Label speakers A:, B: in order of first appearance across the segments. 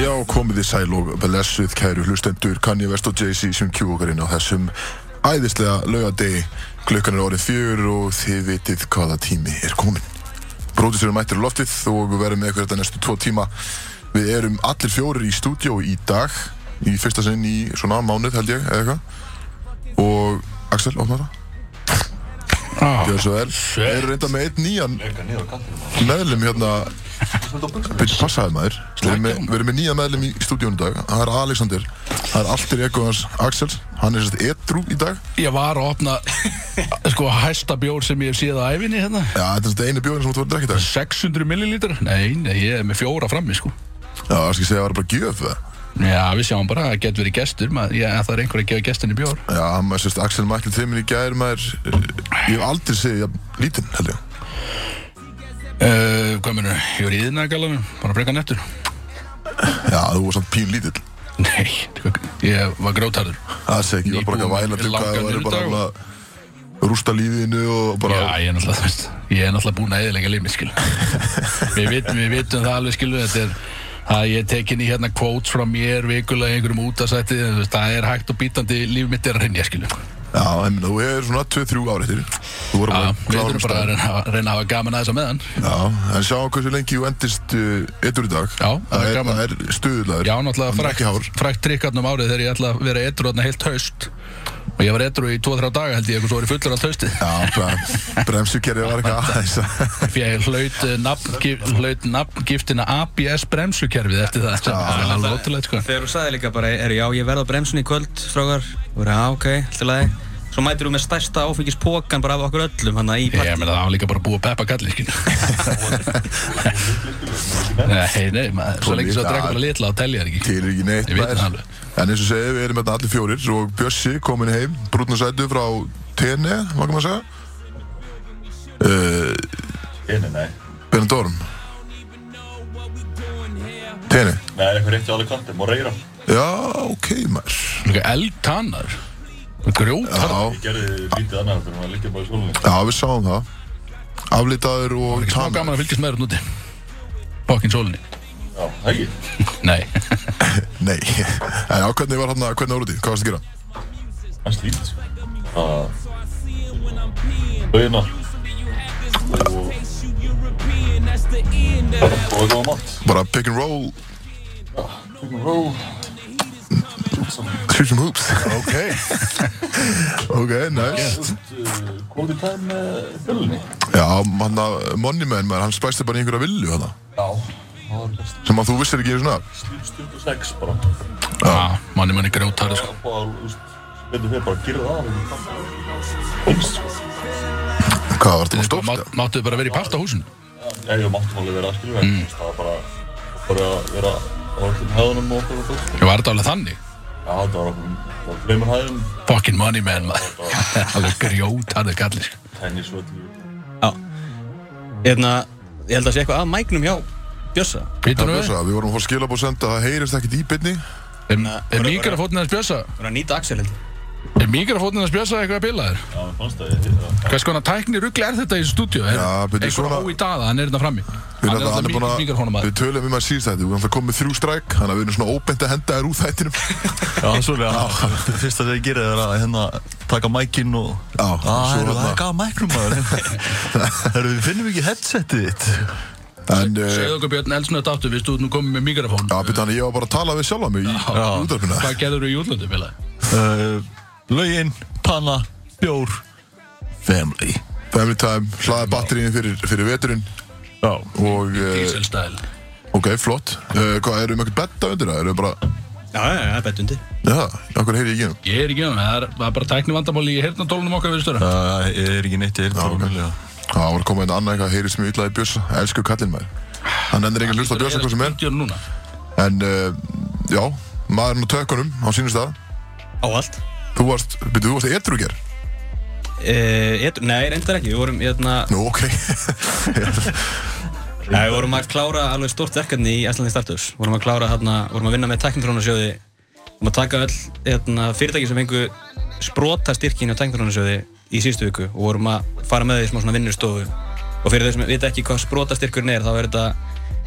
A: Já, komið í sæl og blessuð kæru hlustendur Kanye West og Jay-Z sem kjú okkar inn á þessum æðislega laugadegi Klukkan er orðin fjör og þið vitið hvaða tími er komin Bróðisur er mættir á loftið og við verðum með ykkur þetta næstu tvo tíma Við erum allir fjórir í stúdíó í dag Í fyrsta sinn í svona mánuð held ég eða eitthvað Og Axel, opna það Gjör svo vel Við erum reynda með einn nýjan meðlum hérna Byrju, passaði maður Við erum með, við erum með nýja meðlum í stúdíónu í dag Það er Alexander Það er alltir ekoðans Axels Hann er sérst edru í dag
B: Ég var að opna sko hæsta bjór sem ég hef séð á æfinni hérna
A: Já, þetta er sérst einu bjóðin sem þú voru að drekka í dag
B: 600 millilítur? Nei, nei, ég er með fjóra frammi sko
A: Já, það skal segja að það var bara gjöf það
B: Já, við sjáum bara að það getur verið gestur maður, ég, að það er einhver að gefa gestinni bjór
A: Já, hann er sérst Axel mætti til minn í gær maður eh, Ég hef aldrei segið ja, lítinn, held ég
B: uh, Hvað mennur, ég var í yðnaðagalanum, bara frekar nettur
A: Já, þú var samt pín lítill
B: Nei, ég var grótarður
A: Það segi ekki, ég var bara ekki að
B: Nýbúinn
A: væla til hvað
B: langan
A: Það var bara
B: vinnudag.
A: að rústa lífinu og bara
B: Já, ég er náttúrulega, þú veist, ég er náttúrulega búinn að eðilega limið, skil. við, vitum, við vitum það alveg, skil, þetta er, að ég er tekin í hérna quotes frá mér vikulega í einhverjum útasætti, þú veist, það er hægt og bítandi, líf mitt er að rinja, skil.
A: Já, en þú hefur svona 2-3 árið þér Þú voru
B: Já,
A: bara
B: við
A: klárum
B: þurfum bara
A: stað.
B: að reyna, að reyna að hafa gaman að þessa meðan.
A: Já, en sjáum hversu lengi þú endist uh, edru í dag
B: Já, það er gaman.
A: Það er stuðlaður
B: Já, náttúrulega
A: Hann er ekki
B: frækt,
A: hár.
B: frækt trikkarn um árið þegar ég ætla að vera edru þarna heilt haust. Og ég var edru í 2-3 daga held ég, og svo var ég fullur allt haustið.
A: Já, bara bremsukerrið var eitthvað aðeins
B: Því að ég hlaut, eh, nafngif- hlaut nafngiftina ABS bremsukerfið eftir það. Það er alveg ótrúlegt, sko.
C: Þegar þú sagði líka bara, er, já, ég verð á bremsunni í kvöld, strákar. Þú verður, já, ok, alltaf leiði. Svo mætir þú með stærsta áfengispókan bara af okkur öllum hann í
B: Ég
C: partí.
B: meina það var líka bara búið að peppa kallið, skil. Nei, nei, maður, svo lengi svo að drekka bara litla og telja þér ekki.
A: Til er ekki neitt
B: Ég veit það
A: maður.
B: alveg.
A: En eins og segja, við erum þetta allir fjórir og Bjössi komin heim, brúnna sætu frá Tene, hvað kann maður segja? Uh,
D: Nei, nei,
A: Benidorm Tene
D: það er eitthvað rétt í alveg kantum og reyra.
A: Já, ok maður
B: Líka eldtannar. Grjótar.
A: Já,
D: Ég gerði lítið annað þegar maður liggjað bara í skólinni.
A: já við sáum það Aflitaður og
B: Smá
A: tann
B: gaman að fylgjast með þér þarna úti. Fokkin sólinni.
D: Já, það ekki.
B: Nei.
A: Nei, en já, hvernig var hann, hvernig var úti, hvað varst að gera?
D: Það er slítið, sko. Það... Bögina. Og... Og eitthvað á mat.
A: Bara pick and roll,
D: Tökum ró.
A: shoot some hoops Ok Ok, nice
D: Kvóti eh, tæm með fjölunni.
A: Já, hann að Money Man maður, hann spæsti bara í einhverja villu hann
D: Já, það var best.
A: sem að þú vissir ekki einu svona af.
D: Slít 26 bara.
B: Já, manni manni grjótar, sko.
D: Það var bara, þú veist, betur fyrir bara að gera það. einhvern veginn. Eins, sko.
A: Hvað var þetta bara stórt?
B: Má-
A: eða?
B: Máttu bara vera í pastahúsinu.
D: Já, ég máttum alveg vera að skilja vegna, mm. það var bara, bara að vera á öllum hæðunum og okkur og þú
B: Ég var þetta alveg þannig.
D: Já, það var okkur, það var fleimur hæðum,
B: Fokkin money man, maður. Alveg grjótar þau kallið, sko.
D: tennisvöldur
C: Já. Hérna, ég held að sé eitthvað að mæknum hjá Bjössa.
A: Já,
B: Býtur nú við.
A: blessa, Við vorum að fá skilabóð senda, það heyrist ekkert í byrni
B: Er,
C: Hérna,
B: er mýkara fótinn að spjösa?
C: Þú verður að nýta Axel, held ég.
B: Er mýkara fótinn að spjösa eitthvað að bila þér?
D: Já, mér fannst það, ég heyrði það
B: Hvers konar tækni rugli er þetta í þessu stúdíu? Er
A: Já, betur
B: einhver
A: svona-
B: ói daða, hann er hérna frammi Hann er alltaf mikið mikið honum að
A: Við tölum um að síðast þetta, við erum alltaf komið þrjú stræk þannig að við erum svona óbent að henda þér úr þættinum
E: Já, svolítið, já. Fyrsta sem ég gerði er að hérna, taka mækinn og...
A: Já,
D: Ah,
E: Á,
A: svo
E: herru,
A: hérna-
E: það er gaf mæknum maður. Herru, við finnum ekki headsetið þitt.
A: En, eh,
B: Segðu okkur Björn Elsnöð aftur, við stúðum nú komið með mikrofón
A: já, byrja hann, ég var bara að tala við sjálfa mig í
E: Já.
A: útarpina
B: Hvað gerður þú í útlöndum, félagi?
E: Uh, Lauginn, panna, bjór, family.
A: Family time, hlaði batterínu fyrir, fyrir veturinn
E: Já.
A: og, eh,
B: Dieselstæl
A: ok, flott Eh, Hvað, erum við ekkert betta undir það? Erum við bara,
C: Já, já, já, bett undir.
A: já, okkur heyri ég ekki um
B: Ég er ekki um, það er það er bara tækni vandamáli í hirtnatólunum okkar við störa
E: Uh, ég er ekki neitt, ég er bara mjög lega.
A: Það var að koma einn annað eitthvað, heyrist mjög illa í Björsa, elsku kallinn maður. Hann endur ekki að hlusta á Björsa hvað sem er,
B: Björn núna
A: en uh, já, maðurinn á tökkunum, á sínum stað.
C: Á allt.
A: Þú varst, byrju, þú varst eitthruger?
C: Uh, ég, nei, reyndar ekki. Við vorum, hérna,
A: Nú, ok.
C: nei, við vorum að klára alveg stórt verkefni í Æslandi Startups. Vorum að klára, hérna, vorum að vinna með Tæknifrónasjóði. Vorum að taka öll, hérna, fyrirtæki sem fengu sprota styrkinu á Tæknifrónasjóði í síðustu viku og vorum að fara með því smá svona vinnustofu. Og fyrir þau sem vita ekki hvað sprota er, þá er þetta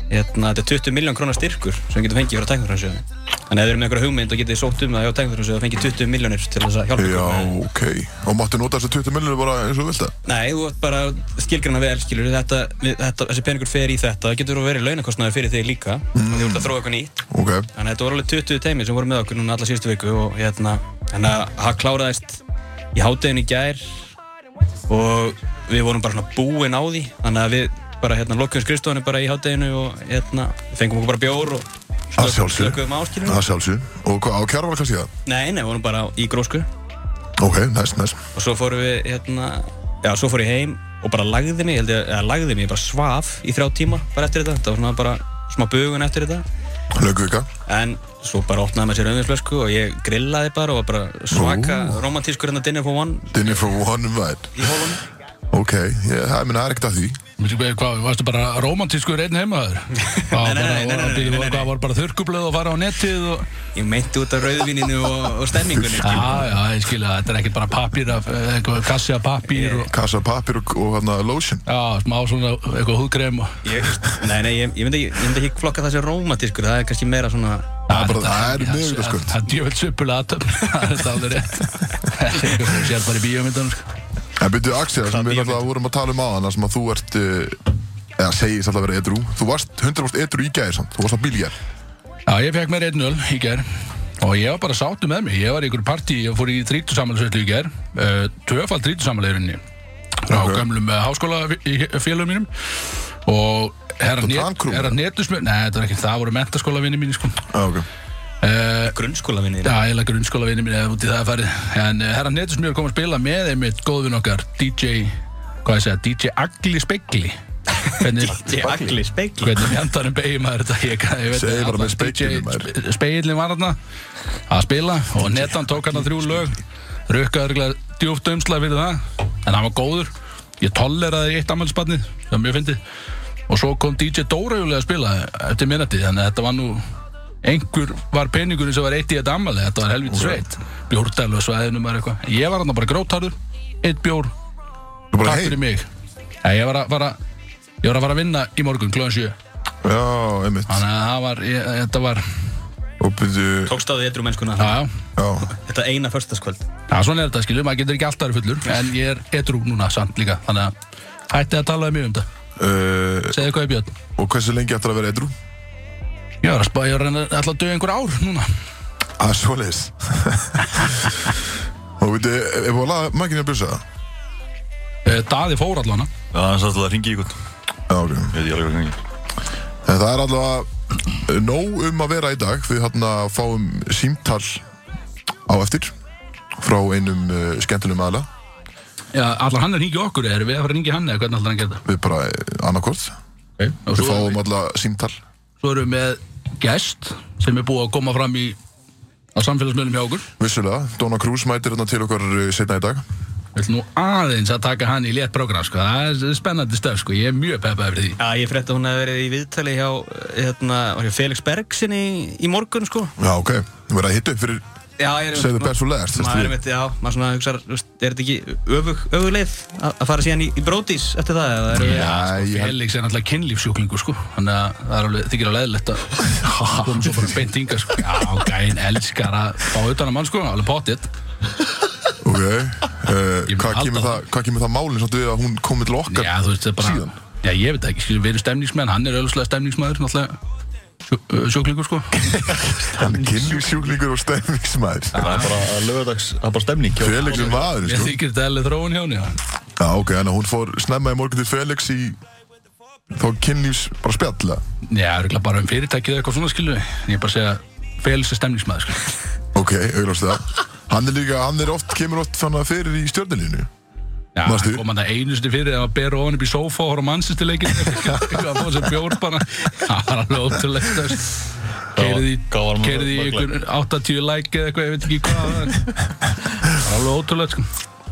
C: hérna, þetta er 20 miljón krónar styrkur sem við getum fengið frá tæknifræðarsjóði þannig að ef þið eru með einhverja hugmynd og getið þið sótt um það hjá tæknifræðarsjóði og fengið 20 miljónir til þess að hjálpa
A: Já,
C: ykkur með-
A: ok. Og máttu nota þessu 20 miljonir bara eins og þú vilt það?
C: Nei, þú ert bara skilgrana vel, skilur þetta, við- þetta, þessi peningur fer í þetta, það getur verið launakostnaður fyrir þig líka, mm. þú ert að þróa eitthvað nýtt.
A: Ok.
C: Þannig að þetta voru alveg 20 teimi sem voru með okkur núna alla síðustu viku og hérna, þannig að það kláraðist í hádeginu í gær og við vorum bara svona búin á því, þannig að við bara hérna lokum skrifstofunni bara í hádeginu og hérna fengum okkur bara bjór og
A: Að sjálfsögðu.
C: slökum áskilinu.
A: Það sjálfsög. Og hvað, á kjárvala kannski það?
C: Nei, nei, við vorum bara í grósku
A: Ok, næst, næst.
C: og svo fórum við hérna, já, svo fór ég heim og bara lagði mig, ég held ég, eða lagði mig, ég bara svaf í þrjá tíma bara eftir þetta, þetta var svona bara smá bugun eftir þetta,
A: Laugvika.
C: en svo bara opnaði maður sér auðvinsflösku og ég grillaði bara og var bara svaka romantískur hérna dinner for one
A: Dinner for one man.
C: í hólum.
A: Ok, ég, það minna, það er ekkert að því.
B: Veistu hvað, hvað, varstu bara romantískur einn heimaður?
C: Nei, nei, nei, nei, nei, nei, nei, nei.
B: Það var bara þurrkublöð og fara á netið og...
C: Ég meinti út af rauðvininu og, og stemmingunni.
B: Já, já, ég skilja, þetta er ekkert bara pappir af, eh, eitthvað kassi af pappir og...
A: Kassa pappir og, og hana, lotion.
B: Já, smá svona eitthvað húðkrem og...
C: Ég, nei, nei, ég, ég myndi ekki, ég myndi ekki flokka það sem romantískur, það er kannski meira svona,
A: Það er bara,
B: þetta-
A: það er
B: já,
A: miðvikudagsköld.
B: Það er djöfell suppulega aðtöfn, það er alveg rétt. Þetta er eitthvað sem sér bara í bíómyndanum, sko.
A: En byrju, Axel, það sem við
C: bíómynd?
A: alltaf vorum að tala um aðan, það sem að þú ert, eh, eða segist alltaf að vera edru, þú varst 100% edru í gæðir samt, þú varst á bílgæð.
B: Já, ég fekk mér 1-0 í ger og ég var bara sáttu með mig. Ég var í einhverju partí, ég fór í 30 samanlæsvöldu í ger, uh, tvöfald 30 samanlægurinni frá
A: Ok.
B: gömlum uh, háskólafélagum mínum og herra,
A: Þú
B: net,
A: tankrúm?
B: herra netusmjör, nei þetta var ekki, það voru mentaskólavinni mín sko.
A: Ah, ok.
C: uh, grunnskólavinni.
B: Já, eiginlega grunnskólavinni mín eða út í það að farið. En uh, herra netusmjör kom að spila með einmitt góðvinn okkar, DJ, hvað ég segja, DJ Agli Spegli. Hvernig,
C: Ég agli speikli.
B: hvernig fjandarum beigir maður þetta ég, ég veit
A: Segðu
B: að
A: bara með
B: allan
A: spegilinn,
B: DJ
A: maður.
B: spe- spegillinn var hérna að spila og netan tók hérna þrjú lög rukkaði örgulega djúft umslag fyrir það en hann var góður ég tolleraði eitt ammælsbarnið það var mjög fyndið og svo kom DJ Dórauglega að spila eftir minnati þannig að þetta var nú einhver var peningurinn sem var eitt í þetta ammæli þetta var helvítið sveit bjórdælu og svæðinu maður eitthvað ég var hérna bara grótarður eitt bjór
A: Þú bara
B: takk fyrir
A: heim.
B: mig Nei, ég var að fara ég var að fara að vinna í morgun klóðan 7
A: Já, einmitt.
B: þannig að það var ég, þetta var já,
A: Og byrju,
C: Tókst á því eitthvað mennskuna,
B: já
A: já,
C: þetta eina förstaskvöld.
B: Já, svona er þetta skilur, maður getur ekki alltaf verið fullur en ég er edru núna samt líka þannig að hætti að tala mjög um það
A: uh,
B: segðu hvað er björn
A: og hversu lengi eftir að vera edru?
B: ég var að spá, ég var að reyna alltaf að döða einhver ár núna
A: Það er svoleiðis. og byrju, ef við laga mækinni að byrja það?
B: Eh, Daði fór allan
E: Já, hann sagði alltaf að ringi í ykkur Ég
A: Já, ok.
E: veit ég alveg hvað ringi
A: En það er allavega nóg um að vera í dag. Við hérna fáum símtal á eftir frá einum uh, skemmtunum aðla.
B: já, allan hann er hringið okkur eða erum við að fara að hringið hann eða hvernig allan hann gerði
A: Við bara annarkort.
B: okay. og
A: Við
B: svo,
A: fáum allavega símtal.
B: svo erum við með gest sem er búið að koma fram í á samfélagsmiðlum hjá okkur
A: Vissulega, Donna Cruz mætir hérna til okkar setna í dag.
B: Við ætlum nú aðeins að taka hann í létt program sko. það er spennandi stöf, sko. ég er mjög peppað yfir því
C: Já, ég frétti að hún hefði verið í viðtali hjá, hérna, var hjá Felix Bergsinni í, í morgun, sko.
A: Já, ok. Við verðum að hitta upp fyrir
C: Já, ég
A: Save the best for last,
C: Maður
A: veistu
C: er einmitt, já, maður svona hugsar, þú veist, er þetta ekki öfug, öfug leið að að fara síðan í, í brótis eftir það, eða er
B: Já,
A: Já,
B: sko,
A: ég-
B: Felix er náttúrulega kynlífsjúklingur sko Þannig að það er alveg, þykir alveg eðlilegt að koma svo bara beint hinga sko Já, gæn elskar að fá utan að mann sko, alveg pottitt
A: Ok. Uh,
B: Ég mun
A: hvað,
B: halda
A: kemur
B: það.
A: það, hvað kemur það málinn svolítið við að hún komi til okkar?
B: Já, þú veist, það er bara
A: Síðan?
B: Já, ég veit það ekki, skilur, við erum stemningsmenn, hann er ölluslega stemningsmæður náttúrulega sjú- ö, Sjúklingur sko
A: Hann er kynlífsjúklingur og stemningsmæður.
E: Það er bara að lögadags, það er bara stemning hjá-
A: Felix er maður,
B: Ég
A: sko.
B: þykir þetta eðlilegt þróun hjá henni já.
A: Já, ok. Þannig að hún fór snemma í morgun til Felix í þá kynlífs bara spjalla.
B: Já, örugglega bara um fyrirtækið eða eitthvað svona skilur Ég er bara að segja Felix er stemningsmæður sko
A: Ok, auðvitað það. Hann er líka, hann er oft, kemur oft þannig að fyrir í stjórnilínu.
B: Já,
A: Manstu?
B: kom hann það einu sinni fyrir að bera ofan upp í sófa og horfa mannsist í leikinu eitthvað að fá sér bjór bara það var alveg ótrúlegt keirði
E: hvað
B: í
E: var maður
B: keyrði í
E: marglægt?
B: ykkur 80 like eða eitthvað, ég veit ekki hvað það var. Það var alveg ótrúlegt sko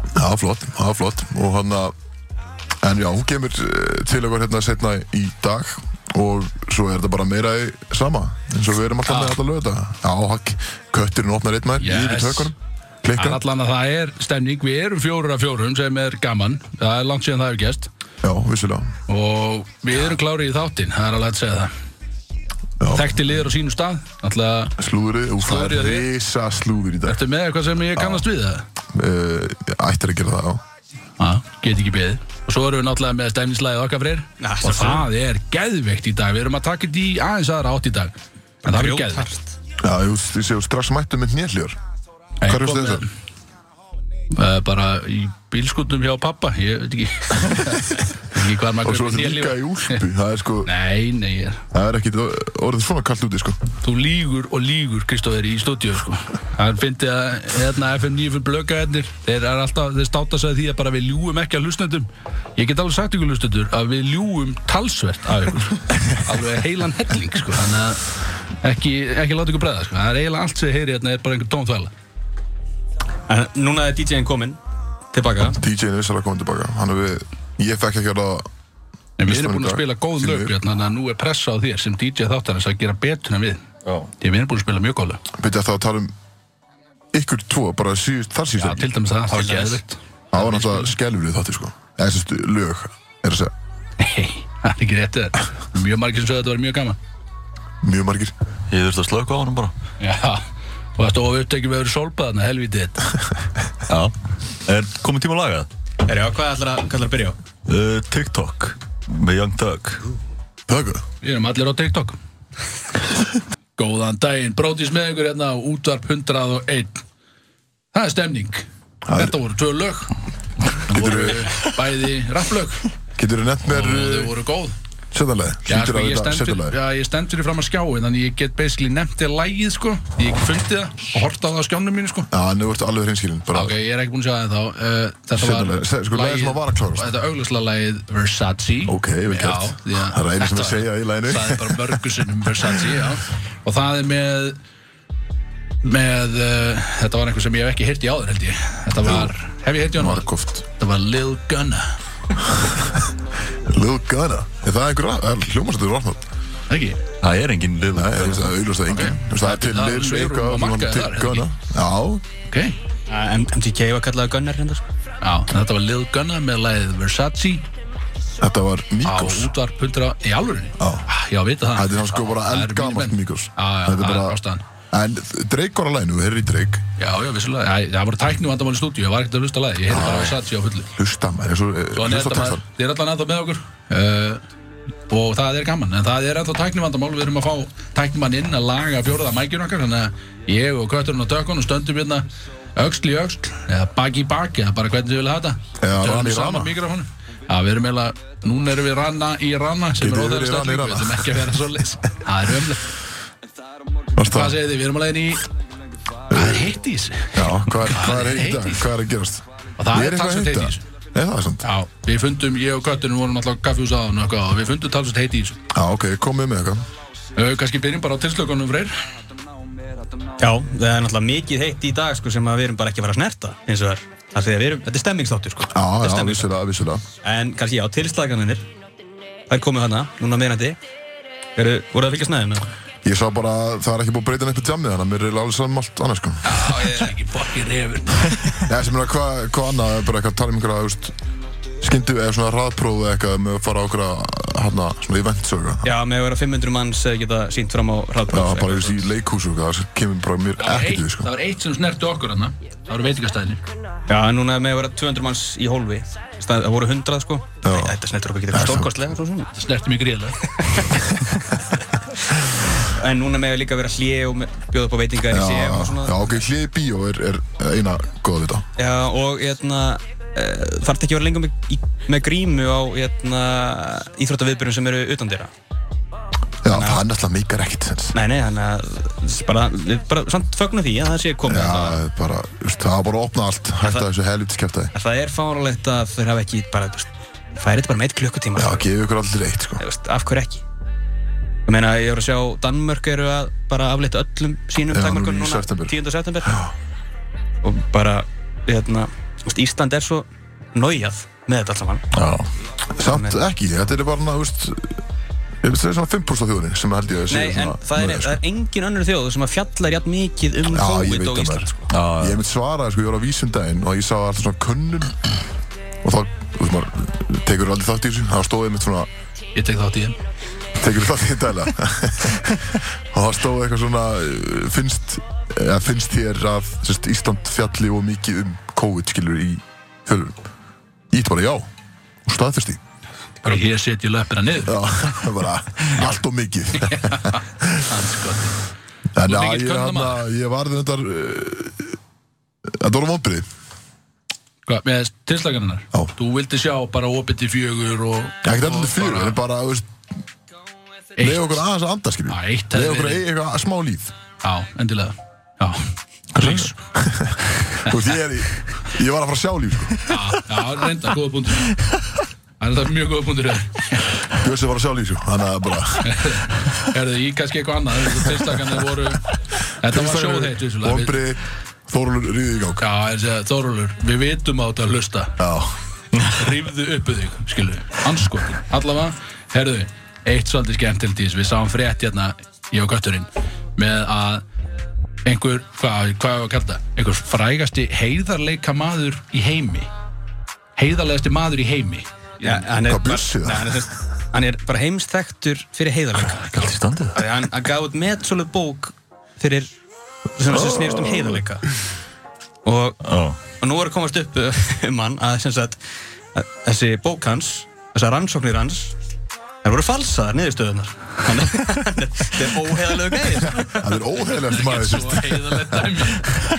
A: Það var flott, það var flott. Og hann að, en já, hún kemur eh, til okkar hérna setna í dag og svo er þetta bara meira í sama. eins og við erum alltaf með alltaf löða. Já, hakk, kötturinn opnar einn maður,
B: Ah. Yes.
A: yfir í tökunum,
B: en
A: klikkar.
B: allan að það er stemning, við erum fjórir af fjórum sem er gaman, það er langt síðan það hefur gæst
A: Já, vissulega.
B: og við erum klárið í þáttinn, það er alveg hægt að segja það Þekkti liður á sínu stað Alltaf,
A: Slúðrið, og það
B: Slúðrið,
A: er
B: ég-
A: risa slúður í dag
B: ertu með eitthvað sem ég kannast við það?
A: uh, Ættir að gera það á
B: Já, get ekki beðið Og svo erum við náttúrulega með stæmningslæðið okkar freyr
C: Já,
B: Og
C: sjálfsögðu.
B: það er geðveikt í dag Við erum að taka þetta í aðeins aðra átt í dag En það er geðveikt
C: Grjóthart.
A: Já, ég, ég séu strax mættu með hnjalljór
B: Ég
A: Hvar
B: kom
A: fórstu
B: með-
A: þessar?
B: Eh, Bara í bílskutum hjá pappa Ég veit ekki Ekki hvað maður
A: Og svo
B: kaupir
A: er þetta
B: hnéð
A: líka
B: lífa.
A: í úlpu Það er sko,
B: Nei, nei, ég er
A: það er ekkit orðið svona kallt úti sko
B: Þú lígur og lígur, Kristófer, í stúdíu, sko. Hann fyndi að hérna, FM 9 fyrir blökaðarnir, þeir, eru alltaf, þeir státa sig að því að bara við ljúum ekki að hlustendum. Ég get alveg sagt ykkur hlustendur að við ljúum talsvert af ykkur. Alveg heilan helling, sko. Þannig að ekki, ekki láta ykkur bregða, sko. Það er eiginlega allt sem ég heyri hérna er bara einhver tónþvæla.
C: En núna er DJ-in komin tilbaka
A: DJ-in er vissalega komin tilbaka Hann er við, ég fekk ekki að ráða
B: En við erum búin
A: Í
B: að
A: dag.
B: spila góð
A: Því
B: lög,
A: miður.
B: hérna, þannig að nú er pressa á þér sem DJ þáttarins að gera betur en við.
D: Já.
B: Því við erum búin að spila mjög góð lög.
A: Byrja þá að tala um ykkur tvo, bara síðust, þar
B: Já,
A: síðust
B: til dæmis það, það var
C: Til dæmis.
B: geðvikt.
A: Það var náttúrulega skelfrið þátti sko Eða sem stu, lög, er að segja
B: Nei, það er ekki rétt eða. Mjög margir sem sögðu að þetta var mjög gaman.
A: Mjög margir
E: Ég þurfti að slöka á honum bara
B: Já, og það stóð upptekið með að vera sólbaðan að helvítið þetta.
E: Já Er komið tíma að laga það?
C: Er já, hvað ætlar að, hvað ætlar að byrja á?
E: Uh, TikTok Með Young Thug
A: Þöggu
B: Við erum allir á TikTok. Góðan daginn, brótis með ykkur hérna á útvarp 101. Það er stemning.
A: er-
B: Þetta voru tvö lög, bæði rapplög
A: Getur þú nefnt mér eh,
B: og þau voru góð.
A: Sjöndalegi
B: Já, sko, ég stend fyrir-
A: Sjöndalegi
B: já, ég stend fyrir fram að skjáin, þannig ég get basically nefnt þér lægið, sko. Ég get fundið það og hort á það á skjánum mínu, sko.
A: Já, nú ertu alveg hreinskilin bara
B: Ok, ég er ekki búinn að sjá það þá uh, Þetta var
A: Seinna lagið, sko, lagið sem að var að klárast.
B: Þetta auglislega lagið Versace
A: Ok, vel gert.
B: Já, því að-
A: Það er einu sem
B: þetta-
A: að segja í laginu.
B: Það er bara mörgusinnum Versace, já Og það er með með, uh, þetta var einhver sem ég hef ekki heyrt í áður held ég Þetta var, hef ég heyrt í honum? áður?
A: Markoft
B: Þetta var Lil Gunna
A: Lil Gunna Er það einhver raf? Hljómarsættur rafnátt
B: Ekki?
E: Það er engin lið
A: Nei, þú veist, það er auðvitað engin Þú veist, Það er til
B: Það er
A: Lil
B: svigrúm á
A: eitthvað og hann
B: markaði
A: til
B: þar,
A: Gunna Já
B: Ok,
C: Uh, MTK var kallaði Gunnar hérna sko.
B: já, þetta var Lil Gunna með lagið Versace
A: Þetta var
B: á
A: Nikos
B: útvarp 100 í álurinu
A: Já.
B: Já, vita það
A: Þetta er hann sko bara
B: Það eru
A: eldgamalt
B: mínir menn.
A: Nikos
B: Já, já,
A: Þetta
B: það er
A: bara-
B: ástæðan
A: En Drake var að lænu, þú heyrðir í Drake
B: Já, já, vissulega, Æ, það voru tækni vandamál í stúdíu, ég var ekkert að hlusta að lagi, ég heyrði bara að satsi á fullu.
A: Hlusta maður, eins og, eh,
B: Svo hann er
A: hlusta
B: þetta með,
A: textan
B: þið er allan ennþá með okkur uh, og það er gaman, en það er ennþá tækni vandamál, við erum að fá tæknimann inn að laga fjóraða mækjun okkar, þannig að ég og kötturinn og tökkunum stöndum hérna öxl í öxl, eða bak í bak, eða bara hvernig við vilja hafa þetta.
A: Eða
B: Tölum
A: rana í
B: saman
A: rana.
B: mikrofónum. Já, við erum eiginlega, núna erum við ranna í ranna sem
A: Getið
B: er
A: þið verið
B: óþægilegt
A: ranna í
B: öll
A: ranna?
B: líka, við ætlum ekki að vera svoleiðis. Það er ömlegt.
A: Varst
B: Hvað
A: það?
B: segir þið? Við erum alveg inn í... Hvað er heitt í þessu?
A: Já, hvað er, hvað er
B: er
A: heitt í dag?
B: heitt í?
A: Hvað er að gerast?
B: Og það
A: Ég
B: er
A: eitthvað
B: talsvert
A: að
B: heitt í
A: heita.
B: þessu.
A: Nei, það er sant.
B: Já, við fundum, ég og köttunum vorum alltaf kaffjús aðan og eitthvað og við fundum talsveit heiti í þessu.
A: Já, ok, komið með eitthvað.
B: Uh, kannski byrjum bara á tilslökunum freyr.
C: Já, það er náttúrulega mikið heitt í dag sko, sem að við erum bara ekki að fara að snerta eins og það er Það segja, við erum, þetta er stemmingsþáttur sko
A: Já,
C: Þetta er
A: já, vissulega,
C: stemmingsþáttur.
A: vissulega.
C: En kannski já, tilslaganir Þær komu hana, núna meðnætti Eru, voru það fylgjast næðinu?
A: Ég sá bara að það er ekki búið að breyta neitt með tjamnið þannig að mér er eiginlega alveg saman allt annars, sko.
B: Já, ég er ekki fokkin reyfur.
A: Nei, sem er að hvað hva annað, er bara eitthvað að tala um einhverja, þú veist, skyndu eða svona hraðpróf eða eitthvað með að fara á einhverja, hérna, svona events og eitthvað.
C: Já, með að vera 500 manns eh, geta sínt fram á
A: Já,
C: hraðpróf
A: bara þú veist, í leikhús og eitthvað, það kemur bara mér ekkert við, sko.
B: Það var eitt sem snerti okkur hann, það voru veitingastæðinir.
C: Já, en núna með að vera 200 manns í hólfi Stað, Það voru 100 sko
A: Já.
C: Þetta snertur okkur ekki þetta stokkostlega svo svona
B: Það snerti mig gríðilega.
C: En núna með að líka vera hlje og með- bjóða upp á veitingar
A: Já,
C: í séum og
A: já,
C: svona
A: já, ok, hliði bíó er, er eina góða við þetta.
C: Já, og hérna uh, þarf ekki að vera lengur með, í, með grímu á hérna, íþróttaviðbyrjum sem eru utan dýra.
A: Já, það er náttúrulega meikar ekkert sens.
C: Nei, nei, þannig að bara, við bara samt fögnum því að það sé komið.
A: Já,
C: Það,
A: bara, þú veist, það var bara að opna allt, hætta
C: það-
A: þessu helvitskjæftæði.
C: að það er fáralegt að þeir hafa ekki bara, þú veist, færið þetta bara með eitt klukkutíma.
A: Já,
C: sko.
A: gefið ykkur allir eitt, sko.
C: Þú veist, af hverju ekki? Ég meina, ég voru að sjá Danmörk eru að bara aflita öllum sínum
A: Já,
C: takmörkunum
A: nú í
C: núna,
A: september.
C: 10. september. Og bara, hérna, þú veist, Ísland er svo nájað með þetta allt saman.
A: Já. Samt ekki, þetta er bara, þú veist, ég veist, það er svona 5% af þjóðinni sem held ég að sé sko.
C: Nei, en það er, það er engin önnur þjóð sem að fjallar jætt mikið um
A: Já, ég
C: COVID
A: veit
C: og
A: það
C: Ísland
A: maður.
C: sko.
A: Ég hef mitt svarað, sko, ég var á vísum daginn og ég sá alltaf svona könnun og þá, þú veist, maður tekur aldrei þátt í þessu, þá stóði ég mitt svona
B: Ég tek þátt í þeim.
A: Tekur það því dæla Og það stóð eitthvað svona uh, Finnst, eða, finnst þér að sérst, Ísland fjalli og mikið um COVID skilur í fjölum Ít bara já og staðfyrst í
B: Bara hér setjum löppina niður
A: Já, bara allt og mikið
B: Andskoti.
A: En
B: Þú ert
A: já,
B: mikill
A: ég, hana,
B: könnunarmaður.
A: ég varði þetta uh, eh, Þetta voru vonbrið
B: Hvað, með tilslaganinnar?
A: Já.
B: Þú vildi sjá bara opið til fjögur og...
A: Ekki
B: og
A: alltaf fyrir, en bara þú veist,
B: Eitt.
A: leið okkur aðeins að anda
B: Já,
A: skilur
B: eitt
A: Leið
B: hefði
A: okkur að
B: verið.
A: eiga eitthvað smá líf
B: Já, endilega. Já. Rís.
A: Þú veist, ég er í Ég var að fara að sjá líf sko
B: Já, já, reynda, góða búndur. Það er þetta mjög góða búndur.
A: Bjössi var að sjá líf sko Þannig að bara
B: Erðu í kannski eitthvað annað? Tilslaganir voru... Þetta var sjóðheitt, vissulega. Við-
A: Vonbrið, Þórulur ríði í gang
B: Já, en segja, Þórólur, við vitum á þetta að hlusta.
A: Já,
B: rýfðu uppu þig, skilu anskotin, allavega, herðu eitt svolítið skemmtilegt í þessu, við sáum frétt hérna, ég og Götturinn með að einhver hvað hva var að kalla það, einhver frægasti heiðarleika maður í heimi heiðarlegasti maður í heimi
C: Já, hann er
A: Hvað, Bjössi, það?
C: bara- Nei, hann er sem sagt- Hann er bara heimstæktur fyrir heiðarleika
E: Gælt í standið
C: Því Hann hann gaf út metsólu bók fyrir sem, sem snerist
A: Oh.
C: um heiðarleika og,
E: Já,
C: og nú er að komast upp uh, um hann að, sem sagt, að þessi bók hans þessar rannsóknir hans þær voru falsaðar niðurstöðunar hann er, hann er, þetta er óheiðarlegu gæði
A: það er óþægilegast maður
B: Svo
A: sérst
B: heiðarlegt dæmi,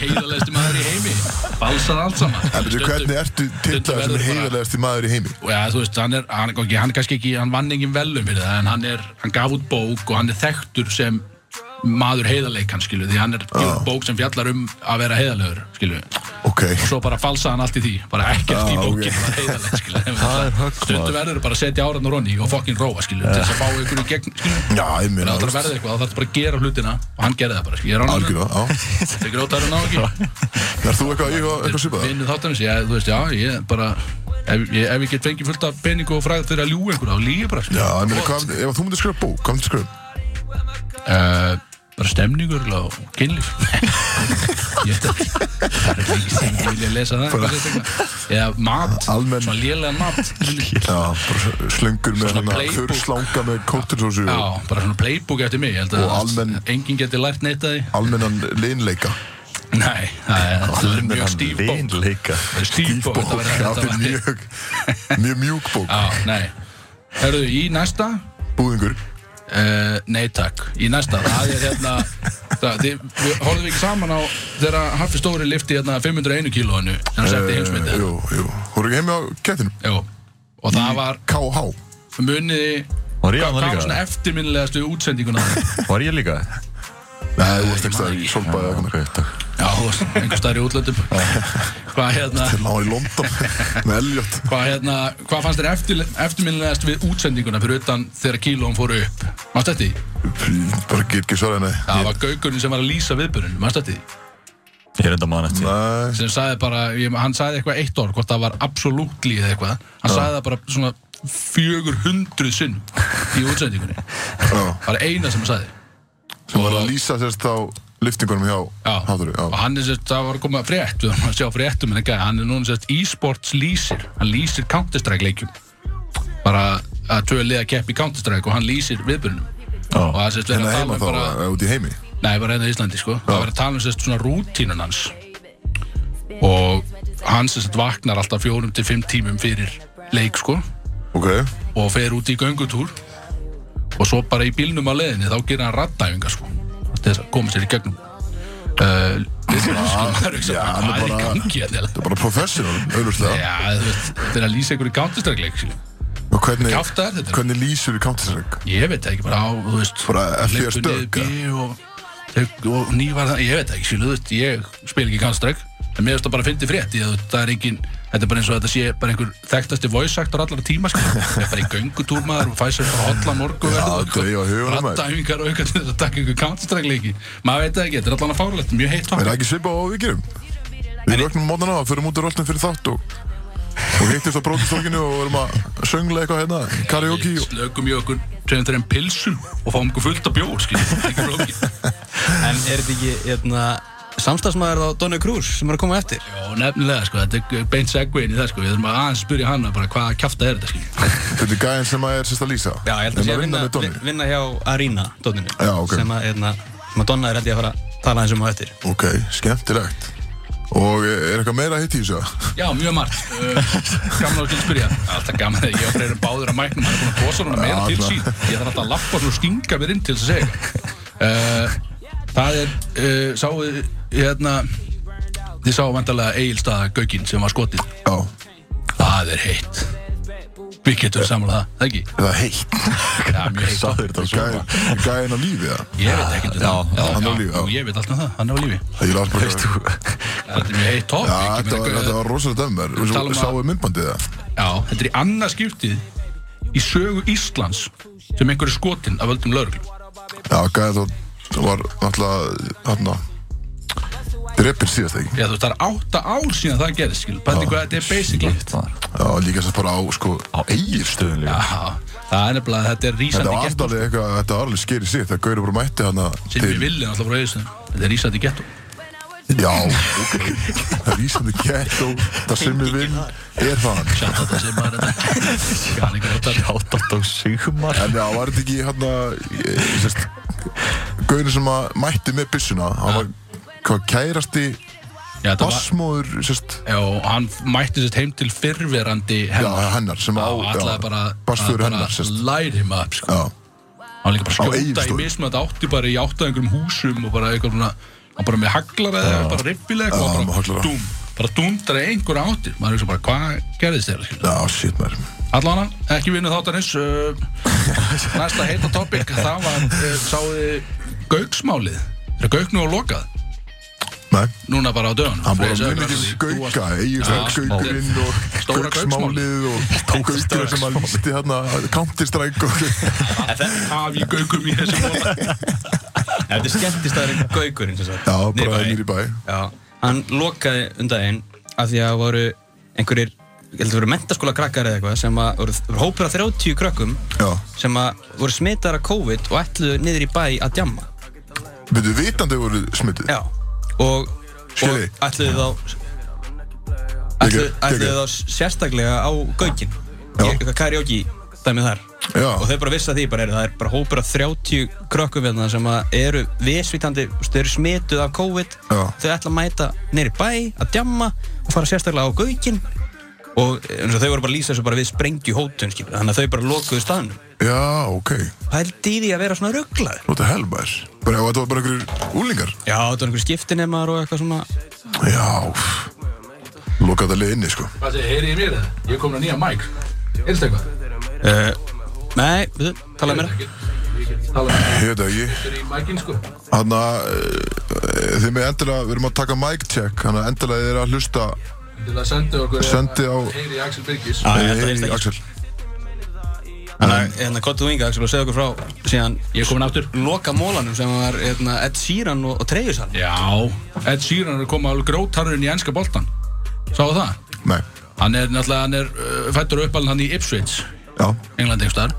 B: heiðarlegasti maður í heimi balsað allt saman
A: En betur, hvernig ertu titlað sem
B: verður bara-
A: heiðarlegasti maður í heimi?
B: og já, þú veist, hann er, hann, ok, hann er kannski ekki, hann vann engin velum fyrir það, en hann er, hann gaf út bók og hann er þekktur sem maður heiðarleik hann, skilu, því hann er gefur út bók sem fjallar um að vera heiðarlegur, skilu, og
A: Ok,
B: svo bara falsa hann allt í því, bara ekkert í
A: Ah, ok.
B: bókin, okay. heiðarleik, skilu,
E: Það er högg,
B: stundu
E: maður.
B: verður bara að setja áran og ronni og fokkin róa, skilu, til þess að fá ykkur í gegn, skilu,
A: já, ég
B: það
A: meina
B: þarf að verða eitthvað, það þarf bara að gera hlutina og hann gerði það bara, skilu, ég er ánum,
A: Algjörða, já
B: þau grótar hann á ekki,
A: Er þú eitthvað, eitthvað, eitthvað svipað?
B: vinnu þáttanins, já, þú veist, já, ég bara, ef, ég, ef ég get fengið fullt af pening og fræð fyrir að ljúga einhverja, þá lígi bara, skilu.
A: Já, ég meina, hvað, ef þú myndir skrifa bók, hvað myndir skrifa?
B: Eh, bara stemningur og kynlíf ég veit ekki það er ekki sem ég vilja lesa það sérstaklega. eða mat,
A: Almenn-
B: svona lélega mat já,
A: Já, bara slöngur með
B: Svona
A: svona
B: playbook.
A: þurrslanga með kóttinsósu og
B: bara svona playbook eftir mig ég held að
A: Og almenn-
B: enginn geti lært neitt að því
A: almennan linleika.
B: nei, það er- það er mjög stíf bók
E: Vinleika
B: Það er stíf bók
A: Bók,
B: þetta verður-
A: já,
B: þetta
A: þetta er
B: verður-
A: mjög, mjög mjúk bók.
B: já, nei Herðu, í næsta
A: Búðingur.
B: Uh, nei takk, í næsta það er hérna það, þið, við horfum við ekki saman á þegar Haffi Stóri lifti hérna 501 kílóinu sem hann setti heimsmyndið
A: Eh, Jú, jú. Þú eru ekki heimi á kettinum?
B: Jú, og
A: Mm.
B: það var
A: KH.
B: muniði
E: Var ég
B: hvað hvað
E: annað
B: var
E: líka?
B: svona eftirminnilegastu útsendinguna
E: Var ég líka?
A: Nei, þú varst ekki stæðið í solbæði eða
E: Ok, takk
B: já, þú veist, einhver staðar í útlöndum hvað hérna
A: Ná í London með Elliot.
B: hvað hérna, hvað fannst þér eftir, eftirminnilegast við útsendinguna fyrir utan þegar kílón fóru upp mannst þetta því?
A: Bara get ekki svarað nei.
B: það var gaugurinn sem var að lýsa viðbörunum mannst þetta því?
E: Ég er enda mann eftir
A: Nei,
B: sem sagði bara, ég, hann sagði eitthvað eitt orð hvort það var absolutt líð eitthvað hann sagði það bara svona 400 sinn í útsendingunni
A: já.
B: bara eina sem hann sagði
A: Sem var
B: Og-
A: að lýsa sérst á liftingunum hjá
B: Já,
A: Háturu.
B: og hann er sérst, það var að koma frétt, við varum að sjá fréttum en ekki, hann er núna sérst e-sports lýsir, hann lýsir Counter-Strike leikjum bara að tvö liða kepp í Counter-Strike og hann lýsir viðbjörnum
E: Já.
B: og það er sérst
A: En að
B: verið að tala
A: heima
B: um
A: þá,
B: bara,
A: eh, út í heimi.
B: nei bara hérna í Íslandi sko, það er verið að tala um sérst svona rútínun hans og hann sérst vaknar alltaf fjórum til fimm tímum fyrir leik sko
A: Ok.
B: og fer út í göngutúr og svo bara í bílnum á leiðinni þá gerir hann rattæfinga sko til þess að koma sér í gegnum uh, það er
A: já, hann er
B: bara í
A: bara-
B: gangi hérna eiginlega?
A: Það er bara professional, auðvitað.
B: já, þú veist, þetta er að lýsa einhverju gáttistrækleik
A: Og hvernig,
B: Kjaftaðar þetta.
A: hvernig lýsur í Counter-Strike?
B: ég veit það ekki bara á, þú veist
A: Bara FB
B: hleypur niður
A: stökk,
B: bí og, og, og nývar það, ég veit það ekki skilu, þú veist, ég spil ekki gáttistræk en mér finnst það bara að fyndi frétt í að það er engin þetta er bara eins og þetta sé bara einhver þekktasti voice actor allara tíma sko það er bara í göngutúrmaður og fæ sér bara hotla
A: Já,
B: morgu
A: dreifa huganum, maður.
B: rattæfingar og eitthvað til þess að taka einhver kántastrækleiki maður veit það ekki, þetta er allan að fárlegt, mjög heitt
A: Er
B: topic.
A: það ekki svipað á hvað við gerum? Við vöknum á mótana og förum út á röltin fyrir þátt og, og hittumst á brótistokinu og erum að söngla eitthvað hérna, karaoke
B: Við
A: og...
B: slökum í okkur tveim þreim pilsum og fáum okkur fullt af bjór skilur, ekki flókið.
C: en er þetta ekki hérna, samstagsmaður á Donny Cruz sem er að koma á eftir
B: Já, nefnilega, sko, þetta er beint segvein í það, sko. Við þurfum að aðeins spyrja hana bara hvað kjafta er þetta, sko.
A: Þetta er gæðin sem að er sérst að lýsa
C: Já, ég held að
A: Nema
C: sé
A: vinna
C: að vinna,
A: með Donny.
C: vi- vinna hjá Arena dótninu
A: Já, ok.
C: sem að, hérna, sem að Donna er held ég að fara að tala eins um á eftir
A: Ok, skemmtilegt Og er eitthvað meira að hitt í þessu?
B: Já, mjög margt. Uh, gaman að skilja spyrja. Alltaf gaman að ég og Freyri eru báður að mæknum. Það er búin að posa hana meira
A: Já,
B: til
A: alltaf.
B: sín. Ég þarf alltaf að lappa svona og stinga mér inn til þess að segja. eitthvað. Uh, það er, uh, sáu, hérna, þið sáu vantarlega Egilstaða Gaukinn sem var skotinn.
A: Já,
B: Það er heitt. Við getum samlað það, það ekki?
A: það er heitt
B: Já, mjög heitt.
E: Sagður þetta svona
A: Gæðin, gæðin á lífi það
B: Ég veit ekkert um það.
A: já, hann er á lífi, já.
B: jú, Ég veit allt um það, hann er á lífi.
A: Það ég las bara Veist þú?
B: Þetta er mjög heitt topp.
A: Já, þetta var, þetta var rosalega
B: Talum
C: um
A: dömmer
B: að-
A: Sáu myndbandið það
B: Já, þetta er í annað skiptið í sögu Íslands sem einhver er skotinn af öldum lauruglum.
A: Já, gæðin þá var náttúrulega Hanna Dreppin síðast ekki
B: Já, þú veist, það er átta ár síðan það gerðist, skil. Pændi hvað þetta er basically.
A: Já, líka sérst bara á sko
E: Á eigirstuðun
B: Já,
E: líka
B: það er nefnilega, þetta er
A: Þetta
B: rísandi
A: var
B: getto.
A: alltaf eitthvað, þetta var alveg skeri sitt Það gaurið bara mætti hana
B: Sem við viljum alltaf frá auðvitaðum. Þetta er rísandi getto.
A: Já, ok Það er ísandi gett og það sem við vil Er það
B: Sjátt þetta sem maður þetta. Kann ekki þetta.
E: Hjátt á Sigmar
A: En já, var þetta ekki hérna Gaurin sem að mætti með byssuna Hann var hvað kærasti
B: Já, þetta var...
A: Basmóður, sérst
B: Já, og hann mætti sér heim til fyrrverandi
A: Já,
B: hennar.
A: hennar sem á
B: og ætlaði bara
A: Basfjör
B: bara
A: hennar, sérst
B: light him up sko.
A: Já,
B: hann líka
A: Á
B: bara skjóta í
A: Egilsstöðum.
B: mismunandi átti bara í átt að einhverjum húsum og bara eitthvað svona hann bara með haglar eða bara rippileg
A: Já,
B: og
A: með
B: bara
A: haglara.
B: dúm bara dúmdra einhverja áttir maður er bara hvað gerðist þér skilur?
A: já, shit maður
B: allan hann, ekki vinnu þáttanins uh, næsta heita topic það var, uh, sáði gauksmálið, þegar gauknu var lokað
A: Nei,
B: núna bara á dögun
A: hann var mjög mikið gauka Egilsgaukurinn og
B: Stóra
A: Gauksmálið og Gaukurinn sem að lísti hérna Counter-Strike og
B: hafi gaukum í þessu móla
C: Þetta er skemmtistæðurinn Gaukurinn sem sagt
A: Já,
C: Niðri í
A: bara
C: bæ.
A: nýri bæ
C: Já, hann lokaði undaginn af því að voru einhverjir ég held að voru mentaskóla krakkar eða eitthvað sem að voru, voru hópur af 30 krakkum
A: Já,
C: sem að voru smitaðar af COVID og ætluðu niður í bæ að djamma
A: veitu, vitandi voru smittuð
C: Já og, og
A: Skilji.
C: ætluðu þá ætluðu,
A: Geggjað,
C: ætluðu
A: geggjað.
C: þá sérstaklega á gaukin
A: Já.
C: eitthvað karaoke dæmið þar
A: Já.
C: og þau bara vissi að því bara er það er bara hópur af 30 krökkum við það sem að eru visvítandi, þú veist, þau eru smituð af COVID
A: Já.
C: þau ætla að mæta neyri bæ að djamma og fara sérstaklega á gaukin og eins og þau voru bara að lýsa þessu bara við sprengju hótun skilur, þannig að þau bara lokuðu staðnum
A: Já, ok
C: pældi í því að vera svona rugglaður
A: What the hell, maður? Bara, og þetta var bara einhverjir úlingar?
C: Já, þetta var einhver skiptinemar og eitthvað svona
A: Já, pff. lokaði að leið inni, sko.
B: hvað segir, heyrið í mér það? ég er komin að nýja mæk, erist eitthvað?
C: uh, Nei, við talaðu meira
B: tala um
A: Ég veit það ekki.
B: þetta í mækinn sko
A: Hanna, uh, þið með endilega, við erum að taka mic check, hann að endilega þið eru að hlusta
B: til að senda okkur
A: Sendi á-
B: Heyri Axel Birgis
C: Já, ég held að
A: Heyri
C: heyrist ekki.
A: Axel.
C: Þannig að hérna, kottu þú inga, Axel, og segja okkur frá síðan
B: Ég er komin aftur
C: loka mólanum sem var hérna, Ed Sheeran og, og Treyjusan
B: Já Ed Sheeran er komið alveg grótarurinn í enska boltan Sáu það?
A: Nei,
B: Hann er náttúrulega, hann er uh, fættur uppalinn hann í Ipswich
A: já,
B: England einhverstaðar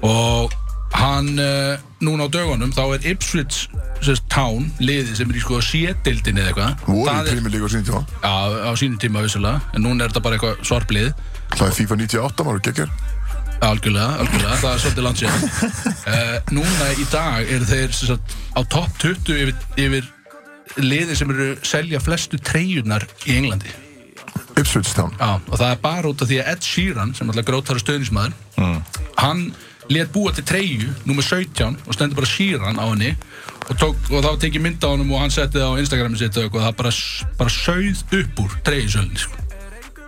B: og hann uh, núna á dögunum þá er Ipswich sérst, town, liðið sem er í sko sétildin eða eitthvað
A: voru
B: Það
A: í
B: er-
A: prími líka á sín tíma.
B: Já, á sínum tíma vissulega en núna er þetta bara eitthvað sorplið
A: Það er FIFA 98, maður geggjur.
B: Algjörlega, algjörlega, það er svolítið langt síðan uh, Núna í dag eru þeir sem sagt, á topp 20 yfir, yfir liðin sem eru selja flestu treyjurnar í Englandi
A: Ipswich Town.
B: Já, og það er bara út af því að Ed Sheeran sem alltaf grótara stöðnismæður hann let búa til treyju nummer 17 og stendur bara Sheeran á henni og, tók, og þá tekið mynd á honum og hann setti það á Instagrami sitt og eitthvað, það bara, bara sauð upp úr treyjusölni sko.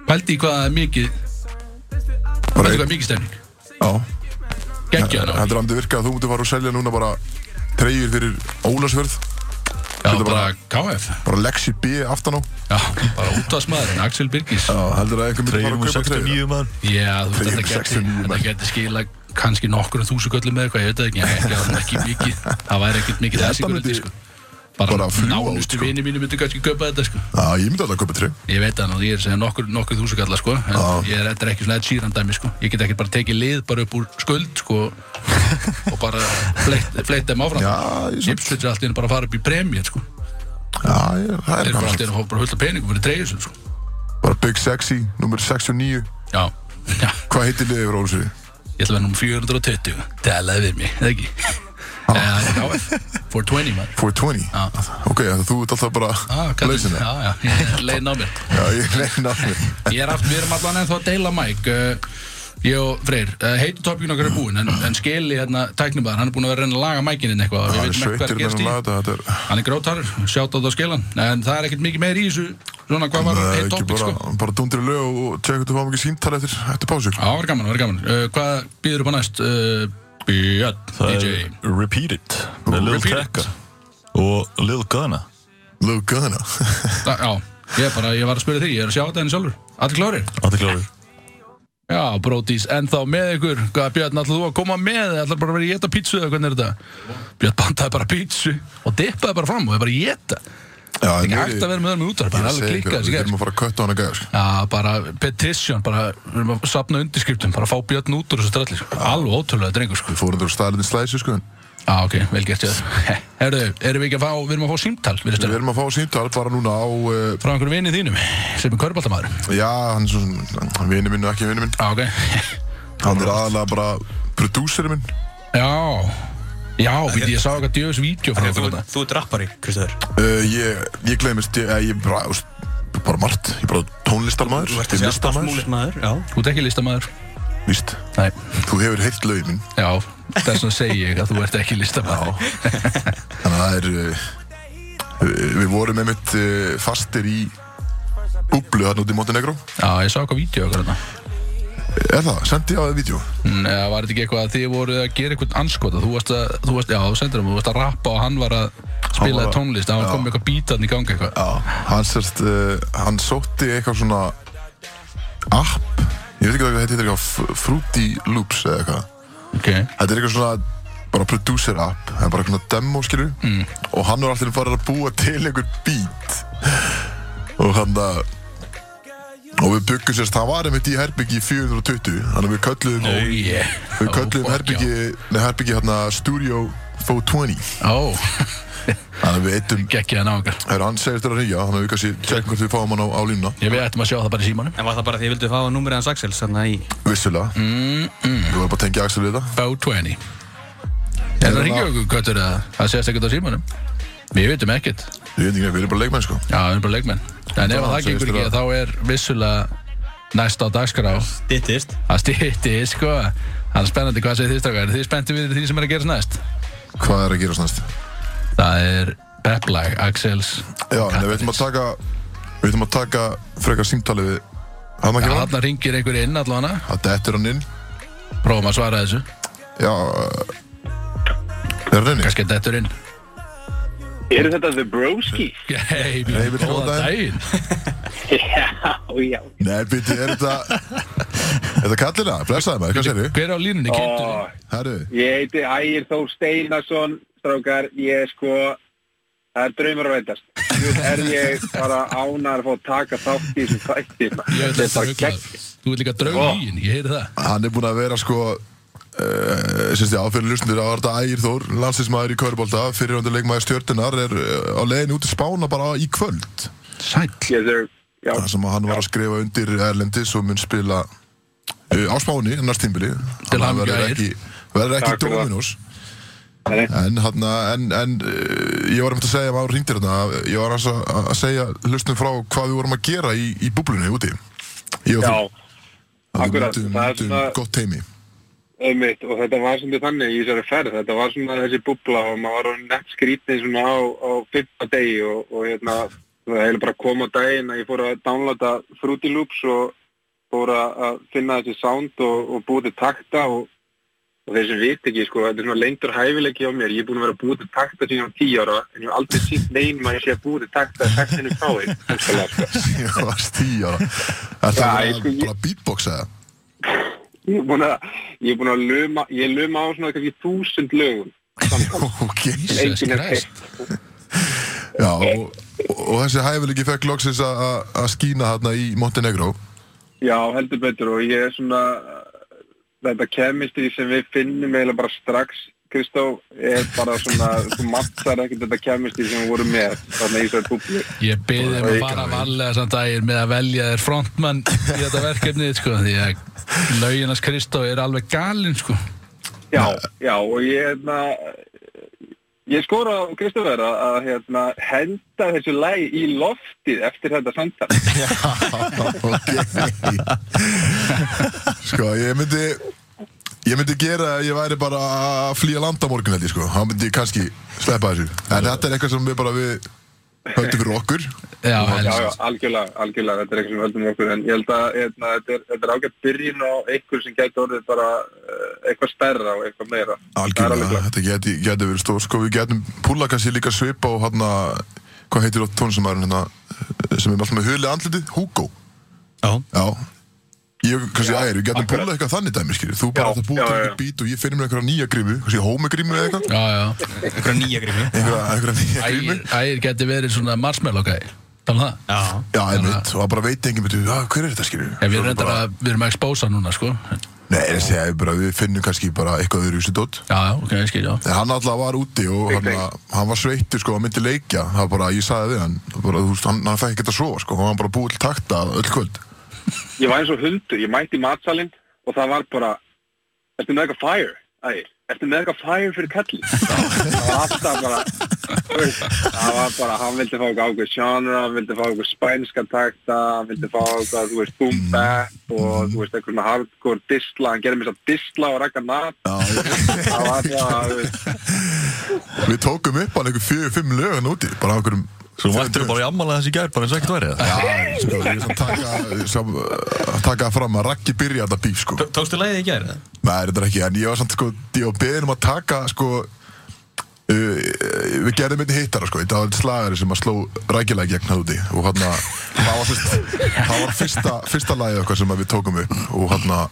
B: Pældi í hvað það er mikið
A: Bara
B: pældi í hvað
A: einn,
B: er mikið stemning
A: já.
B: Gekkja
A: Þetta er andið virkað að þú mútið fara og selja núna bara treyjur fyrir Ólasvörð,
B: Já,
A: Þetta
B: bara
A: bara-
B: KF
A: bara Lexi B aftan á.
B: Já, bara útvarsmaðurinn, Axel Birgis
A: Já, heldur að einhver myndi fara
E: Treyjum
A: að
E: og
A: kaupa treyjur.
E: 69 maður
B: Já, þú veist,
A: Þrjú,
B: þetta
A: sex,
B: geti,
A: níu
B: þetta
A: menn.
B: geti skila kannski nokkur þúsuköllum eða eitthvað, ég veit það ekki, en ekki, það er ekki mikið, það væri ekkert mikið
A: Ég
B: þessi
A: held að
B: gröndi,
A: myndi
B: sko.
A: bara fljúga út,
B: nánustu
A: sko.
B: vini mínu myndi kannski köpa þetta, sko.
A: Já, ég myndi alltaf að kaupa treyjur.
B: Ég veit það nú, ég er að segja nokkur, nokkur þúsukölla, sko, en ég er þetta er ekki svona eitt sírandæmi, sko. Ég get ekki bara tekið lið bara upp úr skuld, sko, og bara fleitt, fleitt þeim áfram.
A: Já, ég
B: Ipswich er alltaf bara að fara upp í premjör, sko.
A: Já, ég, það
B: Þeir
A: er
B: eru bara
A: gaman
B: allt í einu að fá bara hullt af peningum fyrir treyjusum sko.
A: Bara Big Sexy, nummer 69
B: Já, já,
A: Hvað heitir liðið yfir Ólusvíði?
B: ég ætla að vera nr. 420 Delaði við mig, eða ekki Eh, HF, 420 maður
A: 420?
B: Já.
A: Ok, þannig að þú ert alltaf
B: Ah,
A: bara
B: kallinn.
A: leysina
B: Já, já, ég leiðin á mér
A: Já, ég leysina
B: Ég er aftur, við erum allan ennþá að deila mæk uh, Ég og Freyr, uh, heitu toppjun okkar er búinn En, en skeli hérna tæknibæðar, hann er búinn að vera að reyna að laga mækininn eitthvað
A: Það
B: Við
A: er
B: veitum ekki hvað er
A: sveitir
B: að
A: með
B: gerast
A: hann
B: í
A: laga þetta Þetta er
B: Hann er grótarur, sjátt á það skelan En það er ekkert mikið meir í þessu Svona hvað var
A: Það er
B: heitt
A: ekki
B: toppik sko
A: bara, bara dundri lög og- og tjekka þetta fáum ekki síntal eftir, eftir pásu
B: Já, verður gaman, verður gaman uh, Hvað býður upp á næst? Uh, Björn,
E: Það
B: DJ
E: er Repeat It með Lil
B: Repeat It.
E: Tecca og Lil Gunna
A: Lög gæðina
B: Þa, Já, ég, er bara, ég var að spyrja þig, ég er að sjá þetta henni sjálfur Allir klárir?
E: Allir klárir
B: Já, brótis, ennþá með ykkur Hvað Björn, ætlaðu þú að koma með eða ætlaðu bara að vera að geta pítsu eða hvernig er þetta? Björn bandaði bara pítsu og dippaði bara fram og er bara að geta
A: Já, en nú
B: Ekki
A: er
B: hægt að
A: ég-
B: vera með það með útvarp,
A: ég
B: hann er alveg
A: segi ykkur,
B: klikkað sko. þessi
A: Við
B: gæði
A: erum að fara að kötta á hana gæði sko.
B: Já, bara petition, bara við erum að sapna undirskriptum, bara að fá Björn út úr þessu stralli sko. Alveg ótrúlega drengur sko
A: Við fórum þér á staðlinni slæsi sko en
B: Já, ok, vel gert ég það Herðu, erum við ekki að fá, við erum að fá símtal við
A: Við
B: erum...
A: erum að fá síntal bara núna á uh,
B: frá einhverjum vinið þínum sem er körbáltamaður
A: Já, hann er svona hann vinur minn og ekki vinur minn
B: Já, ok
A: Hann er aðalega bara prodúseri minn
B: Já, já, við ég sá eitthvað djöfis vídeo frá okkur
C: Þú,
B: þetta
C: þú ert rappari, Kristofur
A: uh, Ég, ég glemist, ég, eh, ég bara, úst, bara margt Ég er bara tónlistarmaður
C: Þú ert
A: ég er
C: þessi alltaf
A: listamaður,
C: múlið maður Já
B: Þú ert ekki listamaður
A: víst
B: Nei,
A: Þú hefur heilt lögin minn
B: já, þess vegna segi ég að þú ert ekki listamaður Já,
A: Þannig að það er uh, við- Við vorum einmitt uh, fastir í búblu þarna út í Montenegro
B: ég sá eitthvað vídeo okkur hérna. þetta
A: Er það? Sendi ég á það vídeo?
B: Já, var þetta ekki eitthvað að þið voruð að gera eitthvað anskota Þú varst að, þú varst, já, þú sendur um, þú varst að rappa og hann var að spila
A: var að-
B: tónlist Hann
A: já.
B: var komið eitthvað bítan í gangi eitthvað
A: Já, hann sérst, uh, hann sótti eitthvað svona app, ég veit ekki hvað þetta heitir eitthvað Fr- Fruity Loops eða eitthvað.
B: Ok,
A: Þetta er eitthvað svona bara producer app, það er bara eitthvað demo skilur mm. og hann var alltaf bara að búa til einhver beat og hann að og við byggum sérst, það var einmitt í herbyggi 420, þannig að við kölluðum
B: oh yeah Oh,
A: við kölluðum
B: fuck,
A: herbyggi, nei herbyggi hérna Studio 420
B: já. Ó,
A: þannig að við eittum,
B: geggjaði náðingar
A: er hann segist þér að ríja þannig að við kannski tjekkum hvort við fáum hann á, á línuna
B: Ég við ættum að sjá það bara í símanum
C: En var það bara því að ég vildi fá númerið hans Axels þarna í
A: Vissulega mm, mm. Við vorum bara að tengja Axel við það
B: 420 Er það ringið okkur köttur að það sést ekkert á símanum? Við veitum ekkert
A: Við veitum ekki, við erum bara leikmenn sko
B: Já, við erum bara leikmenn En ef
A: Já,
B: það gengur
A: segist
B: ekki
A: þér
B: þá er vissulega næst á dagskrá
C: Dittist
B: að stýtti, sko Það er spennandi hvað segir þið strákar Eru Þið spennti við því sem er að gerast næst
A: Hvað er að gera næst?
B: Það er peplag, Axels
A: Já, en við veitum að taka Við veitum að taka frekar símtali við Hann
B: Já,
A: ekki hann?
B: þarna ringir einhver inn allavega
A: Það dettur hann inn
B: Prófum að svara þessu
A: Já uh, Er hann inni?
B: Kannski að dettur inn
F: Eru þetta The Broski?
B: Hei,
A: Hey, viltu
B: góðan
A: góðan
B: daginn
F: Já, já.
A: Nei, býtti, er þetta Er þetta kallina? Blessaði maður, hvað segir
B: Hver er á línunni, kynntur?
F: Ó,
A: Herru,
F: ég heiti Ægir Þór Steinarsson, strákar, ég er sko, það er draumur að veitast. Jú, er ég bara ánar að fá að taka þátt í þessum þætti.
B: Ég
F: maður.
B: veit
F: Þetta er
B: þetta
F: bara gegn.
B: rugglaður. Þú ert líka draug í henni, ég heyri það.
A: hann er búinn að vera sko eh, uh, Sérst ég áfyrir lusnir að Arda Ægir Þór Landsinsmaður í Körbólda Fyrirhundur leikmaður stjörtunar Er uh, á leiðin út í Spána bara í kvöld
B: Sæll.
F: Yes, sir. Já,
A: Það sem að hann var að skrifa undir Erlendis og mun spila uh, á Spáni næst tímbili
B: Til
A: Hann
B: hamingju,
A: verður
B: Ægir.
A: ekki, verður ekki
F: Takk fyrir það.
A: Dominos
F: það er
A: en, hana, en, en uh, ég var einmitt að segja maður hringdir hérna að ég var aðeins að, að segja hlustum frá hvað við vorum að gera í, í búblunni úti ég og
F: Já,
A: þú Að við
F: akkurat.
A: myndum,
F: Það er
A: myndum
F: svona-
A: gott teimi
F: ömmit og þetta var sem þið þannig í þessari ferð. Þetta var svona þessi bubla og maður var orðinn nett skrítið svona á, á fyrsta degi og, og hérna, það hefði bara kom á daginn að ég fór að downloada Fruity Loops og fór að að finna þessi sound og, og búið til takta og, og þeir sem vit ekki, sko, þetta er svona lengtur hæfileiki á mér. Ég er búin að vera að búið til takta síðan á 10 ára en ég hef aldrei sínt neinn maður sé að búið til takta taktinu frá þig. hugsanlega, sko.
A: ég var stíja er það
F: Já,
A: bara,
F: ég sko-
A: bara beatbox eða?
F: Ég er búin að, ég er búin að luma, ég luma á svona kannski þúsund lögum.
A: ok
B: Jesus
F: Enginn er
B: Christ.
A: Já, og, og, og þessi hæfileiki fekk loksins að- að að skína hérna í Montenegro
F: Já, heldur betur og ég er svona þetta kemistri sem við finnum eiginlega bara strax Kristó er bara svona, þú mattsar ekkert þetta kemistí sem við vorum með þannig í þessari búblu
B: Ég beði um að fara varlega samt dagir með að velja þér frontmann í þetta verkefni sko, því að lauginans Kristó er alveg galinn sko.
F: Já, já, og ég hérna ég skora á Kristoffer að, að hérna, henda þessu lægi í loftið eftir þetta samtal
A: Sko, ég myndi Ég myndi gera að ég væri bara að flýja land á morgun held ég sko Þá myndi ég kannski sleppa þessu En þetta er eitthvað sem við bara við höldum fyrir okkur
B: Já, en,
F: Já, já, algjörlega, algjörlega, þetta er eitthvað sem við höldum okkur en ég held að hérna, þetta er, þetta er ágætt byrjun á einhver sem gæti orðið bara eh, eitthvað stærra og eitthvað meira Það er alveg
A: Algjörlega,
F: klárt.
A: þetta geti, geti verið stór Sko, við getum púla kannski líka svipa og hann Hvað heitir það tónlistamæðurinn hérna Sem er alltaf með hulið andlitið? Hugo
C: Já.
A: Já Ég, kannski ægir, við getum
F: akkurat.
A: púla eitthvað þannig dæmi skilur Þú bara átt
F: Já,
A: að
F: já,
A: búa til
F: já,
A: einhver
F: já.
A: bít og ég finnir mér einhverja nýja grímu Kannski hómegrímu eða eitthvað
B: já, já.
C: Einhverja nýja grími
A: Einhverja, einhverja nýja grímu
B: Ægir, ægir geti verið svona marshmallow gæi. Tala um það?
C: Já
A: Já, einmitt, og það bara veit enginn betur, já, hver er þetta skilur
B: Ef við, bara... að, við erum að expósa núna sko.
A: Nei, ég segi að bara, við finnum kannski bara eitthvað öðru þessu dótt
B: Já, já, ok, ég skil, já.
A: En hann alltaf var úti og hann, hann var sveittur sko, hann myndi leikja Það var bara, ég sagði við hann, bara, þú veist, hann, hann fekk ekkert að sofa sko Hann var bara búið til takta öll kvöld
F: Ég var eins og hundur, ég mætti í matsalinn og það var bara Ertu með eitthvað fire? Ægir, ertu með eitthvað fire fyrir kallin? það var alltaf bara þú veist, það var bara, hann vildi fá eitthvað ákveð genre, hann vildi fá eitthvað spænska takta hann vildi fá eitthvað, þú veist, boom bap og þú veist, eitthvað svona hardcore disla, hann gerði mér svo disla og rækka nat það var bara, þú veist
A: Við tókum upp hann einhver fjögur, fimm lög hann úti Bara á einhverjum
E: Svo mættur bara í ammala þessi gær, bara eins og ekkert værið
A: Já, sko, ég vil samt taka, sam, taka fram að Raggi byrja þetta bíf sko
C: Tókstu lagið í gæri?
A: Nei, þetta er ekki, en ég var samt sko, ég var beðin um að taka sko uh, við gerðum einn hittara sko, þetta var einn slagari sem að sló rækilega gegn það úti og hann að það var, fyrst, það var fyrsta, fyrsta lagið okkar sem að við tókum upp og hann að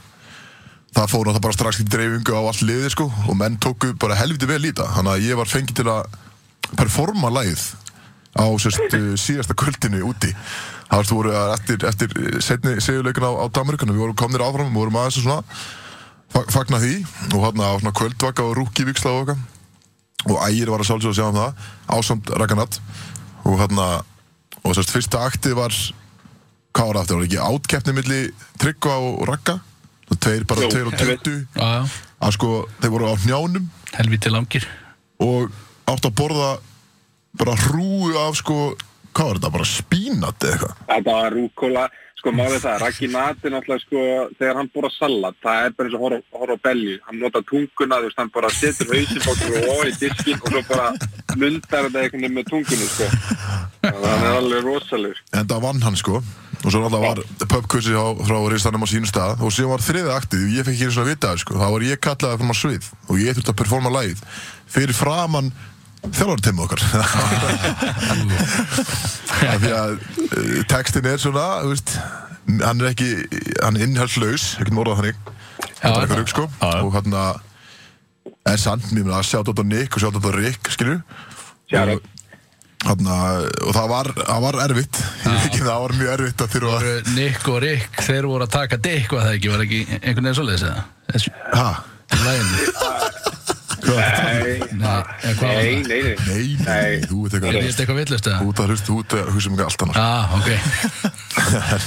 A: það fór náttúrulega bara strax í dreifingu á allt liði sko og menn tóku bara helviti vel í þetta þannig að ég var fengið til að performa lagið á sérst, uh, síðasta kvöldinu úti það varst voru að eftir, eftir setni segjuleikin á, á Dameríkanu, við vorum komnir áfram við vorum aðeins að svona fa- fagna því og hann á svona kvöldvaka og rúki viksla og okkar og ægir var að sjálfsögja að sjá um það ásamt Rakanat og hann og sérst fyrsta akti var hvað var það aftur, var ekki átkeppni milli Tryggva og Rakka og tveir bara,
F: Jú,
A: tveir og
F: einmitt.
A: tuttu
B: Já, já,
A: að sko, þeir voru á njánum
B: helviti langir.
A: og átt að borða bara hrúu af sko hvað var þetta, bara spínat eða eitthvað
F: Þetta var rúkóla, sko málið það, Raggi Nati náttúrulega sko, þegar hann borða salat, það er bara eins og horf, horf á belju, hann nota tunguna, þú veist, hann bara setur hausinn á og í diskin og svo bara mundar þetta einhvern veginn með tungunni, sko. Þannig að hann er alveg rosalegur.
A: en það vann hann sko og svo náttúrulega var pubkvissi frá reistanum á sínum stað og síðan var þriðið aktið og ég fekk ekki einu svona vita af, sko. þá var ég kallaði fram á svið og ég þurfti að performa lagið fyrir framann þjálfartimmu okkar af því að eh, textin er svona þú veist, hann er ekki hann er innhaldslaus, ekki morðað þannig þetta er eitthvað rugg sko og hann að en samt, mér meina að sjá þetta á Nick og sjá þetta á Rick, skilju
F: Shout out.
A: Þarna, og það var, það var erfitt Ég veit ekki, það var mjög erfitt að þurfa að
B: Nick og Rick, þeir voru að taka Dick, var það ekki, var ekki einhvern veginn svoleiðis eða? Þessu,
A: ha,
B: í læginu.
F: Nei,
B: Nei, eða hvað var það?
F: nei, nei, nei.
A: nei, nei,
F: Nei.
A: þú veit
B: Er
A: eitthvað
B: þetta eitthvað villust eða?
A: út að hlusta, út að hugsa mikið allt annars
B: Já, ok.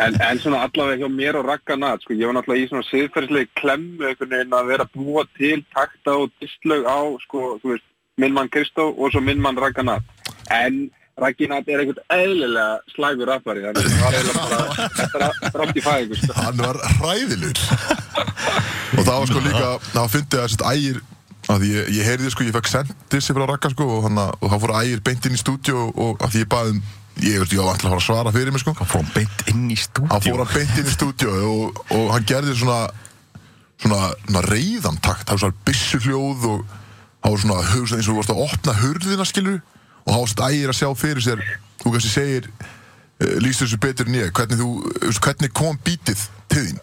F: En, en svona allavega hjá mér og Ragga Nat, sko, ég var náttúrulega í svona siðferðislega klemmu einhvern veginn að vera að búa til takta og distlög á, sko, þú veist, minn mann Kristó og svo minn mann Ragga Nat. En Raggi Nat er einhvern eðlilega slægur rappari, þannig að það var eiginlega bara drátt í fæðingu, sko.
A: hann var hræðilur og það var sko líka það fyndi að þetta ægir að því ég, ég heyrði sko, ég fekk sendis frá Raka sko og, hana, og það fór ægir beint inn í stúdíu og að því ég baði um ég veist, ég var alltaf að fara að svara fyrir mig sko
E: Fór hann beint inn í
A: hann
E: stúdíu
A: fór hann beint inn í stúdíu og, og hann gerði svona svona, svona reyðan takt, það var svona byssu hljóð og það var svona hugsa, eins og þú varst að opna hurðina skilur og það var svona ægir að sjá fyrir sér þú kannski segir uh, lýst þessu betur en ég, hvernig, þú, þú veist, hvernig kom bítið til þín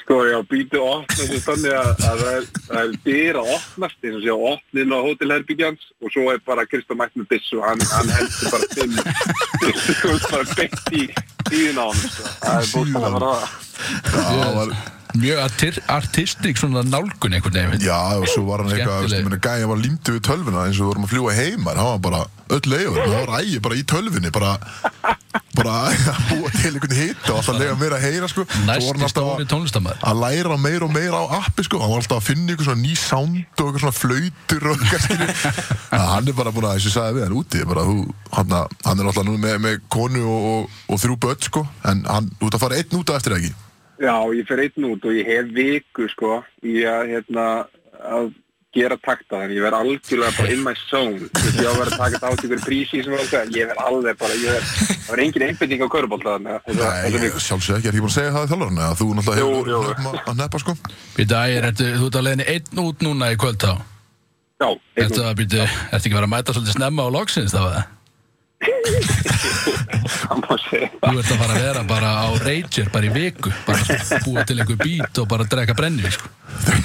F: Sko, já, býtu opna þessu þannig að, að það er, það er dyr að opnast eins og sé að opna inn á hótelherbyggjans og svo er bara Kristó mætt með byssu hann, hann heldur bara fimm byssu bara beint í tíðin á hann sko. það er búin að vera
A: Já, það var
B: mjög artir, artistik svona nálgun einhvern veginn
A: Já, og svo var hann eitthvað,
B: Skemmtileg.
A: veist, menna, gæja var límdi við tölvuna eins og við vorum að fljúa heima, hann var bara öll leiður, hann var ægi bara í tölvunni, bara, bara að búa til einhvern hitt og alltaf leiða meira að heyra, sko. Svo var hann
B: Næsti
A: alltaf
B: stóri
A: að-
B: tónlistamæður
A: að læra meira og meira á appi, sko, hann var alltaf að finna einhvern svona ný sound og einhvern svona flautur og eitthvað, skilju. hann er bara búin að, eins og ég sagði við hann úti, bara, þú, hann, að- hann er alltaf nú með, með konu og, og, og þrjú börn, sko, en hann, þú ert að fara einn út af eftir það, ekki?
F: Já, ég fer einn út og ég hef viku sko í að, hérna, að gera takta þannig ég verð algjörlega bara in my zone Þú veist, ég á að vera að taka þátt í ykkur prísi sem var eitthvað ég verð alveg bara, ég verð það var engin einbinding á körubólta þannig að þessa-
A: Nei,
F: þessa viku.
A: sjálfsög ekki, er ekki búin að segja það í þjálfarinn, eða þú náttúrulega
F: Jú,
A: hefur
F: jú.
A: hneppa- að neppa, sko?
B: Býtu ægir, ertu, þú ert að leiðinni einn út núna í kvöld þá
F: Já, einn
B: Ertu
F: út
B: að býtu, ertu ekki að vera að mæta svolítið snemma á loksins þá eða?
F: það má segja það.
B: Þú ert að fara að vera bara á Rager bara í viku, bara svona búa til einhver bít og bara að drekka brenni sko.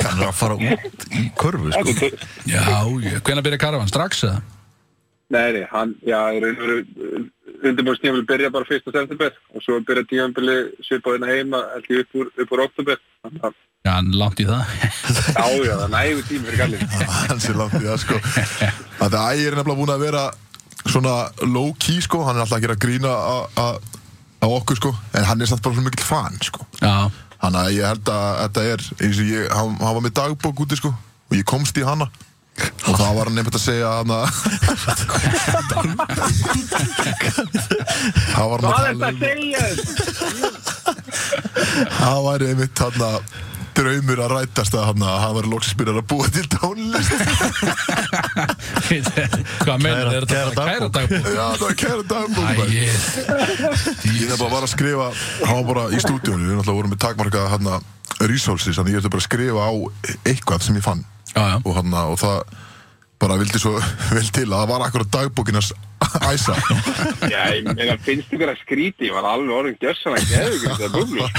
E: Hann er að fara út í körfu sko.
B: Já, já, hvenær byrja karavan? Strax eða?
F: Nei, nei, hann, já, í raun og veru undirbúrstíðanbili byrja bara 1. september og svo byrja tíðanbili svipaðina heima alltaf upp úr, upp úr oktober þannig að,
B: Já, hann er langt í það
F: já, já, það er nægur tími fyrir gallin
A: hans er langt í það sko Þetta ægir er nefnilega búin að vera svona low key sko hann er alltaf að gera grína á okkur sko en hann er samt bara svona mikill fan sko
B: Já,
A: þannig að ég held að þetta er eins og ég, hann, hann var með dagbók úti sko og ég komst í hana og það var hann nefnt að segja hann að það var hann að tala
F: Hvað er þetta að
A: um
F: segja þér?
A: það væri einmitt hann að draumur að rætast að hann að hann var loksinsbyrjar að búa til tónlist
B: hvað meina þér þetta
E: kæra
B: bara kæra dagbúk?
A: já það var kæra dagbók maður.
B: Ægir,
A: Ég nefnilega var að skrifa, hann var bara í stúdíónu, við náttúrulega vorum með takmarkað hérna resources, þannig ég ætti bara að skrifa á eitthvað sem ég fann
B: já, já,
A: og hérna, og það bara vildi svo vel til að það var akkurat dagbókinas æsa
F: Já, ég meina, finnst ykkur að skríti? Ég var alveg orðin gjössalega geðugur það bublu.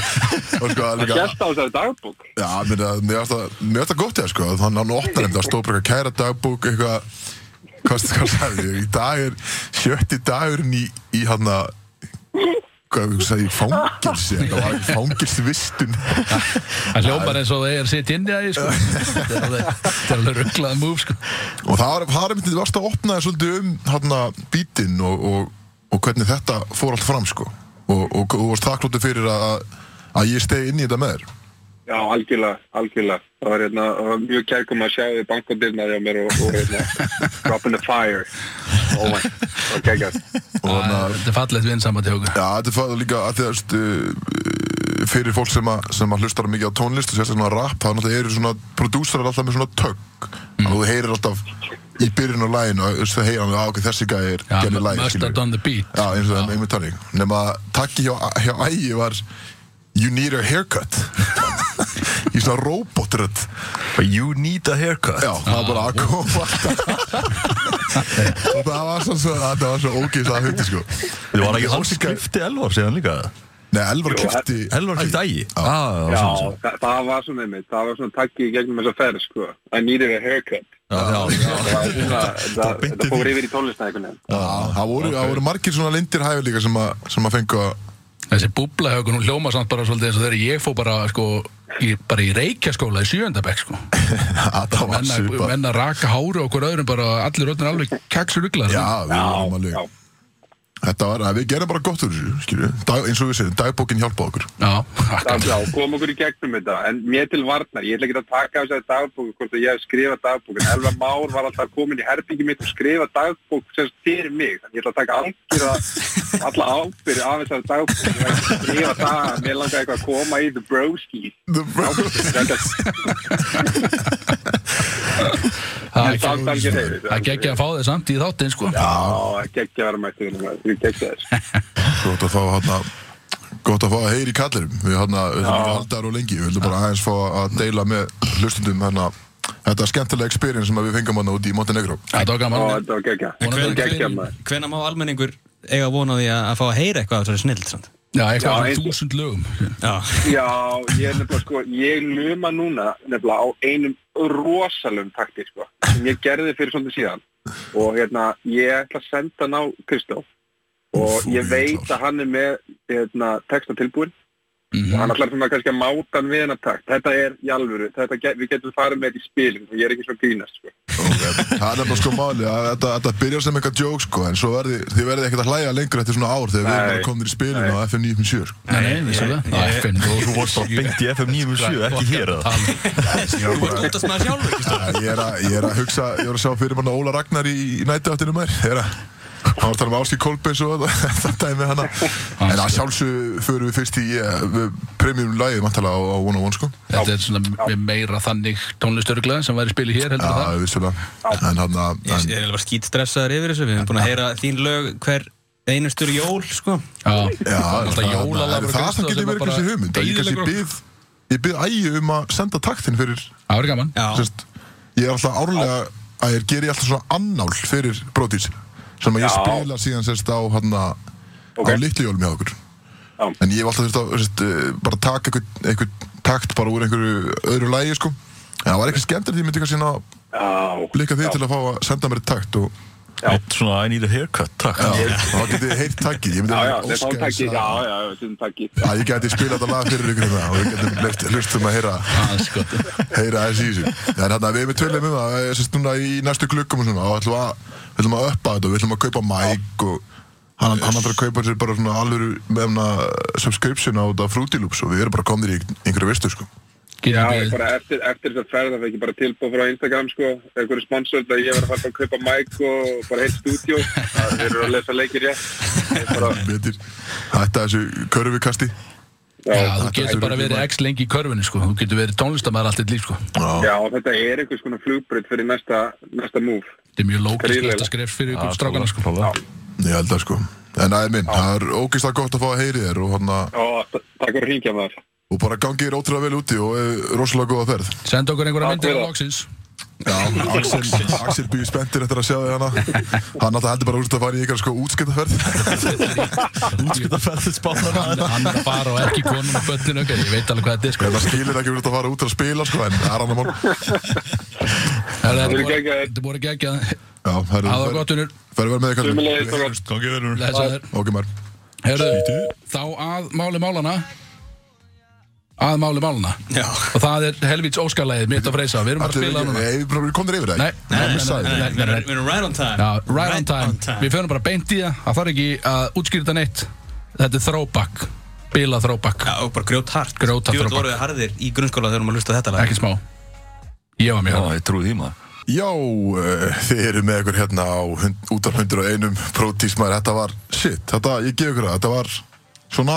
A: og sko, það er
F: Það
A: líka,
F: gæst á þessari dagbók.
A: já, mér finnst það, mér finnst það gott ég, sko, þannig hann opnar þeim, það stóð bara eitthvað kæra dagbók, eitthvað, hvað, hvað sagði ég, í dag er, sjötti dagurinn í, í hérna, hvað, hvað sagði ég, fangilsi, það var ekki fangilsvistun,
B: hann hljópar eins og það er sitt inn í ægir sko. Þetta er alveg- þetta er alveg rugglaða múf sko.
A: Og það er- það er myndið varst að opna þér svolítið um hérna bítinn og, og, og hvernig þetta fór allt fram sko og, og, og þú varst þakklótið fyrir að, að ég stegi inn í þetta með þér
F: Já, algjörlega, algjörlega. Það var, hérna, það var mjög kærkum að sjá því bankodirnaði á mér og, og hérna, drop in the fire. Oh my, það var geggjast.
A: og
B: Æ,
A: þannig að
B: Þetta er fallegt vinsamband hjá okkur
A: Já, þetta er fæður líka að því að stu, fyrir fólk sem, að, sem að hlustar mikið á tónlist og sérstaklega rap, það náttúrulega eru svona prodúsarar alltaf með svona tögg mm. og þú heyrir alltaf í byrjun á læginu og það heyrir hann að "Ah, ok, þessi gæði er
B: Já,
A: gerði lægin
B: must have done the beat
A: Já, eins og það er einmitt tannig Nefn að takki hjá, hjá ægi var You need a haircut Í svona robotrödd
E: You need a haircut Ah.
A: Já, það var bara að koma alltaf Og það var svo, svo Það var svo ógeðslega hundi sko
E: Þið var ekki hans
A: Óskar-
E: skrifti Elvar síðan líka
A: Nei, Elvar
F: Jú,
A: kipti
E: Elvar skrifti ægi Ah,
F: Já, það, það var svona einmitt. Það var svona takki í gegnum þessa ferð, sko. I needed a haircut. Það var svona, það, það fór yfir í tónlistina einhvern veginn.
A: Það voru, það voru margir svona lindir hæfi líka sem að, sem að fengu að
B: Þessi búbla hjá okkur, hún hljóma samt bara svolítið eins og þegar ég fó bara sko í, bara í reykjaskóla í sjöndabæk sko
A: að Það var
B: menna,
A: svipað
B: menna raka háru okkur öðrum bara allir öðnir alveg kaksur rugglar
A: Já, við vorum
F: Já,
A: alveg Þetta var, við gerum bara gott úr þessu, skilju Dag- Eins og við segjum, dagbókin hjálpaði okkur
B: Já,
F: Já,
B: akkurat.
F: já, kom okkur í gegnum þetta, en mér til varnar, ég ætla ekki að taka þess að dagbóku, hvort að ég hef skrifað dagbókin, Elva Már var alltaf komin í herbyggi mitt og skrifað dagbók sem sagt fyrir mig, þannig ég ætla að taka algjörða, alla ábyrði af þessari dagbók, ég ætla ekki að skrifa það, mér langar eitthvað að koma í the broski, þetta
B: Það
F: er samt
B: er
F: algjör hefur.
B: Það geggja að fá þig samt í þáttinn sko
F: Já, geggja vera mættu þennan, það er geggja þess.
A: Gott að fá hérna Gott að fá að heyri í kallirum Við hérna, við höfum ekki haldar og lengi Við höfum bara aðeins fá að deila með hlustundum hérna Þetta skemmtilega experience sem að við fengum hérna úti í Montenegro
B: Þetta var
F: Ó,
B: gaman
F: þetta var geggja,
B: Vonandi-
F: geggja maður.
C: Hvena má almenningur eiga von á því að að fá að heyra eitthvað af þessari snild samt?
B: Já, eitthvað
F: Já,
B: svona
F: eins-
B: þúsund lögum
C: Já,
F: Já, ég er nefnilega sko, ég luma núna nefnilega á einum rosalum takti sko, sem ég gerði fyrir svona síðan og hérna, ég ætla að senda hann á Kristof og
A: Úff,
F: ég
A: úff,
F: veit
A: Kristján.
F: að hann er með hérna, texta tilbúin og hann ætlar svona kannski að máta hann við hennar takt þetta er í alvöru, þetta get, við getum farið með þetta í spilin og ég er ekki svona grínast sko.
A: Það er nefnilega sko máli að þetta, þetta byrjar sem eitthvað joke sko en svo verði, þið verði ekkert að hlæja lengur eftir svona ár þegar við erum
F: Nei.
A: bara komin í spilinu á FM 957 sko.
B: Nei, nei, vissu það Á FM
E: Þú vorst bara beint í FM 97, ekki hér eða?
A: Ég
C: Þú
A: var
C: óttast maður sjálfur, ekki stóð?
A: bara- Ég er að- ég er að hugsa, ég var að sjá fyrir manna Óla Ragnar í, í nættuáttinu mér Ég er að Hann var að tala um Áski Kolbeins og þetta dæmi hana En að sjálfsög förum við fyrst í yeah, premium lagið mantala á, á One on One sko
B: Þetta er svona meira þannig tónlistörgla sem væri spilið hér heldur en það
A: Já, vissulega En hann að
C: Ég ég er alveg bara skýt stressaður yfir þessu Við erum búin að heyra þín lög hver einustur jól, sko
B: Já,
A: Já,
B: alltaf
A: það- það- Það
B: jólalafur og Kristoff
A: það getur
B: sem
A: verið
B: bara
A: kannski hugmynd að Ég kannski
B: eyðileggur
A: byð Ég byð ægi um að senda taktin fyrir
B: Það verður gaman
C: Já,
A: sérst, Ég er alltaf árlega að ég geri alltaf svona annál fyrir brotis sem að ég
F: Já.
A: spila síðan sérst á hann
F: Ok.
A: á litli hjólum hjá okkur
F: Já.
A: En ég hef alltaf þurft að sérst, eh, bara taka einhvern einhver takt bara úr einhverju öðru lægi sko En það var ekki skemmtilegt, ég myndi kannski ná
F: Já,
A: líka því
F: já.
A: til að fá að senda mér takt og
E: Eitt svona I need a haircut, takk
A: Já, þá getið þið heyrt takki Ég myndi
F: Já, já,
A: að
F: þeir fá
A: óska þess
F: takki, já,
A: að-
F: já, þessum takki
A: að ég geti spilað þetta lag fyrir ykkur hérna og við getum leyft- hlustum að heyra
B: Aðeins gott.
A: heyra aðeins í þessu en þannig að við erum með tölum um það sérst núna í næstu glukkum og svona og ætlum að, við ætlum að uppa þetta og við ætlum að kaupa mæk og hann, hann ætlar að kaupa sér bara svona alvöru með hann að subscription á þetta Fruity Loops og við erum bara komnir í einhverju vistu sko
B: Getum
F: Já, ég
B: við-
F: bara eftir, eftir þess að ferða fekk ég bara tilbúið frá Instagram sko, einhverju sponsort að ég var að fara að kaupa mæk og bara heilt stúdíó það þeir eru að lesa leikir rétt Ég bara,
A: betur Þetta þessu körfikasti
F: já,
B: Já, þú
A: þetta
B: getur
A: verður
B: bara verið
A: gaman.
B: x lengi í körfunni sko Þú getur verið tónlistamæður allt eitt líf sko
A: Já,
F: já, þetta er einhvers konar flugbröð fyrir næsta, næsta move
B: Þetta er mjög lókist
F: Gríðarlega.
B: næsta skref fyrir ykkur strákana sko
A: ég held að sko En það er minn, það er ógeðslega gott að fá að heyri þér og, hana,
F: og takk fyrir að hringja maður
A: og bara gangi þér ótrúlega vel úti og eh, rosalega góða ferð
B: Senda okkur einhverja
F: Já,
B: myndir á
F: fyrir.
B: loksins
A: Já, Axel, Axel býður spenntir eftir að sjá þig hana Hann alltaf heldur bara úrst að fara í ykkar sko útskiptaferð
E: Útskiptaferðið spánar
B: Hann hann er að fara og ekki konum og böllin okkar Ég veit alveg hvað þetta er sko
A: En það skilir ekki úrst að fara út að spila sko En það er hann að mál
B: Herra, Þetta
F: Voru
B: voru-
F: geggjað.
B: þetta voru geggjað
A: Já, herru,
B: Hafa það
A: fer-
B: gott unnur
A: fer vel með þig kallinn.
F: Sömuleiðis, strákar.
E: Gangi verður
B: Lesaður
A: Ok, maður
B: Herðu, þá að máli málana Að máli málana
C: já
B: Og það er helvíts óskalæðið mitt að freysa Við erum bara að
A: Allir
B: spila það núna
A: Nei, við komum þér yfir það
B: Nei, nei, nei, nei, nei, nei,
C: Við
B: nei,
C: erum- við erum right on time
B: Já, right, on time, Við fyrir bara beint í það Það þarf ekki að útskýrta neitt Þetta er throwback Bila throwback
C: Já, og bara grjót hart
B: Grjóthart
C: Djúvel
B: throwback.
C: voru við harðir í grunnskóla þegar við erum að hlusta á þetta lag
B: Ekki smá Ég var
E: Já,
B: mjög
E: ég trúi því maður
A: Já, eh, þið eru með ykkur hérna á hund- út af 101 prótísmaður Þetta var, shit, þetta, ég gef ykkur það Þetta var svona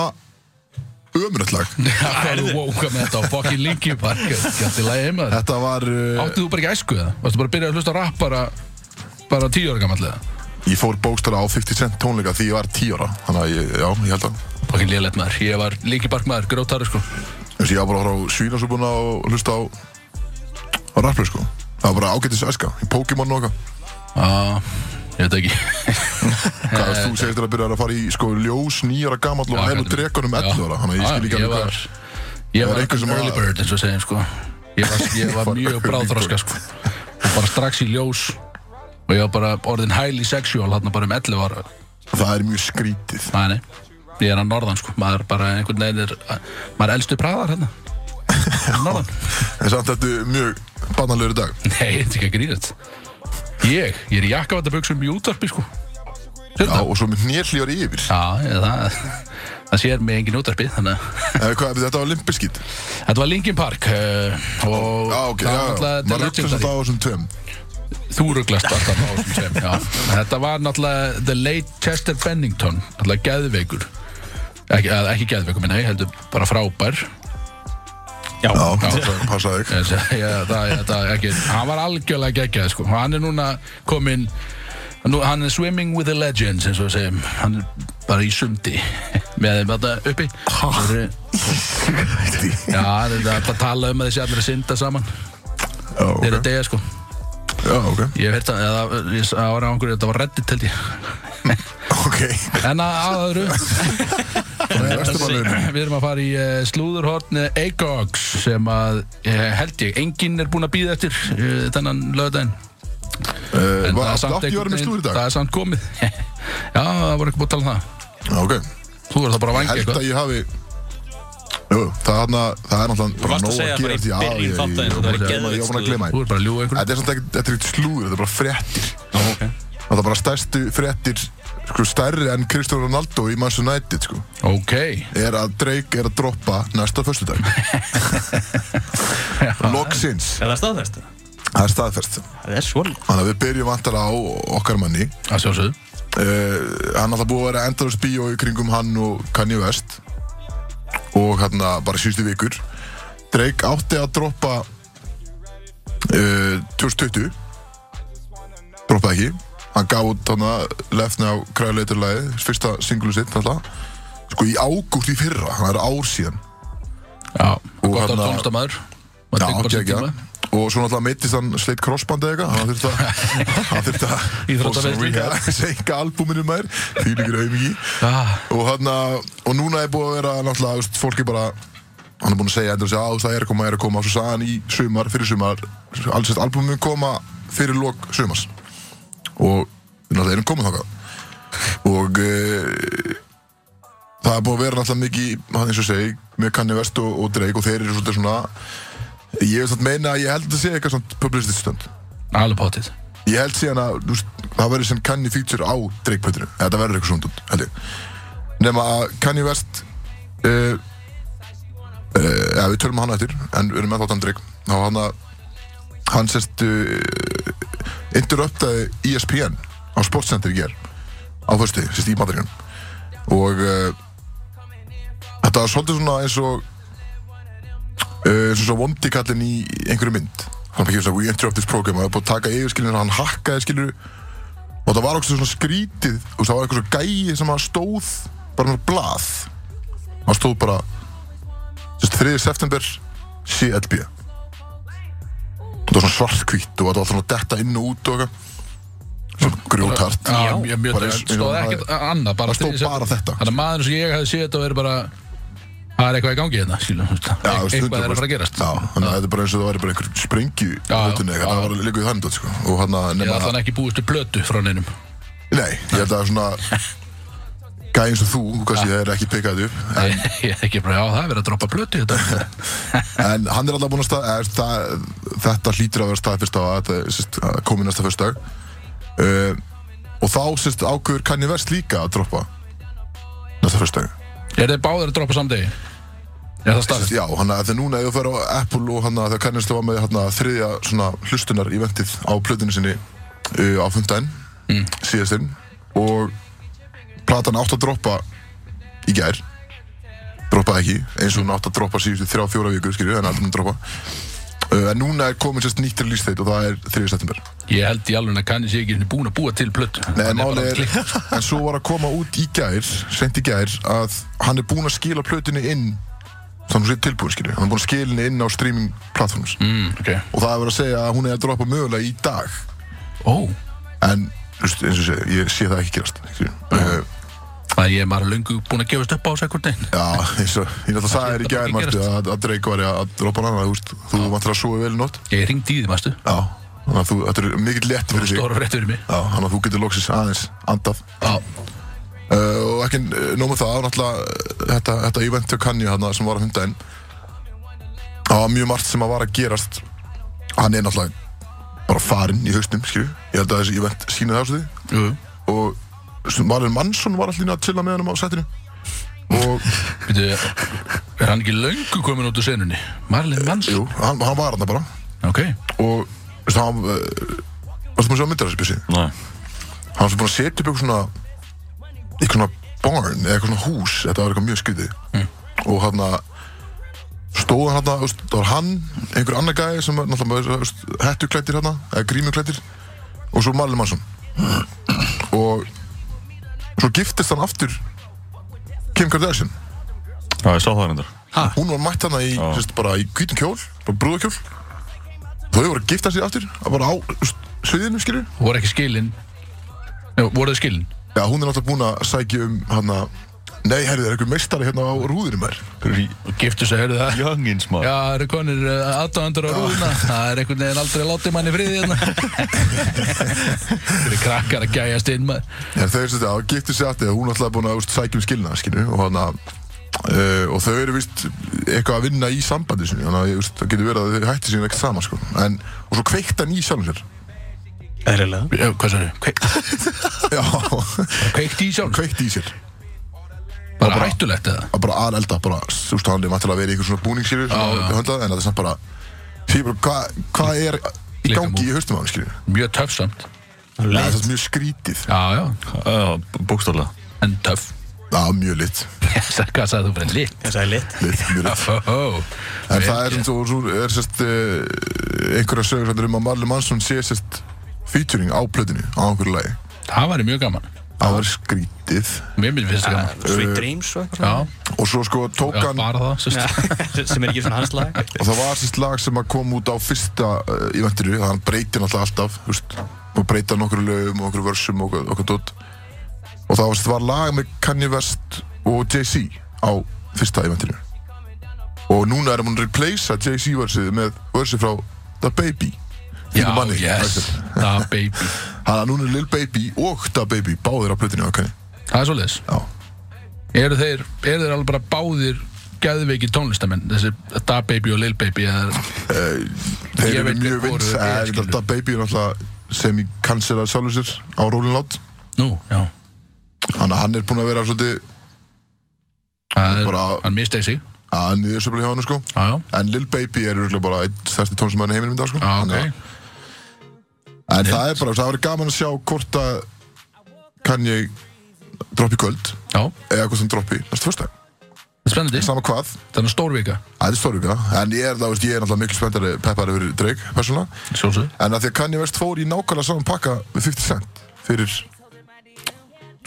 A: ömröldlag
B: Það er þú woka með þetta á fucking Linkin Park Gætti lagi heima þér
A: Þetta var, eh,
B: Áttu þú bara ekki æsku það? Varstu bara að byrja að hlusta á rap bara Bara tíu ára gamallega
A: ég fór bókstara á 50 cent tónleika því ég var 10 ára Þannig að, ég, já, ég held að
B: Fucking lélætt maður Ég var Linkin Park maður, grótari sko
A: Þú veist, ég var bara að horfa á svínasúbuna og hlusta á á rapplu, sko. Það var bara ágættis æska, í Pokémon og eitthvað.
B: Já, ég veit ekki
A: Hvað, veist, þú segist þér að byrja að fara í, sko, ljós, nýjara gamall og
B: Já,
A: hælu
B: hvernig-
A: drekunum 11 ára. Þannig að ég
B: Já,
A: skil ekki
B: ég
A: alveg
B: var
A: hvað.
B: Ég
A: Það er
B: var
A: einhver sem
B: early
A: var-
B: bird eins og segjum sko Ég var, ég var
A: Var
B: mjög
A: early
B: bráðþroska
A: bird.
B: sko Og bara strax í ljós Og ég var bara orðin highly sexual Þarna bara um 11 ára
A: Það er mjög skrítið.
B: Nei, nei Ég er að norðan sko Maður bara einhvern veginn er Maður er elstu praðar hérna Norðan
A: En samt þetta er mjög bannalegur í dag.
B: Nei, þetta er ekki að grínast Ég, ég er í jakkavatabuxum í útvarpi sko
A: Já,
B: Þetta
A: og svo með nérhljóri yfir.
B: Já, ég, það Það sér mig engin útvarpi Þannig að
A: Eða hvað, þetta var limpiskitt.
B: Þetta var Linkin Park uh, og
A: Já, ok, já,
B: það var
A: já.
B: náttúrulega
A: Maður
B: legendary.
A: ruggast þetta á þessum tveim.
B: Þú rugglast alltaf á þessum tveim, já. Þetta var náttúrulega The Late Chester Bennington, náttúrulega geðveikur. Ekki, eða ekki geðveikur, minna, ég heldur bara frábær.
C: Já,
A: Já, það passaði ekki.
B: Ég segi, Já, það, já, það, ekki, hann var algjörlega geggjað, sko. Hann er núna kominn, nú, hann er swimming with the legends, eins og við segjum. Hann er bara í sundi með þeim þetta uppi. Það eru- Já, það er alltaf að tala um að þessi allir að synda saman.
A: Já,
B: Þeir eru
A: ok.
B: að deyja, sko.
A: Já, ok.
B: Ég hef hérta, eða ég sá á einhverju, þetta var reddit held ég
A: Ok.
B: En að að öðru,
A: Nei, Vesturbælaugurinn.
B: við erum að fara í uh, slúðurhorn Acox sem að uh, held ég, enginn er búinn að býða eftir uh, þennan lögdæn
A: Eh, var- átti ég að vera með slúður í dag?
B: það er samt komið Já, það voru ekki búið að tala um það
A: Já, ok.
B: Þú verður það bara að vangja
A: held
B: eitthvað
A: að ég hafi Jú, það er þarna- það er náttúrulega
C: Þú
A: bara
C: varst að
A: nóg
C: segja
A: að
C: bara
A: gera
C: í
A: því að
C: byrjun
A: ég- ég
C: þáttarins að það væri
A: ég- ég- ég var búin að
C: geðveikt
A: gleyma
B: Þú
A: því.
B: er bara að ljúa ykkur
A: Þetta er samt ekki- þetta er ekkert slúður, þetta er bara fréttir.
C: ok.
A: Það er bara stærstu fréttir, sko, stærri enn Kristján Ronaldo í Manchester United, sko.
B: Ok
A: er að Drake er að droppa næsta föstudag Loksins
C: Er það staðfest?
A: Það er staðferst
C: Það er svolítið
A: Þannig að við byrjum vantala á okkar manni uh,
B: Það sjálfsögðu
A: Hann alltaf búið að vera endalus bíó í kringum hann og Kanye West og hann bara síðustu vikur Drake átti að droppa uh, 2020 droppaði ekki hann gaf út hann lefni á Cryolator-læði, fyrsta singlu sitt alltaf. sko í ágúst í fyrra hann er ár síðan
B: Já, gott að
A: þarna-
B: tónlistamæður
A: hérna- Já, ekki ekki Og svo náttúrulega meittist hann sleitt crossband eða eitthvað Hann þurfti að Hann þurfti að
B: Íþróttameiðsli.
A: Og senka albúminu mær Því líkur auðviki
B: Ah.
A: Og hann að Og núna er búið að vera náttúrulega þú veist, Fólk er bara Hann er búin að segja endur að það er að koma, er að koma Svo sagði hann í sumar, fyrir sumar Alls eitt albúminu koma fyrir lok sumars Og náttúrulega erum komið þáka Og e, Það er búið að vera náttúrulega mikið hann eins og segi, með Kanye West og, og Drake og þeir eru svolítið svona Ég vil samt meina að ég held að þetta sé eitthvað svona publicity stönd.
B: Alveg páttið
A: Ég held síðan að þú veist, það verður sem Kanye feature á dreikpötinu. Þetta verður eitthvað svona dútt, held ég. Nefna að Kanye West, uh, uh, ja, við tölum um hann eftir, en við erum með þáttan dreik. Þá hann að, hann sérst, uh, interruptaði E ESPN á Sportscenter í ger, á föstu, sérst í bandaríkan. Og uh, þetta var svolítið svona eins og, uh, eins og svo vondi kallinn í einhverju mynd hann fyrir þess að we interrupt this program og það er búið að taka yfir skilur hann hakkaði skilur og það var okkur svona skrítið og það var eitthvað svo gæi sem að stóð bara með blað hann stóð bara sérst, 3. september CLB og það var svona svartkvít og það var svona detta inn og út og eitthvað svona grjótart
B: Já, ég mjög
A: Bara
B: það
A: eins-
B: stóð
A: eins og
B: ekkert
A: hann
B: annað bara
A: Það stóð
B: til-
A: bara þetta.
B: Þannig að maður sem ég hefði séð þetta verið bara Það er eitthvað í gangi hérna, skilum
A: Já,
B: Eitthvað er að fara að
A: 100%.
B: gerast
A: Já, þannig að þetta er bara eins og það væri bara einhver sprengju
B: Já, já,
A: hlutinni,
B: já,
A: það
B: já.
A: var líka í þannig dót, sko. og hann að
B: Ég
A: nema
B: ætla hann ekki búist til blötu frá neinum
A: Nei, ég held að svona Gæði eins og þú, kannski það er ekki pikkað upp en,
B: Ég er ekki bara, já það er verið að droppa blötu í þetta
A: en hann er alltaf búinn að stað er, það, Þetta hlýtur að vera staðfyrst á að þetta er, sérst, að komi næsta fyrst dag uh, Og þá sérst, ákveður Kanye West líka að droppa Næsta fyrst dag
B: Er þið báðir að droppa samdegi? Er það staðfest?
A: Já, hann að þetta er núna ef þú fer á Apple og hann að þegar Kanye West var með hann að þriðja svona hlustunar í ventið á plötinu sinni uh, á fundaginn mm. síðastinn og platan átt að droppa í gær droppaði ekki, eins og hún átt að droppa síðustu þrjá fjóra vikur, skilju, en aldrei hún að droppa uh, en núna er komin sérst nýtt release date og það er 3. september
B: Ég held í alveg að kannis ég ekki einu sinni búinn að búa til blötu
A: Nei, en
B: Hann bara
A: málið
B: að
A: er,
B: klikka.
A: en svo var að koma út í gær, sent í gær, að hann er búinn að skila plötunni inn, þannig að hún sé tilbúin, skilju, hann er búinn að skila henni inn á streaming platforms
B: Mm, ok
A: og það er verið að segja að hún er að droppa mögulega í dag
B: Ó,
A: en, þú veist, eins og sé, ég sé það ekki gerast skilju.
B: Mm.
A: uh,
B: það er ég er bara löngu búinn að gefast upp á þessu ekkert neginn
A: Já, eins og, ég náttúrulega sagði þér í
B: hlýtur bara
A: gær,
B: ekki
A: marstu,
B: gerast.
A: að, að Drake var að droppa hann annað, þú veist, þú vantar að sofa vel í nótt
B: Ég ringdi í þið, mástu
A: Já, þannig að þú, þetta er mikill létt fyrir þig Já,
B: Stóra rétt fyrir mig
A: þannig að þú getur loksins aðeins andað
B: Já,
A: uh, og ekki nóg með það náttúrulega uh, þetta, þetta event hjá Kanye hana, sem var að hunda inn það var mjög margt sem að var að gerast hann er náttúrulega bara farinn í hausnum skilju ég held að þessi event sína það á sig
B: jú, jú.
A: og sem Valur Mansson var allir að chilla með hann á setinu og
B: Býtu, er hann ekki löngu komin út úr senunni? Marlin Mansson?
A: jú, hann, hann var hann bara
B: Ok,
A: og veist, hann uh, varstu búin að sjá myndir af þessu bjössi
E: Nei
A: hann var svo búin að setja upp eitthvað svona eitthvað svona barn eða eitthvað svona hús þetta var eitthvað mjög skrítið og hann að stóð hann hann það var hann, einhver annar gæði sem var náttúrulega með hettuklættir hann eða grímuklættir og svo Marley Mansson og svo giftist hann aftur Kim Kardashian
E: Já, ég sá það reyndar
A: hún var mætt hann í,
E: Já.
A: sérst, bara í hvítum kjól bara brúðakjól þau voru að gifta sig aftur bara á úst, sviðinu skilur
B: voru ekki skilin Nei, voru þið skilin?
A: Já, hún er náttúrulega búin að sækja um hann að Nei, herri, það er einhver meistari hérna á rúðinu mær
B: Og giftu sig, heyrðu það?
E: Youngins maður
B: Já, það eru konir aðdáðandur á rúðuna Það er einhvern veginn aldrei látið manni friði hérna Það eru krakkar að gæjast inn maður
A: En þau er svolítið að gifti sig aftur Hún er náttúrulega búin að úst, sækja um skilna, skilju Og hann að uh, og þau eru vist eitthvað að vinna í sambandi sinni þannig að ég veist, það getur verið að þau hætti síðan ekkert saman sko. en, og svo kveikt hann í sjálfum sér
C: Eðlilega
B: Já, Hvað sér þau?
A: já,
B: Kveikt í sjálf?
A: kveikt í sér
B: Bara hættulegt eða?
A: að bara aðelda bara, þú veist, hann er vantilega að vera í einhver svona búningsskýru
B: Já, já.
A: en það er samt bara því bara, hvað hva er í
B: Líka
A: gangi í höstum á hann, skýru
B: Mjög töff samt
A: það er samt mjög skrítið,
B: Já, já,
E: Já, bókstálega
B: en töff
A: já, mjög lit
B: Hvað sagði þú fyrir lit?
C: Það er lit
A: lit, mjög lit
B: Oh,
A: en það er eins og svo er sérst uh, einhverja sögur sérst um að Marley Mansson sé sérst featuring á plötinu á einhverju lagi
B: Það væri mjög gaman
A: það var skrítið
B: Mér minn finnst það gaman
C: Sweet Dreams og eitthvað
B: Já,
A: og svo sko tók
B: já,
A: hann
B: bara það sérst.
C: svona. sem er ekki svona hans lag
A: og það var sérst lag sem að kom út á fyrsta uh, eventinu, þannig að hann breytir náttúrulega alltaf þú veist, og breyta nokkru lögum og okkur versum og okkur dott og það var sérst var lag með Kanye West og Jay-Z á fyrsta eventinu og núna er hann að replacea Jay-Z versið með versið frá The Baby
B: Já,
A: þínum manni,
B: yes
A: Axel.
B: Da baby
A: Þannig að núna er Lil Baby og Da Baby báðir á plötinu á kanni.
B: Það er svoleiðis
A: Já.
B: Eru þeir, eru þeir alveg bara báðir Gæðveiki tónlistamenn Þessi Da Baby og Lil Baby eða,
A: Eh, Þeir
B: Ég
A: eru
B: veit
A: mjög
B: hver voru
A: vins,
B: þeir,
A: en
B: skilur.
A: Da Baby er náttúrulega sem í cancelaði sjálfur sér á Rolling Loud.
B: Nú, já
A: Þannig að hann er búinn að vera svolítið
B: Það er,
A: Bara-
B: hann mistaði sig
A: að niðursöfla hjá hann, sko.
B: Já, já
A: En Lil Baby er örugglega bara einn stærsti tónlistamæðin í heiminum í dag, sko.
B: Já, Ah, ok
A: Þannig að- En það er bara, það verður gaman að sjá hvort að Kanye droppi í kvöld,
B: Já,
A: eða hvort hann droppi næstu fyrsta.
B: það er spennandi
A: Sama hvað,
B: Þannig stórvika
A: það er stórvika, en ég er, það, veist, ég er náttúrulega miklu spenntari peppar yfir Drake, persónulega.
B: Sjálfsög
A: En að því að Kanye West fór í nákvæmlega saman pakka við 50 Cent fyrir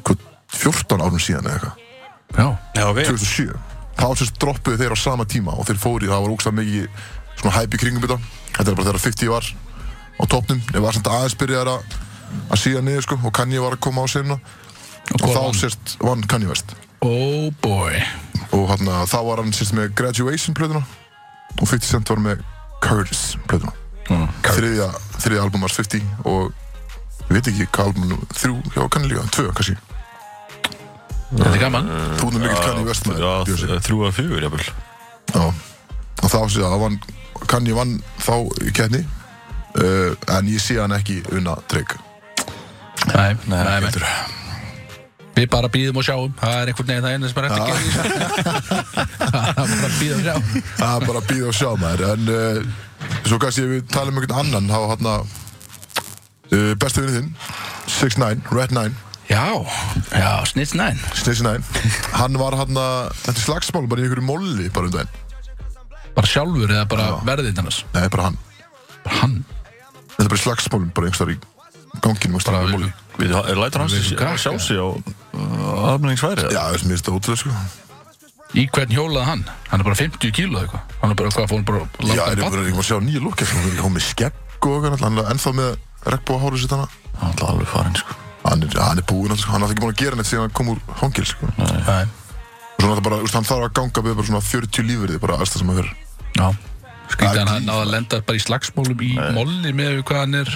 A: hvað, 14 árum síðan eða eitthvað,
B: Já,
C: Já, ok
A: 2007 þá sérst droppuðu þeir á sama tíma og þeir fóru í, það var ógstað mikið svona hæp í kringum þetta, þetta er bara þegar 50 var á topnum, þeir var samt aðeins byrjaðar að, að síða niður sko og Kanye var að koma á sinna og,
B: hvað
A: þá
B: vann?
A: sérst vann Kanye West
B: oh boy
A: og hann, þá var hann sérst með Graduation plöðuna og 50 Cent var með Curtis plöðuna þriðja, þriðja album var 50 og ég veit ekki hvað album nú, þrjú, já kannski líka, tvö kannski
B: Þetta er gaman
A: þú erum mikill Kanye West maður Bjössi.
E: Já, þrjú að fjögur, jafnvel
A: Já. og þá sé það vann, Kanye vann þá í kenni uh, en ég sé hann ekki unna Drake
B: Nei, nei, nei Við bara býðum og sjáum Það er einhvern veginn það einu sem er eftir að gera í þessu. Það er bara að býða og sjá
A: það er bara að býða og sjá maður en uh, svo kannski ef við tala um einhvern annan þá hann að uh, besti vinnið þinn 6ix9ine, Red 9
B: Já, já, Snitch 9
A: Snitch 9 hann var hann að þetta er slagsmál bara í einhverju molli bara um daginn
B: Bara sjálfur eða bara verðið annars
A: nei bara hann
B: Bara hann
A: þetta er bara í slagsmálum bara einhverstaðar í ganginum einhvers staðar í molli
E: Við, er lætur hans
B: Við erum
E: að
B: krakka.
E: sjá sig á uh, afnægingsfæri?
A: Já, þessum minnst það ótrúlega sko
B: Í hvern hjólaði hann? Hann er bara 50 kíló eða eitthvað Hann er bara, hvað fór hann bara að
A: Já,
B: láta
A: er
B: hann
A: ég
B: bann?
A: bara ég var að sjá nýja lukk Ég er komið skegg og eitthvað Hann er ennþá með regnbúa hárið sitt hana
E: Það er alltaf alveg farinn, sko
A: Hann er, hann er búinn alltaf sko Hann er ekki búinn að gera neitt síðan hann kom úr hangil sko Og
B: Nei,
A: svona það bara, úst, hann þarf að ganga við bara svona 40 lífverði Bara alls það sem hann fyrir
B: já Skrítið
A: Það er
B: hann hann
A: dýr,
B: náða að lenda bara í slagsmólum í molli með hvað hann er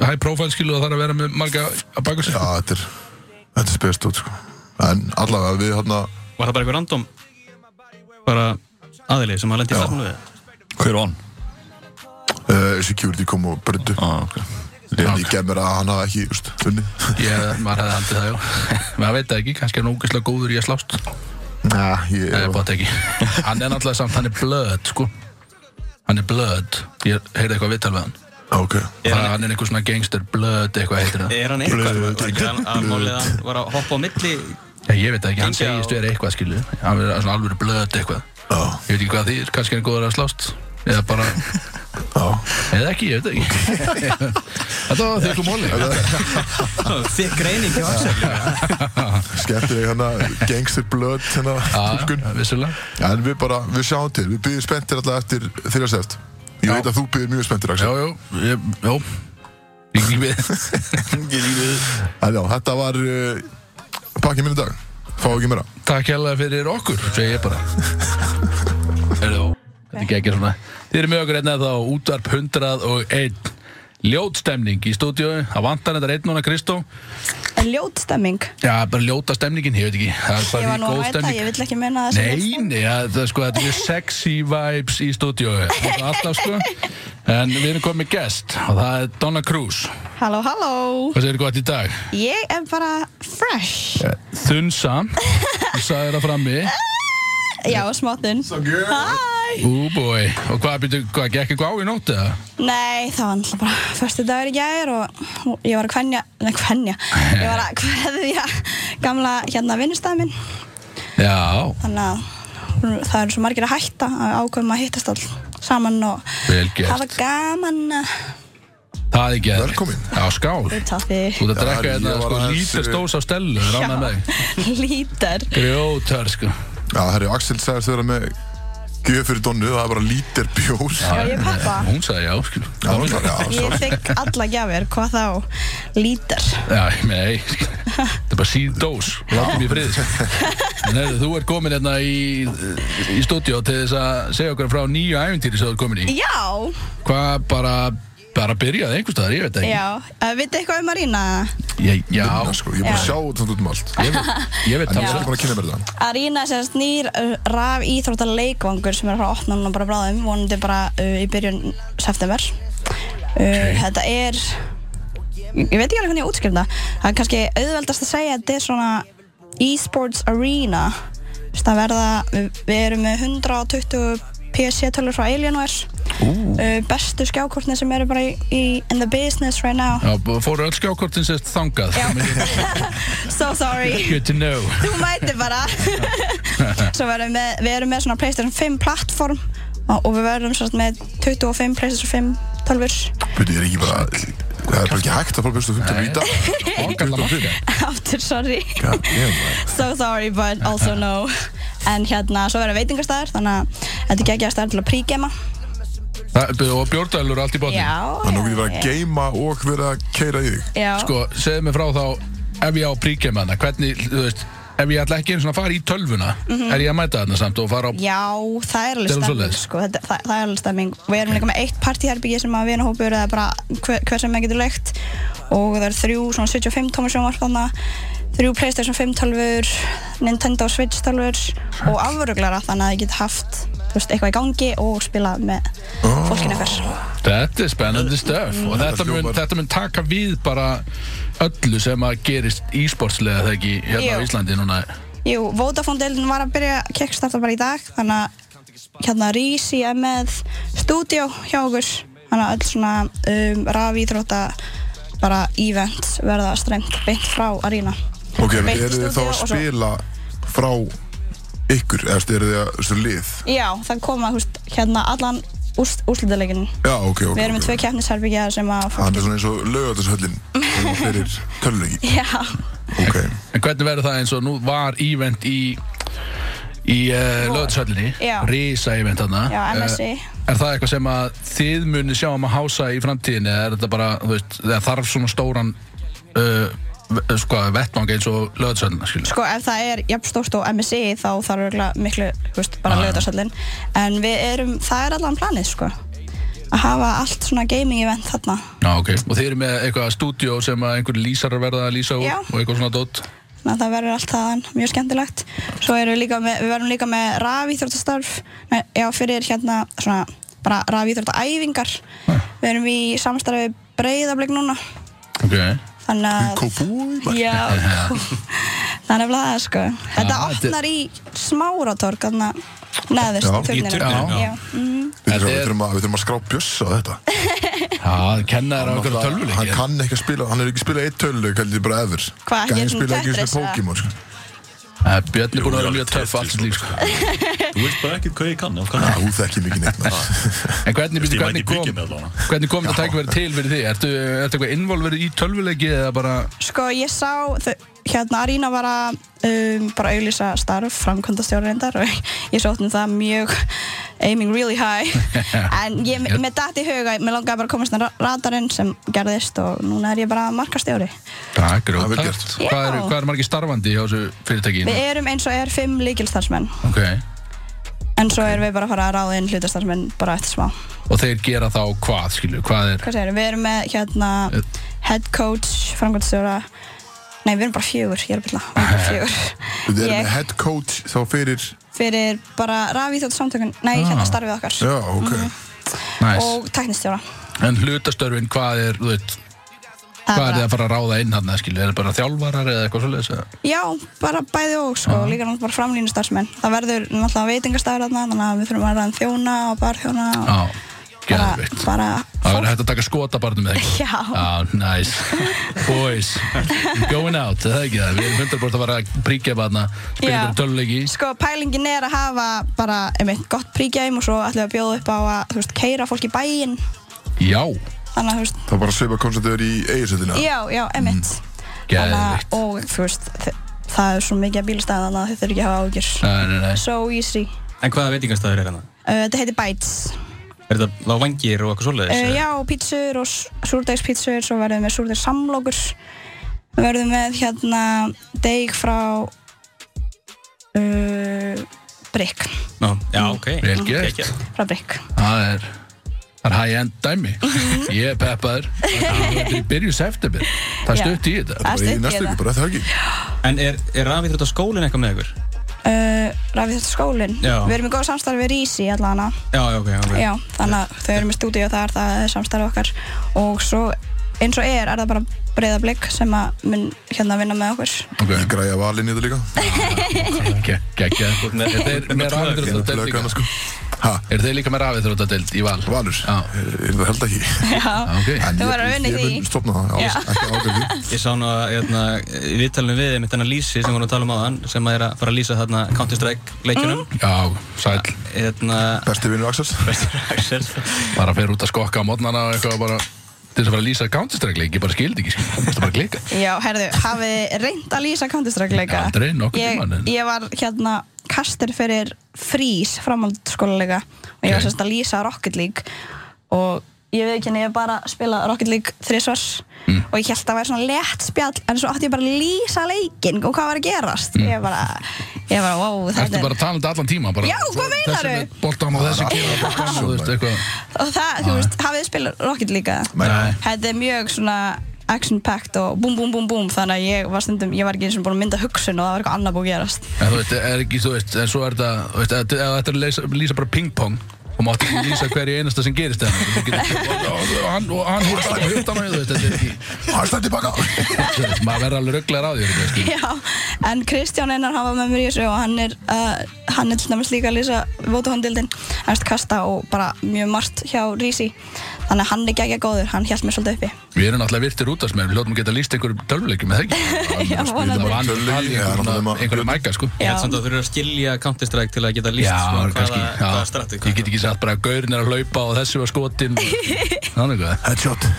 B: high profile skilu og þarf að vera með marga að baka sig
A: Já, þetta er, þetta er spest út sko En allavega við hann
C: Var það bara eitthvað random bara aðili sem að lendi í
A: Já.
C: stafnulegu
E: Hver vann?
A: uh, Security kom og bröndu
E: Ah, ok
A: Ég gef mér að hann hafa ekki, úst, unni
B: Ég, maður hefði haldið það, já Maður veit það ekki, kannski er hann ógeðslega góður í að slást
A: Næ, ég
B: Nei,
A: er
B: bótt Eh, ekki Hann er náttúrulega samt, hann er blöð, sko Hann er blöð Ég heyrði eitthvað viðtal við hann
A: Ok
C: Er
B: Það, hann
C: hann-
B: Eh, er einhver svona gangster blöð, eitthvað heitir það
C: Er hann eitthvað? Var var ekki hann að málið að hann var að hoppa á milli
B: Já, ég veit það ekki, hann
C: Gengið á-
B: segist verið eitthvað, skilu Hann er svona alveg blöð eitthvað
A: Já,
B: Ég veit ekki hvað því er, kannski er hann góður að slást Eða bara,
A: já
B: eða ekki, ég veit það ekki Þetta var þau kom hóli
C: Þig greining hjá Axel líka.
A: Skemmtileg hann að gangster blood hérna túlkun
B: Vissulega
A: En við bara, við sjáum til, við byggjum spenntir alltaf eftir þeirra sért Ég
B: Já.
A: veit að þú byggjum mjög spenntir, Axel
B: Jú, jú, ég, jú Ég ekki við
A: En já, þetta var uh, pakkið minn í dag Fá ekki meira
B: Takk hérlega fyrir okkur, segi ég bara Hello. Þetta er ekki svona Þið eru með okkur einna þá útvarp 101 Ljótstemning í stúdíu Það vantar þetta einn núna Kristó
G: En ljót stemming.
B: Já, bara ljóta stemningin, ég veit ekki Það er
G: Ég
B: bara
G: var
B: því
G: nú að
B: góð
G: mæta,
B: stemning
G: ég vill ekki meina það sem
B: Nei, nei, ja, það, er sko, þetta er mjög sexy vibes í stúdíu Alltaf sko En við erum komið gest og það er Donna Cruz
G: Halló, halló.
B: Hvað segir gott í dag?
G: Ég er bara fresh.
B: Þunsa Þú sagði það frammi
G: Já, smáttun.
A: So good.
G: Hæ!
B: Ú, boi Og hvað, býtu, hvað, gekk eitthvað á í nótt eða?
G: Nei, það var alltaf bara förstu dagur í gær og og ég var að kvenja, nei kvenja, ég var að kveðja gamla hérna vinnustæð minn.
B: Já,
G: Þannig að það eru svo margir að hætta að ákveðum að hittast all saman og
B: Vel gert.
G: hafa gaman að
B: það er geðvikt
A: Velkomin.
B: Já, skál
G: vita því.
B: Þú ert að drekka
A: Já, ég
B: hérna,
A: var
B: sko,
A: aðeins- eh,
B: lítast dós á stelu Ránaði með þig.
G: Lítar.
B: Grjótar, sko
A: Já, herri, Axel sagðist að vera með gjöf fyrir Donnu, það er bara lítir bjór.
G: Já, ég pappa.
B: Hún sagði já, sko
A: Já, hún sagði, já,
G: Ég fekk alla gjafir, hvað þá? Lítar.
B: Já, ég meina, ei, þetta er bara síð dós, láta mér frið sko. En heyrðu, þú ert komin hérna í, í stúdíó til þess að segja okkur frá nýju æfintýri sem þú ert komin í
G: Já,
B: Hvað bara, bara byrjaði einhvers staðar, ég veit það
G: já. Uh, Vitið eitthvað um að rýna?
B: ekki Ég- Já,
A: Vinna, sko, ég er búin að
G: Já.
A: sjá þetta samt út um allt.
B: ég, veit- ég veit
A: En ég
B: það
A: er
B: alveg.
A: ekki búin að kynna mér þetta.
G: Arena er sérst nýr uh, raf íþróttar leikvangur sem er að fara að opna núna bara bráðum vonandi bara uh, í byrjun september uh, Þetta er ég veit ekki alveg hvernig ég útskrifna það er kannski auðveldast að segja að þetta er svona e-sports arena Þú veist, það verða, við, við erum með 120 PC-tölur frá Alienware uh, bestu skjákortni sem eru bara í, í in the business right now
B: Já, bara fóru öll skjákortin sérst þangað
G: Já.
B: Mér er
G: so sorry
B: Good to know
G: þú mæti bara Svo verðum við, við erum með svona Playstation 5 plattform og og við verðum sérst með 25 Playstation 5 tölvur
A: Buti, ég er ekki bara, það er bara ekki hægt að fara bjóstu 15 víta.
B: Okkar það marka
G: aftur, sorry
A: God damn, maður.
G: so sorry but also no en hérna, svo verðum veitingastæður þannig að þetta er geggjaðar stæður til að prígema
B: Það- Og bjórdælur allt í botni
A: Þannig að þú getur verið
G: já,
A: að geima og verið að keira í þig.
G: já.
B: Sko, segðu mér frá þá ef ég á príkja með hana, hvernig, þú veist ef ég ætla ekki einu svona að fara í tölvuna er ég að mæta þarna samt og fara á
G: já, það er alveg
B: Það er
G: stemming
B: svoleiðis.
G: sko, þetta, það, það er alveg stemming við erum líka með eitt partíherbyggi sem að vinahópur eða bara hver, hver sem maður getur leikt og það er þrjú svona 75 tómar sjónvarp þannig þrjú Playstation 5 tölfur Nintendo Switch tölfur og afruglara þannig að ég get haft þú veist, eitthvað í gangi og spila með fólkinu ykkar
B: Þetta er spennandi stöf og þetta mun,
A: hljómar-
B: þetta mun taka við bara öllu sem að gerist ísportslega þegar ekki hérna á
G: Jú.
B: Íslandi núna
G: Jú, Vodafone-deildin var að byrja kickstarta bara í dag þannig að hérna Rísi er með stúdíó hjá okkur þannig að öll svona um, rafíþrótta bara events verða streymt beint frá Arena
A: Ok, en
G: Beint í
A: eru þið þá
G: stúdíó
A: að
G: og svo-
A: spila frá ykkur, eða þú veist, eru þið að, þú veist, lið?
G: Já, það koma húst, hérna allan úst, úrslitaleikin
A: Já, ok, ok. ok.
G: Við erum
A: Ah.
G: með tvö keppnisherbyggja sem að fólk
A: Hann er svona eins og lögatarsöllin fyrir töluleiki.
G: Já,
A: Ok,
B: En hvernig verður það eins og nú var event í í uh, löðsöllinni
G: Já.
B: Risa event þarna
G: Já, NSI.
B: Eh, Er það eitthvað sem að þið munið sjá um að hása í framtíðinni eða er þetta bara, þú veist, eða þarf svona stóran uh, ve- sko, vettvang eins og löðsöllina, skilur
G: sko ef það er jafn stórt og MSI þá þarf örugglega miklu, húst, bara
B: Já, já.
G: lögðarsallin En við erum, það er allan planið, sko að hafa allt svona gaming event þarna
B: Já, ok. Og þið eru með eitthvað stúdíó sem að einhverju lýsarar verða að lýsa úr
G: Já.
B: og eitthvað svona dótt.
G: þannig að það verður allt þaðan mjög skemmtilegt svo erum við líka með, við verðum líka með rafíþróttastarf Nei, já, fyrir hérna svona bara rafíþróttaæfingar við erum í samstarfi breyðablik núna
B: Ok.
G: þannig að
A: kópúi,
G: já, þannig að það er sko þetta
B: Já, þetta-
G: opnar í smáratorg þannig að neðist
A: Já, í
G: turninum.
C: turninum, já.
G: já. mhm.
A: við
B: Þetta er-
A: þurfum að, við þurfum að skrá bjössa á þetta.
B: Já, það kennar á einhverju
A: Hann
B: tölvuleiki.
A: kann ekki að spila, hann er ekki að spila eitt töluleik, heldur ég bara eður.
G: Hvað,
A: Gæði
G: hérna
A: spila ekki
G: Tetris,
A: sem
G: eða?
A: Pokémon, sko.
B: Eh, Björn er búin að vera
E: Jú,
B: mjög
E: já,
B: töff allt sitt líf, sko.
E: Þú veist bara ekkert hvað ég kann, ég kann
A: Já,
E: ekki.
A: þú þekki mikið neitt maður.
B: En hvernig,
E: Ég
B: byrju,
E: mæti
B: hvernig
E: í
B: kom,
E: byggjum með allavega.
B: hvernig kom þetta tækverð til fyrir þig? Ertu, ertu eitthvað involverið í tölvuleiki eða bara...
G: Sko ég sá þau, hérna Arína var að um, bara auglýsa starf framkvæmdastjóri reyndar og ég sótt um það mjög aiming really high en ég,
B: Yep.
G: með datt í huga, mér langaði bara að komast að radarinn sem gerðist og núna er ég bara markastjóri
B: Það er
A: Það er vel
B: grótart.
A: gert.
B: Ah, Hvað
G: Já.
B: eru hvað er margir starfandi hjá þessu fyrirtækinu?
G: Við erum eins og er fimm líkilstarfsmenn
B: Ok.
G: en svo erum við bara að fara að ráða inn hlutastarfsmenn bara eftir smá.
B: Og þeir gera þá hvað, skilju? Hvað er...
G: Hvað segir við? Við erum með hérna
B: Eh.
G: head coach, framkvæmdastjóra Nei, við erum bara fjögur, ég er að byrja Við erum bara fjögur
A: Þú erum
G: Ég-
A: með head coach þá fyrir
G: Fyrir bara rafíþjótt samtökun Nei,
B: Ah.
G: hérna starfið okkar
A: Já, ok
G: Mhm.
B: Næs.
G: Og tæknistjóra
B: En hlutastörfin, hvað er, þú veit, hvað er þið að fara að ráða inn hann, skilur? Er það bara þjálfarar eða eitthvað svoleiðis? eða?
G: Já, bara bæði og sko,
B: Ah.
G: líka náttúrulega bara framlínu Það verður náttúrulega veitingastæður þarna Þannig að við þurfum að ræða þjóna og barþjóna og
B: Já,
G: bara,
B: Ah, geðveikt.
G: bara
B: Það verður hægt að taka skotabarnum með ekki?
G: Já.
B: Já, nice. Boys, going out, er það ekki það? Við erum 100% að fara að príkja barna, spila
G: Já.
B: ykkur töluleiki.
G: Sko, pælingin er að hafa bara einmitt gott príkjæm og svo ætlum við að bjóða upp á að, þú veist, keira fólk í bæinn
B: Já,
G: Þannig að, þú veist,
A: Það er bara að svipa koncertur í eiginsöldina
G: Já, já, emitt
B: Mm. geðvikt.
G: Og þú veist, þe- það er svo mikið að bílastæða þannig að þau þurfi ekki að hafa ágjur
B: Nei, nei, nei.
G: So easy
C: En hvaða veitingastæður er hann?
G: uh, Þetta heitir Bites
C: Er þetta lágvangir og eitthvað svoleiðis?
G: uh,
C: eða?
G: Já, pítsur og súrdegspítsur Svo verðum við með súrdegs samlokur Við verðum með hérna deg frá uh, Brick
C: Ná, já, ok.
B: Vel gert.
C: Geggjað.
G: Frá Brick
B: Það er, það er high-end dæmi. Ég er peppaður. Það er byrjus september. Það er
G: Já. Ah.
B: stutt í þetta.
G: Það
A: Bara í
G: stutt í
A: næstu ykkur,
G: þetta
A: bara það ekki
C: En er, er rafið þrjótt á skólinn eitthvað með ykkur?
G: uh, Rafið þetta skólinn
C: Já.
G: Við erum í góð samstarfi við Rísi allan að
C: Já, já, ok, ok.
G: Já, þannig að þau eru með stúdíu þar, það er samstarf okkar og svo eins og er, er það bara breyðablík sem að mun hérna vinna með okkur.
A: Ég græja valin í þetta líka
B: Gekkja. Er þeir með rafið þrjótt að
A: Lög
B: delta
A: hana
B: líka?
A: sko Ha,
B: Er þeir líka með rafið þrjótt að delta í val?
A: valur
B: Já.
A: Er er það held ekki
G: Já,
B: Ok.
A: En
G: Þú
A: ég-
G: verður að vinna í
A: Ég
G: því.
A: mun stopna það,
G: Já.
A: alls ekki ágæði
C: Ég sá nú að hérna, í viðtalinu við með þennan Lísi sem vorum að tala um áðan sem að er að fara að lýsa þarna Counter-Strike leikjunum
B: Já, sæl.
C: hérna,
A: Besti vinur Axels
B: Bara fer út að skokka á mótnana og eitthvað bara til þess að fara að lýsa counterstrækleik, ég bara skildi ekki, skildi, það bara klika.
G: Já, herðu, hafið þið reynd að lýsa Counter-Strike leika?
B: Já, aldrei, nokkurn tímann, en-
G: Ég, ég var hérna kastir fyrir frís framhaldsskóla leika og
B: Ok.
G: ég var semst að lýsa Rocket League og ég veit ekki henni, ég hef bara spilað Rocket League þrísvars
B: Mm.
G: og ég held að það væri svona létt spjall en svo átti ég bara að lýsa leikinn og hvað var að gerast? Ég bara, ég bara, wow, þetta
B: Mm. Ertu bara að tala um þetta allan tíma? Bara,
G: Já, hvað meinarðu?
B: Þessi með boltan og þessi kýra boltan og þú veist eitthvað.
G: Og það, þú veist, hafið þið spilað Rocket líka?
B: Nei.
G: Þetta er mjög svona action-packed og búm, búm, búm, búm þannig að ég var stundum, ég var ekki eins og búin að mynda hugsun og það var eitthvað annað búið að gerast
B: En þú veist, er ekki, þú veist, en svo er þetta, þú veist, ef ef þetta er að lýsa, lýsa bara ping-pong og mátti ekki lýsa hverju einasta sem gerist þennan. Þú getur- Og hann, og hann húrst hann og húrst hann og þú veist, þetta er ekki,
A: Hashtag tilbaka
B: þú veist, maður verður alveg rugglar á því, þú veist, skilur.
G: Já, en Kristján Einar hafa með mér í þessu og hann er, uh, hann er til dæmis líka að lýsa vótahóndildin, hann veist kasta og bara mjög margt hjá Rísi þannig að hann er gegja góður, hann hjælt mér svolítið uppi
B: Við erum náttúrulega virtir útastmenn, við hljóttum að geta lýst einhverjum tölvuleikjum, eða ekki?
G: Já,
B: Það
G: vonandi
B: var
A: Tölvuleiki, já, náttúrulega
B: annar
A: maður-
B: einhverjum mæka, sko.
C: ég
G: Já,
C: held samt að þú eru að skilja Counter-Strike til að geta lýst
B: Já,
C: svona,
B: kannski,
C: hvaða,
B: já.
C: hvaða strategi
B: Ég get ekki sagt bara að gaurin er að hlaupa og þessi var skotin Þannig hvað
A: Headshot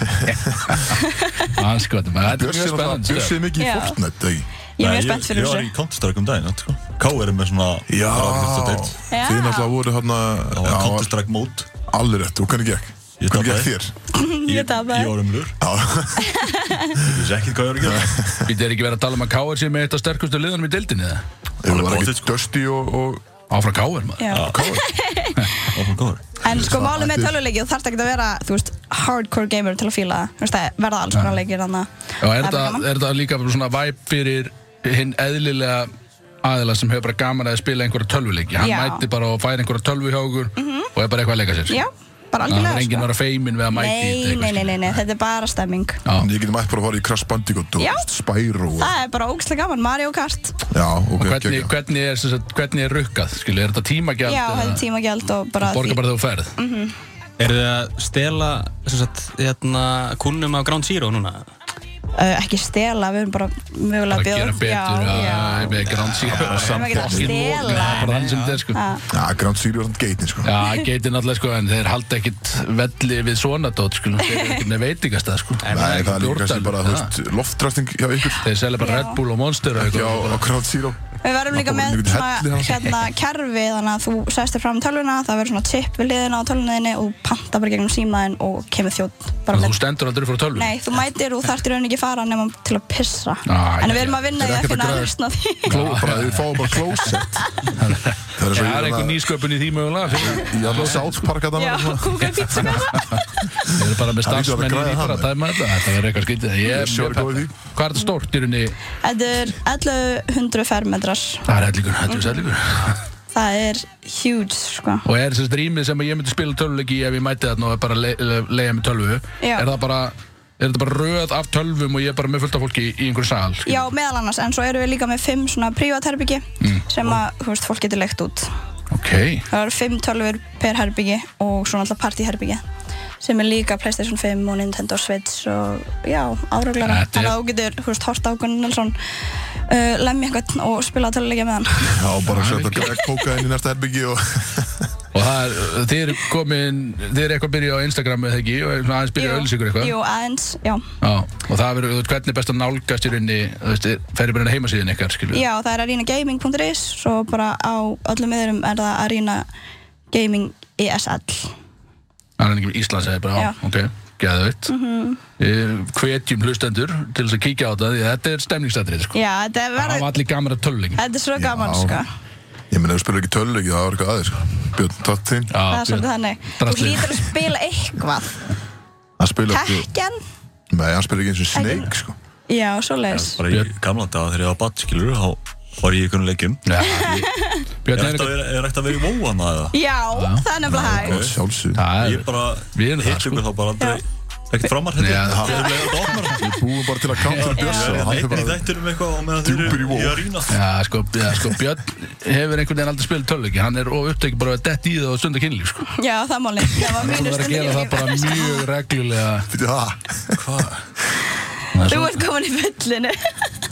B: Hann skotin, maður þetta er
A: Bjössi
B: mjög
A: er alltaf-
B: spennandi sko.
A: Bjössi
B: stöf.
A: er mikið í
G: Já.
A: Fortnite ekki?
G: ég er
E: Nei,
G: mjög spennt
E: Ég
G: fyrir
E: var
G: þessu
E: í Counter-Strike um daginn, sko K er með svona
A: Já
G: Já.
A: Þið náttúrulega voru hérna
E: Það var Counter-Strike mót
A: Allir rétt, og hvernig gekk?
E: Ég
A: Hvernig gekk
E: tapaði.
A: þér?
G: Ég tapaði.
E: Ég var umlur Ég vissi ekkert hvað ég var að gera
B: Við erum ekki verið að tala um að K.R. sé með eitt af sterkustu liðanum í deildinni eða?
A: Ég var
E: pottet,
A: ekki
E: sko.
A: Dusty og, og
B: Áfra K.R. maður
G: Já.
E: Það var góður
G: En sko
A: Það
G: málið með
A: mætti-
G: töluleiki, þú þarfst ekki að vera, þú veist, hardcore gamer til að fíla það. Þú veist, það verða alls konar leikir þannig að
B: Já, er
G: það bara
B: þetta-
G: gaman.
B: er þetta líka bara svona væp fyrir hinn eðlilega aðila sem hefur bara gaman að spila einhverja tölvuleiki Hann
G: Já. Mhm.
B: mæti bara og fær einhverja tölvu hjá okkur og er bara eitthvað að leika sér
G: Já, bara
B: Það
G: algjörlega.
B: er enginn
G: sko.
B: að vera feimin við að mæti í
G: Nei,
B: þetta
G: nei,
B: eitthvað, sko.
G: nei, nei, nei, þetta er bara stemming.
B: Já.
A: Ég geti mætt bara að fara í Crash Bandicoot og
G: Já.
A: Spyro og,
G: Það er bara ógæslega gaman, Mario Kart.
A: Já, ok,
B: Og hvernig,
A: geggjað.
B: hvernig, er, sem sagt, hvernig er rukkað, skilu, er þetta tímagjald?
G: Já,
B: eða-
G: það er tímagjald Mm, og bara...
B: Borga
G: því-
B: bara þegar þú ferð
C: Er þið að stela sem sagt, hérna, kunnum á Ground Zero núna?
G: Uh, ekki stela, við erum bara
B: bara að
G: mögulega að bjóða.
B: gera betur
G: já, já.
B: að- með Grand Zero
G: Við erum ekki að stela.
B: bara þannig sem þetta er sko
A: Já, Grand Zero er hann geitin sko
B: Já, geitir náttúrulega sko, en þeir halda ekkit velli við svona dót, sko, þeir eru ekkit með veitingastað, sko.
A: Nei, það er líka kannski bara, þú
B: Bjórdalur,
A: veist, loftrasting hjá ykkur
B: Þeir selja bara Red Bull og Monster og
A: Ekki á,
B: eitthvað.
A: á Grand Zero
G: Við verðum
A: Það er
G: líka með
A: bara hellir
G: svona
A: hans.
G: hérna, kerfi þannig að þú sestir fram tölvuna, það verður svona chip við liðina á tölvunniðinni og panta bara gegnum símaðinn og kemur þjótt bara
B: En
G: með
B: Þú stendur aldrei fyrir tölvu.
G: Nei, þú mætir og þarft í rauninni ekki að fara nema til að pissa
B: Ah,
G: En
B: já,
G: við erum
B: já.
G: að vinna
A: Þeir eru
G: því að
A: ekkert að
G: finna að
A: græða.
G: lausna því
A: Kló, bara, þið fáum bara klósett Það er eins og
B: Það
A: ég
B: er
A: hérna-
B: einhver nýsköpun í því mögulega fyrir-
A: Ég er alveg South Park hérna. að það
G: Já, kúka í pizza
B: Við erum bara með
A: Það hlýtur að vera
B: starfsmenn í
A: græða
B: því
A: þarna.
B: bara að dæma þetta Þetta verður eitthvað skytið Ég
A: Ég
B: er
A: er sjór
B: mjög
A: góð í
B: peppað.
A: því.
B: Hvað er þetta stórt hérna í rauninni?
G: Þetta er 1100 fermetrar
B: Það er hellingur, þetta
G: Mm.
B: er hellingur
G: Það er huge, sko
B: Og er þessi rýmið sem ég myndi spila tölvuleiki í ef ég mæti þarna og er bara að le le- leigja með tölvu
G: Já.
B: Er það bara, er þetta bara röð af tölvum og ég er bara með fullt af fólki í einhverju sal? skilur?
G: Já, meðal annars, en svo erum við líka með fimm svona privatherbyggi
B: Mm.
G: sem að, þú veist, fólk getur leikt út
B: Ok,
G: Það eru fimm tölfur per herbyggi og svona alltaf partyherbyggi sem er líka Playstation 5 og Nintendo Switch og já, árauglega
B: Þetta er-
G: Þannig að þú getur, þú veist, horta á Gunnar Nelson uh, lemja einhvern og spila töluleikja með hann
A: Já, bara að setja Greg Póka inn í næsta herbyggi og
B: og það er, þið eru komin, þið eru eitthvað að byrja á Instagram eða ekki og svona aðeins byrja að öllis ykkur eitthvað
G: Jú, aðeins, já
B: Já, og það verður, þú veist, hvernig er best að nálgast í rauninni, þú veist, ferði bara inn á heimasíðin ykkar, skilur
G: Já, það er arenagaming.is og bara á öllum yðrum er það Arena Gaming ESL
B: Arningum Íslands eða bara, já.
G: Já. Mhm.
B: ok, geðveitt mm Hvetjum hlustendur til þess að kíkja á þetta því að þetta er stemningstættrið, sko
G: Já, þetta er
B: Það
G: verið,
B: var allir gamara tölvling
G: þetta er svo gaman,
A: Já.
G: sko
A: Ég meina, ef þú spilur ekki tölvleiki, það var eitthvað aðeins Björn Tattin,
G: Það er svolítið þannig Þú
B: Drastlið.
G: hlýtur að spila eitthvað
A: hann spilur ekki
G: Tekken
A: Nei, hann spilur ekki eins og Snake, sko
G: Já, svoleiðis
E: Bara í gamla daga þegar ég var badd, skilur, þá var ég í einhvern leikjum.
B: Björn er
E: Er ætti að
B: eitthvað
E: vera- er ætti að vera í móa hann að það?
G: Já, það er nefnilega hægt
A: Sjálfsög
B: Það
E: Ég
B: er,
E: bara
B: Við erum það, sko.
E: hitt ykkur þá bara aldrei, ekkert framar
B: Nei,
E: hérna.
B: já, það-
E: Það er leiðið að opna það.
A: Við búum bara til að counter Björsa og
E: Það
A: hann
E: er
A: fyrir
E: bara í
A: bara
E: þættinum eitthvað og meðan þeir
A: Djúpur í
E: eru
A: WoW.
E: í arína.
B: já, sko, já, sko Björn hefur einhvern veginn aldrei spilað tölvleiki Hann er of upptekið bara að detta í það og stunda kynlíf, sko
G: Já, það er málið Það var
B: Þú verður
G: mínu
B: að
G: stundir
B: gera það bara mjög reglulega
A: Fyrir það
B: Það er
G: Þú
B: svo-
G: ert komin í fullinu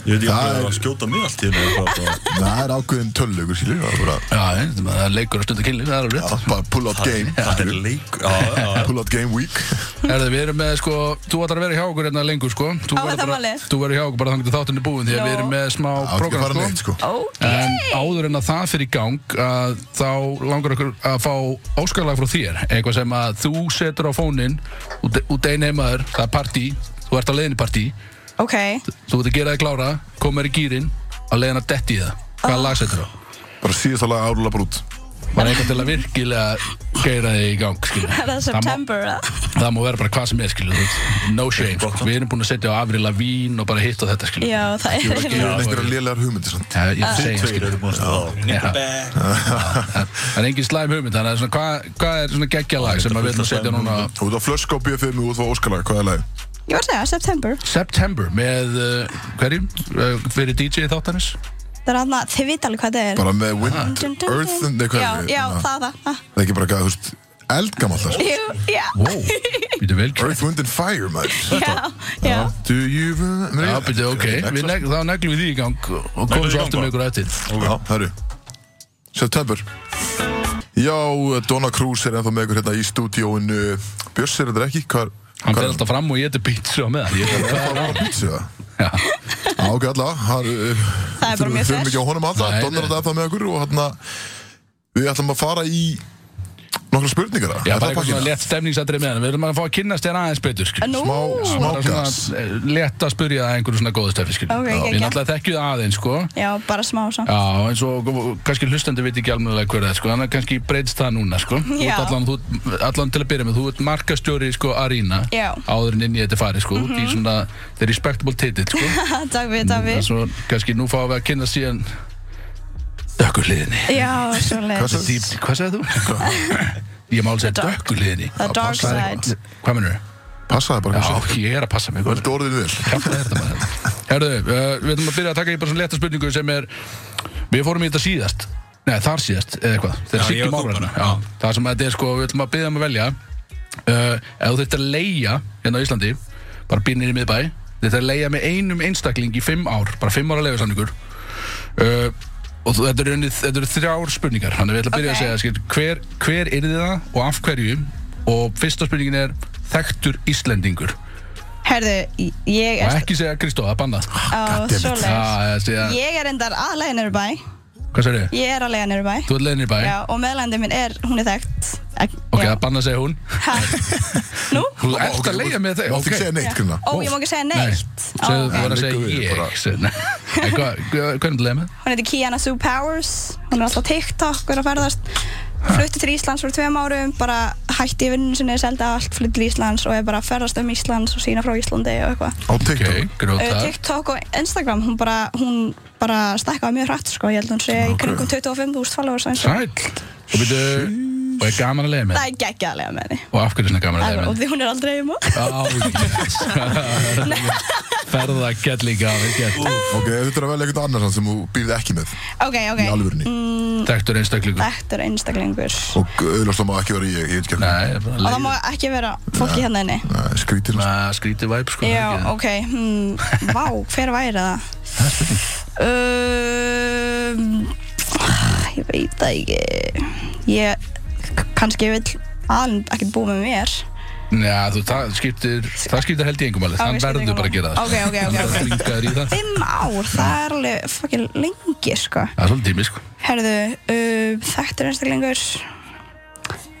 E: Ég veit ekki
A: Það
E: hvað það
A: er-
E: er að skjóta mig allt í hérna.
A: Það er ákveðin tölvleikur, skilur Það er bara,
B: Já, en það er leikur að stunda kynlíf, það er alveg rétt
A: já, bara pull out game
E: Það er leik. Já, já, já.
A: Pull out game week
B: Herðu, við erum með, sko, þú ætlar að vera hjá okkur hérna lengur, sko Þú
G: Á,
B: verður
G: það
B: bara-
G: málið.
B: Þú verður hjá okkur bara þangt að þáttunni búin Því að
G: Nó.
B: við erum með smá
A: Það er ekki að
B: program,
A: fara
B: sko.
A: neitt, sko
G: Ok
B: En áður en að það fyrir í gang að þá langar okkur að fá óskalag frá þér, eitthvað sem að þú setur á fóninn út, út einn heimaður, það er partí, þú ert að leiðin í partí,
G: Ok
B: þú ert að gera þig klára, komir í gýrin að leiðin að detti í það,
G: Ah.
B: hvaða lag setur á?
E: sko.
A: Bara síðast að laga árúla bara út
B: Bara eitthvað til að virkilega geira þig í gang, skilja.
G: Það er September eða?
B: það má vera bara hvað sem er, skilja, no shame, sko. við erum búin að setja á Avril Lavín og bara hitt og þetta, skilja.
G: Já, það er
A: Ég er einhverja lélegar hugmyndir, sant
B: Já, ég er að segja,
E: Tveir
B: skilja.
E: eru hérna búin að staða.
B: Það er engin slæm hugmynd, þannig að svona, hvað, hvað er svona geggjalag sem að við ætlum að setja núna
A: Þú ert á flösku á BFM út á Óskalag, hvað er lagið?
G: Ég var að segja September
B: September með uh, hverjum? Uh, fyrir DJ þáttanis?
G: Það er hann að þið vita alveg hvað það er
A: Bara með Wind,
G: Dun, dun, dun.
A: Earth and- Nei, hvað
G: Já,
A: er
G: já,
A: hérna?
G: það, það það.
A: Það er ekki bara gæða, þú veist, eldgamall það, sko.
G: Jú, já
B: Wow, býtu vel gert.
A: Earth, Wind and Fire, maður
G: Já, já
A: Do you remember
B: Já, býtu, ok, við neg þá neglum við því í gang og komum
E: við í
B: svo
E: gang
B: aftur með ykkur eftir
A: Já, herru September Já, Donna Cruz er ennþá með ykkur hérna í stúdíóinu Björs er þetta ekki, hvað
B: Hann
A: hvað
B: fyrir alltaf fram og ég eti pizza á meðan Ég-
A: Það var bara pizza
B: Já.
A: Já, ok, allavega Það er
G: Það er bara mjög
A: Þurfum
G: fresh.
A: ekki á honum alltaf
B: Nei,
A: Donna er
B: nei.
A: þetta ennþá með ykkur og hérna Við ætlum að fara í Nokkra spurningar
B: Já,
A: Er
B: bara
A: það
B: eitthvað svona
A: pakkinn?
B: létt stemningsatrið meðan Við erum að fá að kynnast þér aðeins betur skil.
G: Nú,
A: Smá- smá-
B: Bara svona,
A: gas.
B: eh, Létt að spurja það einhverju svona góðu stefi
G: Ok,
B: Við
G: geggjað.
B: náttúrulega þekkjum það aðeins sko.
G: já, bara smá samt
B: Já, eins og kannski hlustandi veit ekki almennilega hver það er, sko, þannig að kannski breytist það núna, sko. Þú ert
G: Já.
B: Allan, þú, ert- allan til að byrja með, þú ert markastjóri, sko, Arína,
G: Já.
B: áður en inn í þetta farið, sko, út í svona, þetta er respectable titill, sko.
G: Takk við, takk
B: Það er
G: við
B: svo, kannski nú fáum við að kynna síðan dökkurliðinni.
G: Já, svo leið
A: Hvað sagði-
B: Dýp, hvað segðu þú? Sko. Ég má alveg segja
G: dark-
B: dökkurliðinni.
G: The dark
A: passa
G: side
B: Hvað minnur
A: Passaði bara
B: Já,
A: hvað
B: ég er að passa mig, sko. hvað
A: Þetta orðið vel
B: Kjafta er þetta maður Herðu, uh, við ætlum að byrja að taka í bara svona leta spurningu sem er Við fórum í þetta síðast Nei, þar síðast, eða eitthvað Þegar
C: Já, ég
B: Siggi
C: og þú
B: Málar
C: bara.
B: Já, það sem að þetta er sko, við ætlum að byrja um að velja uh, Ef þú þurft að leia hérna á Íslandi Bara býrnir í miðbæ Þetta er að leia með einum einstakling í fimm ár Bara fimm ára leifarsamningur uh, Og þú- þetta eru unnið- þetta eru þrjár spurningar Þannig að við ætlum að byrja
G: Ok.
B: að segja skil, Hver, hver yrði það og af hverju Og fyrsta spurningin er Þekktur Íslendingur
G: Herðu, ég
B: Og
G: er
B: ekki segja Kristó, það er bannað
G: á svo leið
B: Já, þessi, ég...
G: Ég er endar aðlega niður bæ
B: Hvað sér þið?
G: Ég er aðlega niður bæ
B: Þú ert leiðin í bæ?
G: Já, og meðlændið minn er, hún er þekkt
B: Ok, það banna að segja hún
G: Ha? Nú?
B: Þú ert að leiða með þig,
A: Mátt ekki segja
B: ok
A: neitt, Krina
G: Ó, ég má ekki segja neitt Ó,
B: Segðu
G: ok.
B: þú var að
A: Liggur við,
B: segja ég
A: bara.
B: segðu- Nei. En hvað- hvað- Hvernig er leiða með?
G: Hún heitir Kiana Sue Powers Hún er alltaf á TikTok og er að ferðast Flutti til Íslands fyrir tveim árum Bara hætti í vinnun sinni, seldi allt Flutti til Íslands og er bara að ferðast um Íslands Og sína frá Íslandi og eitthvað
A: Á
B: Ok,
A: TikTok
G: uh,
B: grótar
G: TikTok og Instagram Hún bara, hún bara stækkaði mjög hratt sko. Ég held hún sé í
A: Ok.
G: kringum 25.000 followers eins og-
B: Sæll Og byrju, og er gaman að leiða með?
G: Það er geggjaðlega með henni
B: Og af hverju er svona gaman að leiða
G: Alveg,
B: með?
G: Og því hún er aldrei heima
B: Á, yes Ferða gett líka, vel gett
A: Ok, þetta er að velja eitthvað annars sem þú býrði ekki með
G: Ok, ok Mm.
A: Í alvörunni
B: Þekktur einstaklingur
G: Þetta er einstaklingur
A: Og auðvitað má ekki vera ég, ég veit ekki
B: Nei, það er
G: Og
B: bara
G: það má
B: leið
G: ekki vera fólki hérna inni
A: Skrítir
B: Svona skrítið væp, sko
G: Já,
B: ekki?
G: ok, hmm, vá, hver væri það? Um, ég veit það ekki Ég, kannski vill aðlun ekkert búið með mér
B: Já, þú, það skiptir, það skiptir held í engum alveg,
G: Ok,
B: þann
G: skiptir
B: verður
G: engu
B: bara að
G: máli.
B: gera það
G: Ok, ok, ok, ok.
B: Þringaður í það,
G: Fimm ár, það er alveg fucking lengi, sko
B: það er svolítið tími, sko
G: Herðu, um, þekktur einstaklingur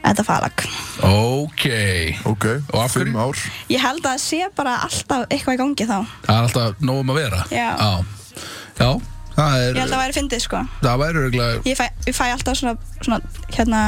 G: Þetta falag
B: Ok,
A: Ok,
B: Og af
A: fimm
B: hverju?
A: ár
G: Ég held að það sé bara alltaf eitthvað í gangi þá
B: það er alltaf nóg um að vera
G: Já.
B: Já, Já, það
G: Ég
B: er,
G: held að það væri fyndið, sko
B: það væri örgulega
G: Ég fæ, ég fæ alltaf svona, svona hérna,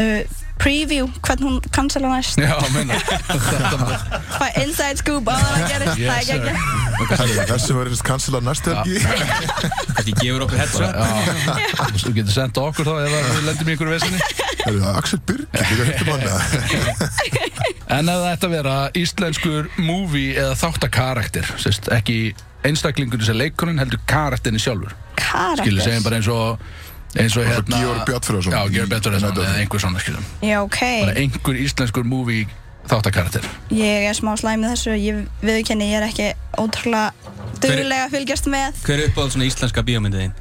G: uh, preview hvernig hún cancela næst
B: Já, meina Þetta-
G: Fæ inside scoop á það að gerist það
B: Yes,
G: ekki
B: sir.
G: ekki
A: Herri, Þessi var einhvers kansilar næstu helgi
C: Kannski gefur okkur headshot
B: Já, þú getur sendt okkur þá ef að við lendum í einhverju vesinni
A: Herri, það er Axel Birgir, ég hætti manna
B: En ef þetta vera íslenskur movie eða þáttakarakter sérst, ekki einstaklingur sem leikurinn heldur karakterinn sjálfur skilur segjum bara eins og eins og hérna
A: Georg Bjarnfreðarsson.
B: Já, Georg Bjartfjörðarsson
A: Nei,
B: eða einhver svona skilur
G: Já, ok
B: bara einhver íslenskur movie þáttakarakter
G: Ég er smá slæmið þessu Ég viðkenni, ég er ekki ótrúlega duglega að fylgjast með
C: Hver er uppáð svona íslenska bíómyndið þín?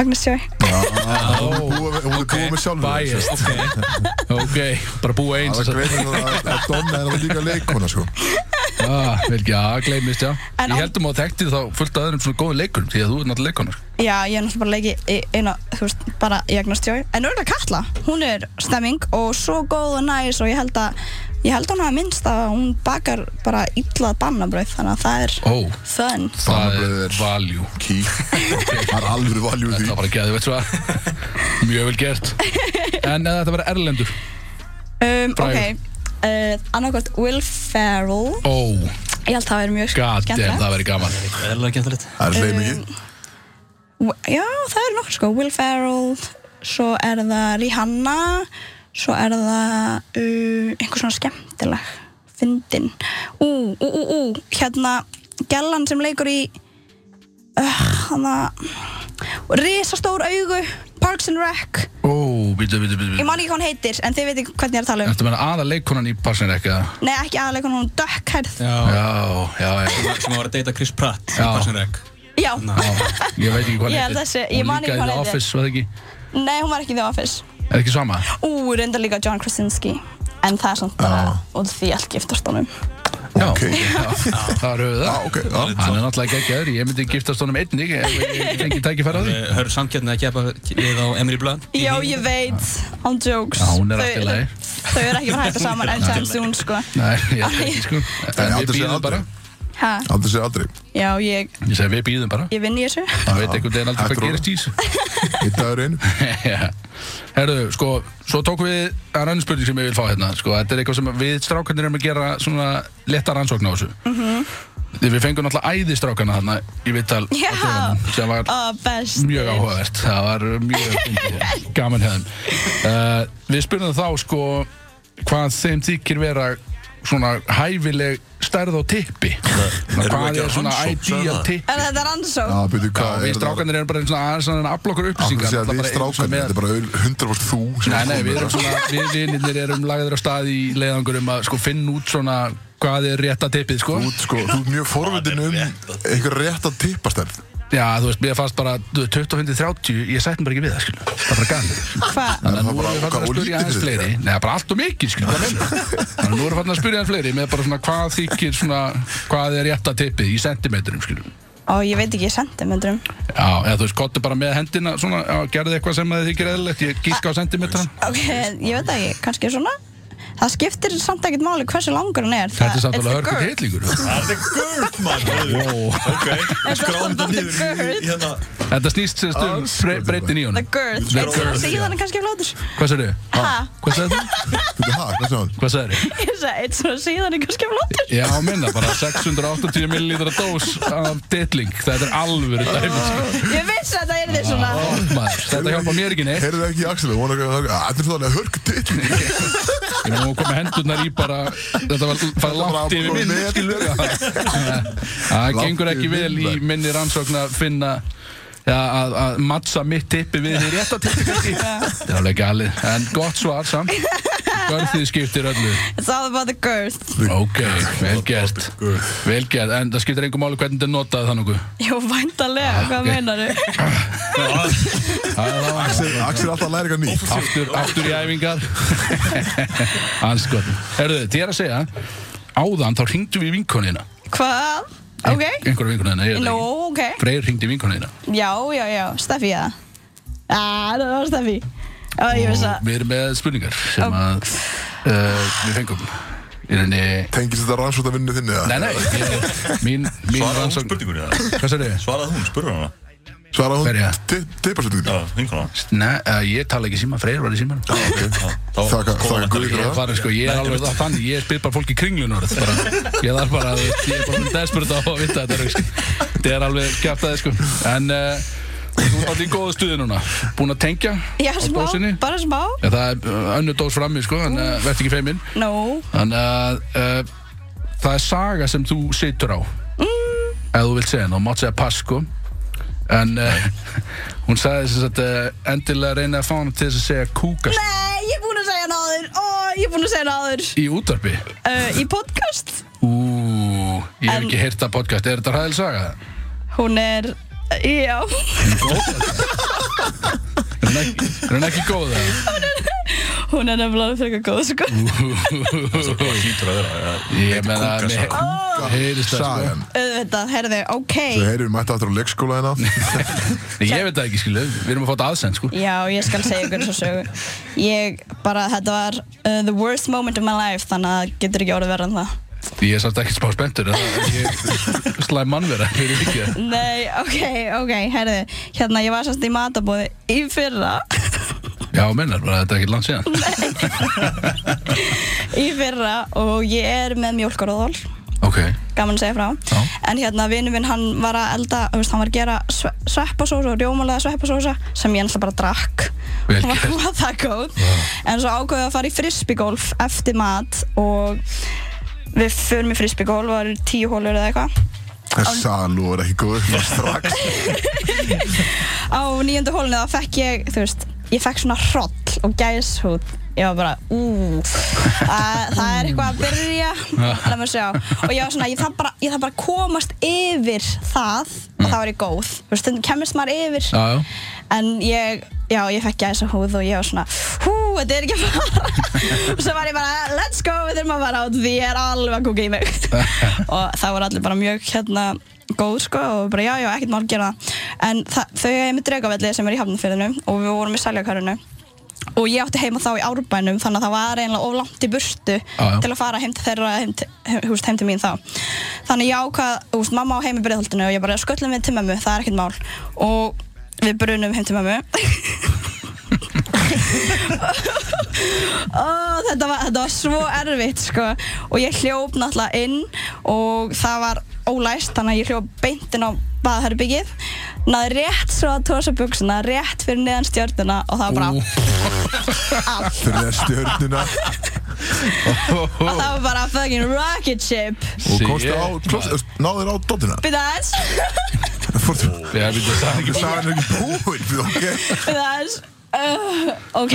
G: Agnes Joy
A: Hún er búið með- hún er búið með sjálfur þessu.
B: Biased Ok, bara búa eins
A: Það er greinir að, að Donna er alveg líka leikona sko.
B: ah, vel ekki, já, gleymist, já
G: En
B: Ég
G: á-
B: heldum að þekkti þá fullt af öðrum svona góðum leikurum því að þú er náttúrulega leikunar
G: Já, ég er náttúrulega bara leikið í eina, þú veist, bara í Agnes Joy En auðvitað Katla, hún er stemming og svo góð og næs og ég held að Ég held að hún hafa minnst að hún bakar bara illað bannabrauð þannig að það er
B: Ó,
G: fun
B: það
A: Bannabrauð
B: er
A: er-
B: value
A: Ký Það er alveg valjú því
B: Það var ekki að þið veit svo Mjög vel gert En eða þetta verið erlendur
G: um,
B: Frægur.
G: Ok, uh, annarkvæmt Will Ferrell
B: Ó,
G: Ég held að það verið mjög
B: god damn,
G: skemmtilegt.
B: það verið gaman
C: Eðlilega gæmtilegt
A: Það er leið mikið
G: Já, það eru nokkur sko, Will Ferrell, svo er það Rihanna, svo er það uh, einhver svona skemmtileg, fyndin. Ú, ú, ú, ú, hérna, gellan sem leikur í, uh, hana, risastór augu, Parks and Rec,
B: Ó, býtu, býtu, býtu
G: ég man ekki hvað hún heitir, en þið veitir hvernig ég er að tala um.
B: Þetta meina aða leikonan í passin ekki Já,
G: Nei, ekki aðalega hún, dökkhærð.
B: já, já, já.
C: Sem var að deyta Chris Pratt
B: Já.
C: í Parks and Rec
G: Já,
B: Ég veit ekki hvað
G: Ég
B: hann
G: held þessi- ég
B: Hún
G: man
B: líka
G: ekki
B: í
G: hvað
B: The
G: hann heitir.
B: Office, var það ekki
G: nei, hún var ekki í The Office.
B: Er ekki sama?
G: Ú, reyndar líka John Krasinski, en það er samt bara, og því allt giftast honum.
B: Já,
A: Ok.
B: það er höfuð
A: Já,
B: það
A: ok, já
B: Hann er náttúrulega geggjaður, ég myndi giftast honum einnig ef ég fengi tækifæra því
C: eh, Hörðu samkjöndin að kepa við á Emily Blunt í
G: Já,
C: heimi?
G: ég veit, án jokes
B: Já, hún er
G: Þau-
B: allt í lagi.
G: Þau eru ekki bara hægt að saman anytime soon, sko
B: Nei, ég held ekki sko En
A: aldrei
B: við
A: segja
B: býðum
A: aldrei.
B: bara
G: ha,
A: Aldrei segja aldrei
G: Já, ég,
B: Ég segi við býðum bara
G: ég vinn í þessu
B: Það veit einhvern veginn aldrei
A: Þetta
B: hvað
A: er
B: gerist í þessu
A: Í dagur einu
B: Já. Herðu, sko, svo tók við að rannur spurning sem ég vil fá hérna sko, þetta er eitthvað sem við strákarnir erum að gera svona letta rannsókn á þessu Því við fengum náttúrulega æði strákarna þarna í vittal á
G: Já.
B: dögunum, sem var
G: Ó, best
B: mjög áhugavert það var mjög fyndið. gaman hefðum uh, Við spurðum þá sko hvað þeim þykir vera svona hæfileg stærð á tippi Svona,
E: Erum við
B: hvað
E: ekki
B: er
E: að
B: svona
E: rannsókn,
B: ideal
E: sagði það?
B: tippi
G: Er þetta rannsók?
A: Já, byrju,
B: Já,
A: hvað
B: við
A: er það?
B: strákarnir erum bara svona aðeins að afla okkur
A: Aldrei
B: upplýsingar
A: segja
B: náttúrulega
A: við
B: bara eins og
A: strákarnir
B: með-
A: Þetta er bara 100% þú sem
B: Nei,
A: ert
B: nei,
A: komin
B: við
A: með
B: erum
A: þetta.
B: svona, við vinninir erum lagðir á stað í leiðangur um að sko finna út svona hvað er rétta tippið, sko.
A: Þú ert sko, þú ert mjög forvindin um einhver rétt að tippast þér
B: Já, þú veist, mér fannst bara þú veist, 25-30, ég sætti bara ekki við það, skilu. Það er bara gæðið.
G: Hvað?
B: Þannig að nú
A: Það er bara
B: erum við
A: hvað og
B: fann að
A: lítið
B: spyrja aðeins
A: fyrir
B: fleiri. Nei, það er bara allt og mikið, skilu. Þannig að nú erum við fann að spyrja aðeins fleiri með bara svona hvað þykir svona, hvað er rétta tippið í sentimetrum, skilu.
G: á, ég veit ekki, sentimetrum.
B: Já, eða þú veist, kottu bara með hendina svona, já, gerði eitthvað sem að þið þykir eðlilegt, ég
G: Uh,
B: gíska á sentimetran.
G: Ok, ég veit það ekki, kannski svona. Það skiptir samt ekkert máli hversu langur hann er.
B: Þetta er samt
G: it's the
B: alveg hörgur
G: girth.
B: hitlíkur.
E: Það er gurð, mann
B: Wow.
E: Ok, skráðum þetta niður í- í hérna
B: Þetta snýst sem stund breytin í
G: The
B: honum.
G: girth,
B: The
G: it's-
B: girth,
G: síðan er kannski flótur.
B: Hvað sagði þið?
G: Ha?
B: Hvað sagði þið?
A: Þú ha, hvað sagði hann?
B: Hvað sagði þið?
G: Ég sagði, eitt svona síðan er kannski flótur.
B: Já, minna, bara 680 millilitra dós af ditling. Þetta er alvöru dæmi. sko.
G: Ég vissi að það er því svona.
B: Maður, Þetta hjálpa mér ekki neitt.
A: Heyrðu ekki í Axel, vona ekki að það Þetta er svona hörg dill
B: Ég má koma hendurnar í bara, þetta var fara langt yfir minn,
A: með.
B: skilur Það
A: Langt
B: gengur ekki
A: yfir
B: vel í
A: minn,
B: minni rannsókn að finna Já, að, að mattsa mitt tippi við því rétt að tippi kannski Það er alveg galið, en gott svar samt Görðið skiptir öllu
G: It's all about the girth.
B: Ok, vel gert Vel gert, en það skiptir engum máli hvernig þetta er notað þannig
G: Jú, væntalega, hvað
B: ok.
G: meinar þau?
A: Axel, Axel er alltaf að læra eitthvað nýtt
B: aftur, aftur í æfingar Anskotn Herðu, þið er að segja Áðan þá hringdu við í vinkonina
G: Hvað? Ok.
B: Einhverja vinkonina, ég veit
G: Nú,
B: það ekki
G: ok.
B: Freyr hringdi í vinkonina
G: Já, já, já, Steffi, já. Á, það var Steffi. Ó, ég vissi
B: og
G: að,
B: við erum með spurningar sem að uh, við fengum í rauninni
A: Tengist þetta rannsóta vinnu þinni eða?
B: Nei, nei, ég, mín, mín
E: Svaraði hún
B: rannsókn-
E: spurningunni það?
B: Hvað sér þið?
E: Svaraði hún, spurði hana
A: Svara
B: Hverja?
A: hún tipparsöndinni
E: Já, vinkona
B: Nei, uh, ég tala ekki í síma, Freyr var í síma
A: Þakka, þakka guði
B: Ég
A: fyrir
B: er
A: það
B: farin, sko, ég er alveg það þannig, ég spyr bara fólk í kringlunarð bara, Ég þarf bara, að- ég er bara desperate á að vita þetta rugl, sko. Þetta er alveg kjæft aðeins, sko En uh, þú ert í góða stuði núna Búin að tengja
G: já,
B: á
G: smá,
B: dósinni
G: bara smá.
B: Já, það er uh, önnur dós frammi, sko, en uh, verð ekki feiminn
G: Nú,
B: Þannig að uh, það er saga sem þú situr á mm. ef þú vilt segja henni, hún mátt segja pass sko en uh, hún sagði þess að uh, endilega reyna að fá hann til þess að segja kúkast
G: nei, ég er búin að segja hann áður. Ó, ég er búin að segja hann áður.
B: í útvarpi
G: Uh, í podcast,
B: Ú, ég hef
G: En-
B: ekki heyrt að podcast, er þetta hræðil saga?
G: hún er, já,
B: Er hún ekki, er hún ekki góð það?
G: hún er nefnilega frekar góð, sko.
E: Hýtur að vera
B: Ég meina, mér
E: Kúkast
B: heyrist það sko
A: Sagan
G: Auðvitað, herðu, ok.
A: Þau heyrir mætti aftur á leikskóla hérna
B: Nei, Ég veit það ekki skilu, við erum að fá þetta aðsend sko
G: Já, ég skal segja ykkur svo sögu Ég bara, þetta var uh, the worst moment of my life Þannig að getur ekki orðið verra en það
B: Ég er samt ekki smá spenntur, en það- ég slæm mannvera fyrir vikið
G: Nei, ok, ok, herði Hérna, ég var sérst í matabóði í fyrra
B: Já, minnar bara, þetta er ekkert land síðan
G: Í fyrra og ég er með mjólkaróðal
B: Ok,
G: Gaman að segja frá
B: Já.
G: En hérna, vinur minn, hann var að elda þú veist, Hann var að gera sve sveppasósa og rjómulega sveppasósa Sem ég ennlega bara drakk
B: Vel
G: Hún var-
B: gert.
G: hún var það góð En svo ákveðið að fara í frisbeegolf eftir mat Og við förum í frisbeegolf Það eru tíu hólur eða eitthvað
A: Salú er ekki góð Það strax
G: á nýjöndu hólunni þá fekk ég, þú veist, ég fekk svona hroll og gæshúð. Ég var bara, ú, það, það er eitthvað að byrja, let me sjá. Og ég var svona, ég þarf bara, ég þarf bara að komast yfir það og þá er ég góð. Þú veist, stundum kemist maður yfir.
B: Mm. Já, já.
G: En ég, já, ég fekk gæshúð og ég var svona, hú, þetta er ekki að fara. og svo var ég bara, let's go, við þurfum að fara át, því ég er alveg að kúka í mig. og það voru allir bara mjög, hérna, góð sko og bara já, já, ekkert mál gera það en það, þau er með dregavelli sem er í hafnumfyrðinu og við vorum í sæljakarinu og ég átti heima þá í árbænum þannig að það var eiginlega of langt í burtu
B: já.
G: til að fara heim til þeirra heim til, heim, heim, heim til mín þá þannig ég ákvað, þú veist, mamma á heim í breyðholtinu og ég bara sköllum við til mömmu, það er ekkert mál og við brunum heim til mömmu oh, þetta, var, þetta var svo erfitt sko. og ég hljóp náttúrulega inn og það var ólæst þannig að ég hljóp beint inn á baðherbyggið náði rétt svo að tósa buksuna rétt fyrir neðan stjörnuna og það var bara allt
A: Fyrir það stjörnuna
G: og það var bara fucking rocket ship
A: Og komstu á klóst, Náður á dottina
G: byrða þess,
A: Fórstu
B: Já, við veitum það ekki
A: Sagan er ekki búin fyrir ok
G: byrða þess Uh, ok,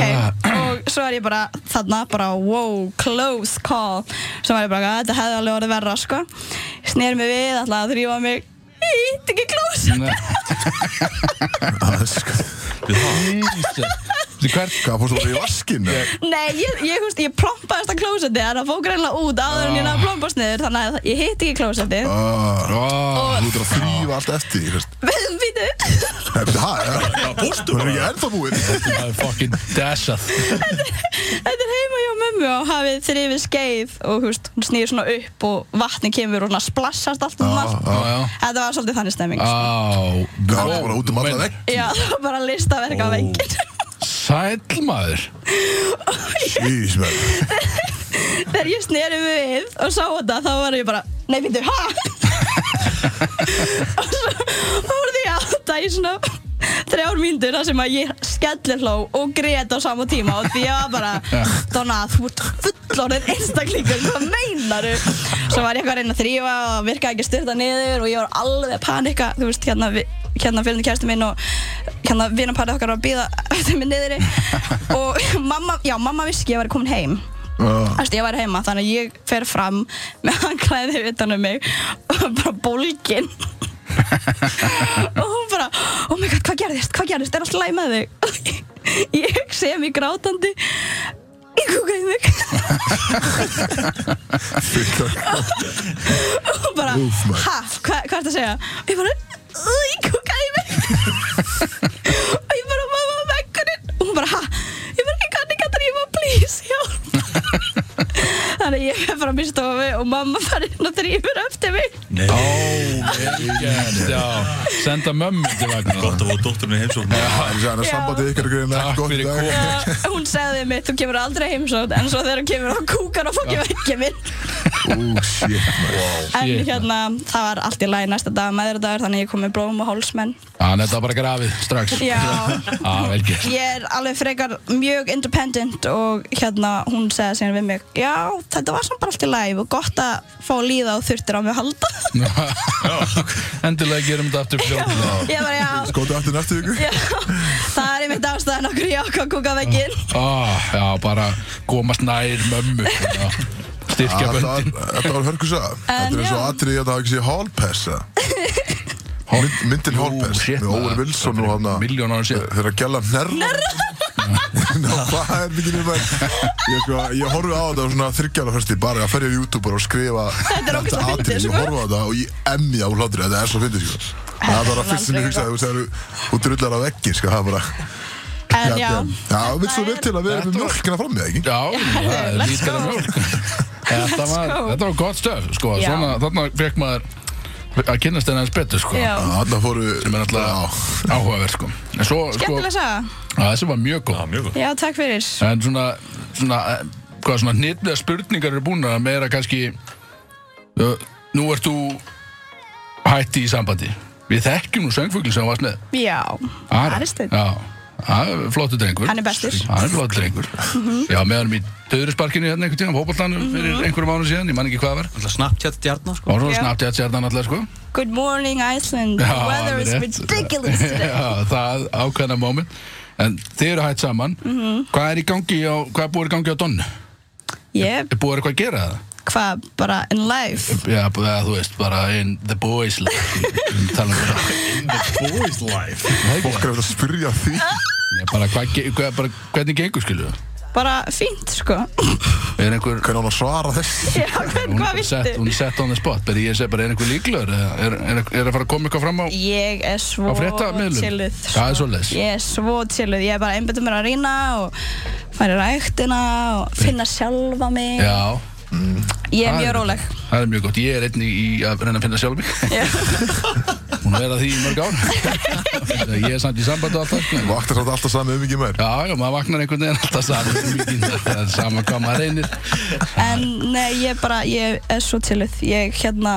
G: og svo er ég bara þarna, bara wow, close call svo var ég bara, "Ah, þetta hefði alveg orðið verra sko, snýr mig við alltaf að þrýfa mig, ít ekki close
B: Nei,
A: Það er sko-
B: Jesus. Þú hvert?
A: Hvað, fórstu bara í vaskin?
G: Nei, ég, ég, húst, ég prompaðist að klósetti en það fók greinlega út áður en ég náði að prompast niður þannig að ég hitti ekki klósetti
A: Ah,
B: Oh,
A: Þú ert að þrýfa allt eftir, þú veist.
G: Býtu,
A: Nei, betur það, fórstu bara. Þú er ennþá búinn.
B: það er fucking dashað.
G: þetta er heima hjá mömmu og hafið þrifið skeið og húst, hún snýr svona upp og vatni kemur og svona splassast allt
A: Ah.
G: um allt
B: Já, Ah. já.
G: Þetta var svolítið þannig stemming
B: Á,
A: Það var bara út um alla vegg.
G: Já, það var bara listaverk á vengin
B: Sæll maður.
A: Ís, menn.
G: Þegar ég sneri mig við og sá þetta þá var ég bara, nei býtu, ha? og svo voruð ég að þetta í svona þrjár mínútur þar sem að ég skellir hló og grét á sama tíma og því ég var bara, Donna, þú ert fullorðin einstaklingur, hvað meinaru? Svo var ég eitthvað að reyna að þrýfa og virkaði ekki að styrta niður og ég var alveg að panika, þú veist, hérna, vi- hérna fyrir kæristu minn og hérna vinnaparið okkar var að býða eftir mig niðri og mamma, já, mamma vissi ekki að ég var komin heim Þú veist, ég var heima, þannig að ég fer fram með handklæði utan um mig og bara bólgin og hún bara oh my god, hvað gerðist, hvað gerðist, er alltaf læg með þig ég segja mig grátandi ég kúkaði mig og hún bara, ha, hva, hvað ertu að segja og ég bara, "Ú, ég kúkaði mig og ég bara, mamma, vekkurinn og hún bara, ha, ég bara, ég kann ekki að drífa, please, hjálp Þannig að ég fer fram í stofu og mamma fær inn og drýfur eftir mig.
B: Ó, velgert, já. Senda mömmu til vagnar.
E: Gott að fá dótturinn í heimsókn
A: Það er sér að sambandi ykkar er greina
B: Takk fyrir komuna.
G: Uh, hún sagði mig, þú kemur aldrei heimsótt, en svo þegar hún kemur þá kúkar og fokkið vekkið minn.
A: Ú, shit, maður.
G: En
B: Shit.
G: hérna, það var allt í lagi næsta dag, meðurdagur, þannig að ég kom með blóm og hálsmenn.
B: Já, þetta var bara grafið strax.
G: Já,
B: Á, velgert.
G: ég er alveg frekar mjög independent og hérna, hún segði síðan við mig, já, þetta var samt bara allt í lagi og gott að fá að líða og þurftir á mig að halda.
B: Endilega gerum þetta aftur fljóðlega.
G: ég bara, já,
A: Skóti aftur næstu ykkur.
G: já, það er einmitt ástæðan okkur ég ákvað að kúka vekkinn.
B: Ah, já, bara komast nær mömmu já. Styrkja
A: Þetta
B: böndin
A: var- þetta var hörkusa. Þetta er eins og
G: já.
A: atrið að það hafi ekki sé hálpessa. Myndin hálpess.
B: shit,
A: Með Óri
B: maður.
A: Wilson og hann að...
B: Miljón ára síðan
A: Þeirra gæla nærra. Ná, hvað er mikið um það? Ég, sko, ég horfi á þetta á svona þryggjala fyrsti bara að ferja á YouTube og skrifa
G: Þetta er ógeðslega fyndið,
A: atriði.
G: sko.
A: Ég horfi á þetta og ég emja á hlátri, þetta er svo fyndið, sko. Það var að fyrst sem ég hugsaði, þú veist, þú drullar á veggi, sko, það er bara...
G: En já,
A: já, við svo vel til að við erum með mjölkina fram með, ekki?
B: Já, það er
G: let's
B: líkara
G: go.
B: mjölk Þetta var,
G: go.
B: þetta var gott stöf sko.
G: Já.
B: Svona, Þarna fekk maður að kynast henni hans betur sko.
G: já.
A: Þarna fóru... Sem
B: er náttúrulega áhugaverð sko. En svo, sko,
G: Skemmtilega saga.
B: að þessi var mjög góð
E: Mjög gott
G: Já, takk fyrir.
B: En svona, svona eh, hvað svona hnitlega spurningar eru búnar að meira kannski uh, nú ert þú hætti í sambandi Við þekkjum nú söngfugli sem þú varst með
G: Já,
B: Ari,
G: Ari Steinn.
B: Já, það er flottur drengur
G: Hann er bestur. Mhm.
B: Hann er flottur drengur Já, með hann í döðurisparkinu hérna einhvern tíðan Hópallanum fyrir einhverjum mánu síðan, ég man ekki hvað það var
C: Alltaf Snapchat djarnar sko
B: Og svo
G: Já.
B: snabbt ég að sér þann allar sko
G: Good morning Iceland, the
B: Já,
G: weather is
B: alveg rétt.
G: ridiculous today.
B: Já, það ákveðna moment En þið eru hætt saman
G: Mhm.
B: Hvað er í gangi á, hvað er búið í gangi á Donnu?
G: Yep,
B: Er búið eitthvað að gera það?
G: hvað, bara in life.
B: Já, búið að þú veist, bara in the boys life Tala um það
E: Boys life
A: Fólk er eftir að spyrja því
B: Nei, bara, hvað, ge- hvað, bara, hvernig gengur skilu?
G: Bara fínt, sko.
B: Er einhver
A: hvernig hann á að svara þess
G: Já, hvern,
B: Hún
G: hvað
B: er sett, hún
G: viltu?
B: er sett on the spot Beri, ég segi bara, er einhver líklegur eða er, er, er að fara að koma eitthvað fram á
G: Ég er svo
B: Á fréttamiðlum? Já,
G: chilluð, sko.
B: það er svoleiðis.
G: Ég er svo chilluð, ég er bara einbættur mér að rýna og fara í ræktina og finna sjálfa mig.
B: Já,
G: Ég er
B: það
G: mjög
B: er-
G: róleg.
B: það er mjög gott Ég er einnig í að reyna að finna sjálf mig
G: Já.
B: Hún er að vera því í mörg ár Ég er samt í sambandi og allt það sko.
A: Vaktar þetta alltaf sami um ekki meir
B: Já, já, maður vaknar einhvern veginn alltaf saman mikið, Það er sama hvað maður reynir
G: En nei, ég bara, ég er svo chilluð. Ég, hérna,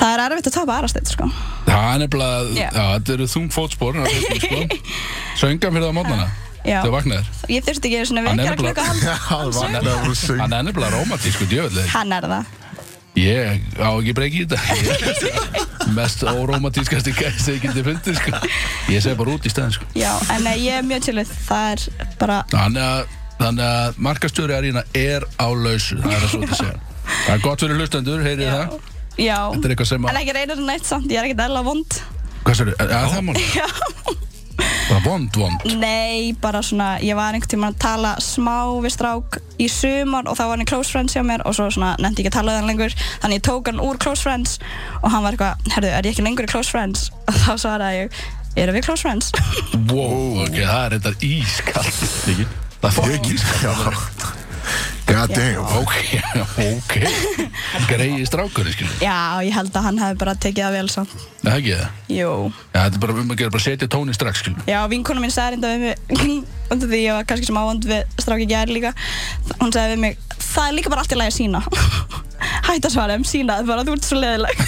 G: það er erfitt að tapa arasteitt, sko.
B: Það er nefnilega,
G: Já.
B: já, þetta eru þung fótspor það er þetta, sko. Söngan fyrir það á mótnana
G: Já.
B: Þau vaknaðir
G: Ég þurfti ekki svona
B: Hann er
G: vekjara
B: nefnilega-
G: klukka hann,
A: Það var nefnilega að segja
B: Hann er nefnilega rómatísku djöfellið
G: hann er það
B: Ég á ekki breyki í þetta Ég er Mest órómatískasti gæst sem ég geti fundið sko. Ég segi bara út í stæðin sko.
G: Já, en nei, ég er mjög chilluð Það er bara,
B: Þannig að, þannig að markastjóri Arína er á lausu Það er að svo til segja Það er gott fyrir hlustendur, heyrið það
G: já
B: Þetta er eitthvað sem
G: En
B: að,
G: ekki reynir nætt samt, ég er ekkert eðla vond
B: hvað sér, er, er það mál?
G: Já
B: Bara vond, vond.
G: Nei, bara svona, ég var einhvern tímann að tala smá við strák í sumar og þá var hann í Close Friends hjá mér og svo svona nefndi ég ekki að tala við hann lengur þannig ég tók hann úr Close Friends og hann var eitthvað, herðu, er ég ekki lengur í Close Friends? Og þá svaraði ég, erum við Close Friends?
B: Wow, ok, það er þetta ískalt. Þykir. Það er ekki ískalt.
A: God damn.
B: Ok, ok. Greiði strákurinn, skilur.
G: Já, ég held að hann hefði bara tekið það vel samt.
B: Það er ekki það.
G: Jú.
B: Já, þetta er bara um að gera, bara setja tónin strax, skilur.
G: Já, vinkona mín sagði reynda við mig undir því ég var kannski sem ávand við stráki gær líka hún sagði við mig, það er líka bara allt í lagi að sína hætt að svara um sína bara þú ert svo leðileg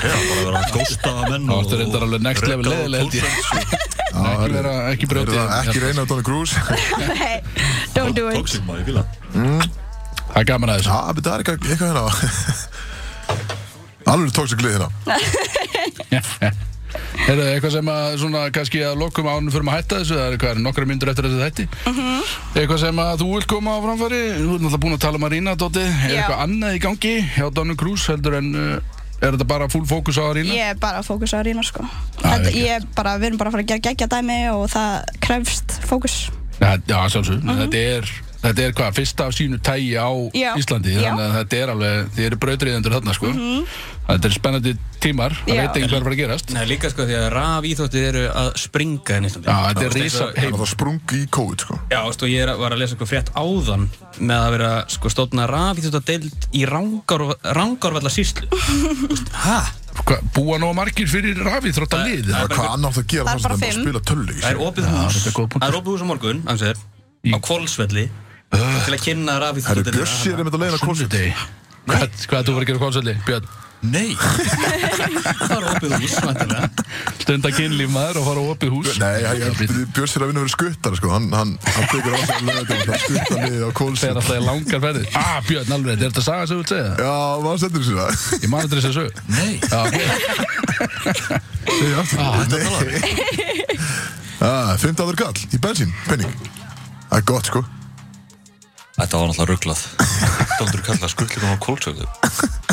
E: Já, bara vera að gósta að menn
B: Þá ertu reyndar alveg next level
E: Reka á
B: leiðileg, held ég.
E: Tólfsens og-
B: Ekki vera, ekki
A: Er
B: brjótið.
A: það ekki reyna á Donny Cruz?
G: Nei, don't do it
E: Tóksik maður, ég fíla
B: Það er gaman að þessu.
A: Já, betur það er eitthvað- eitthvað hérna á. Alveg tók sér glið hérna.
B: Er það eitthvað sem að svona kannski að lokum ánum fyrir að hætta þessu, það er hvað er nokkra myndur eftir þessu þætti
G: Mhm.
B: Eitthvað sem að þú vilt koma á framfæri, þú ert náttúrulega búin að tala um Arína, Dóti Er
G: Já.
B: eitthvað annað í gangi hjá Donnu Krús heldur en uh, er þetta bara full fókus á Arína?
G: ég er bara að fókusa á Rína sko Þetta,
B: vel
G: ég er bara, við erum bara að fara að gera geggja dæmi og það krefst fókus
B: Yeah. Já, sjálfsög, þetta er, þetta er hvað, fyrsta af sínu tægi á
G: Mhm. Já.
B: Íslandi
G: Já. Mhm.
B: Þannig að þetta er alveg, þið eru brautriðendur þarna sko Þetta er spennandi tímar, það
G: Já.
B: veit ekki hvað er að fara að gerast
C: Nei, líka sko því að raf íþóttir eru að springa hérna í Íslandi.
B: Já, þetta er
C: Þú veist,
B: risa
C: eins og-
B: heim
A: Það sprung í COVID, sko.
C: Já, veist, og ég er, að- var að lesa eitthvað frétt áðan með að vera sko stóðna raf íþóttadeild í rangar, rangarvalla síslu. Hæ?
B: Hva- Búa nóg margir fyrir rafið þrótt að liði
A: Það er hvað annar það að gera
G: Það er
A: þess að það
G: bara
A: að
G: fimm.
A: spila tölvleik.
C: Það er opið
B: þetta er
C: hús,
B: góð punktur.
C: það er opið hús á morgun, ansver, á Kvolsvelli, til að kynna raf
A: Það eru
C: íþóttadeildina.
A: bjössir
B: um-
A: einmitt að leiðina COVID.
B: Sunnudegi Hvað hvað ert þú verið að gera á konsulli, Björn?
E: Nei,
C: Það er opið hús, vantilega.
B: Stunda kynlíf maður og fara á opið hús
A: Nei, ég- ég- Bjössir er að vinna fyrir skuttar, sko. Hann, hann, hann tekur á sig að leiða til að skutta niður á
B: Það er
A: kólsinn.
B: alltaf í langar ferðir Ah, Björn, alveg, er þetta saga sem þú vilt segja?
A: Já, maður sendur sér það.
B: Ég man þetta þess að sög
E: nei
B: Já, ok.
A: Nei, aftur. Nei. Ah, 15 kall í bensín, penning. Það er gott, sko.
E: Þetta var náttúrulega rugglað Dóndur kallar skullingum á kólsöðu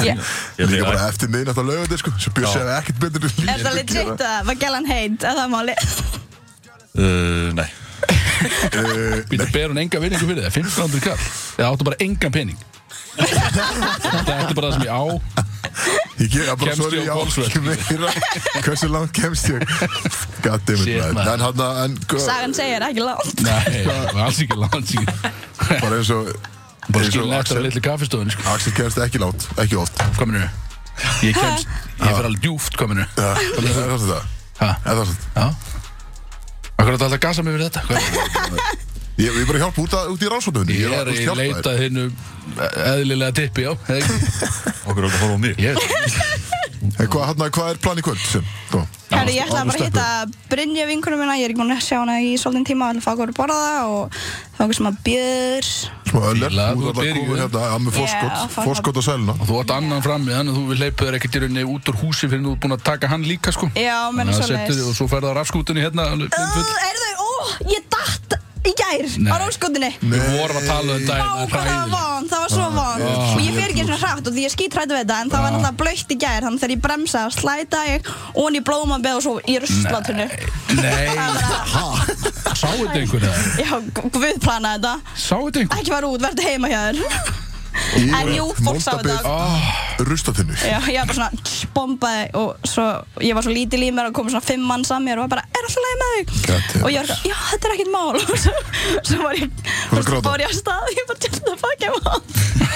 G: yeah.
E: Ég
A: Líka
E: bara
A: bara eftir miðnætt að lögandi, sko. Svo Bjössi hefði ekkert betur í lífið sko.
G: Er það
A: að
G: legit
A: gera.
G: að var gælan heit að það er máli?
E: uh, Nei
A: Eh,
B: Býttu, ber hún enga vinningu fyrir það 1500 kall Eða áttu bara engan pening Þetta er bara það sem ég á
A: Ég gera bara
B: Kemst
A: sorry
B: ég
A: á
B: á Hvolsvöll?
A: ekki meira Hversu langt kemst ég? God damn
B: Shit,
A: it,
B: maður.
A: maður En hann að, en sko, gau-
G: Sagan segir ekki látt
B: Nei, alls ekki, alls ekki
A: bara eins og eins
B: Bara
A: og
B: skilin eftir að
A: Axel,
B: litlu kaffistofun sko.
A: Axel kemst ekki látt, ekki oft
B: Hvað minnur? Ég kemst, ég fer alveg djúft, hvað minnur?
A: Það er það sem það
B: Ha?
A: Það er það sem
B: Já Akkur er þetta alltaf að gasa mig fyrir þetta? Hvað?
A: Ég ég er bara að hjálpa út, að, út í rannsóknunni
B: Ég er í leita að hinnu eðlilega tippi, já. eða ekki?
E: Okkur er alltaf að horfa á mig
B: Ég,
A: En hvað hérna, hvað er plan í kvöld Sko, sem? Þú?
G: Herri, ég ætla
A: Áfram
G: bara að hitta Brynja vinkunum minna, ég er ekki múin að sjá hana í svolítinn tíma, ætla að fá okkur að borða það og þá okkur sem að bjöður.
A: Smá öller,
B: Fíla,
A: þú ert
B: þú
A: að
B: byrjuð.
A: koma hérna að með
G: Já,
A: fórskot
G: fá-
A: Fórskot á sæluna
B: og þú átt annan fram í þannig að þú leipur þér ekkert í rauninni út úr húsi fyrir þú ert búin að taka hann líka, sko.
G: Já, menn
B: Þannig að
G: svoleiðis.
B: setur þig og svo ferðu á rafskútunni hérna, alveg blindfull.
G: Er þau, ó, ég datt í gær
B: Nei. Ah,
G: á róskotinni.
B: Við vorum að tala um
G: Vá,
B: daginn, það
G: hvað
B: er
G: það var
B: hræðilegt.
G: von, það var svo von. Og ég fer ekki svona hratt og því ég skýt hrættu við þetta, en það var
B: Ah.
G: náttúrulega blöytt í gær, þannig þegar ég bremsa, slæta ég onni í blómabeg og svo í ruslatunnu.
B: Nei, sá þetta einhvern veginn?
G: Já, gu- guð planaði þetta.
B: Sá þetta einhvern?
G: Ekki var út, verði heima hjá þér. En jú, fólk sá þetta.
B: Ah.
A: Rustatinnu
G: Já, ég var bara svona tss, bombaði og svo, ég var svo lítil í mér og kom svona fimm manns að mér og var bara, er alltaf leið með
A: God
G: þig?
A: damn.
G: Og ég var svona, já, þetta er ekkert mál og svo, svo var ég,
A: Fórstu að
G: svo
A: gráta?
G: fór ég af stað ég bara, þetta er fucking mál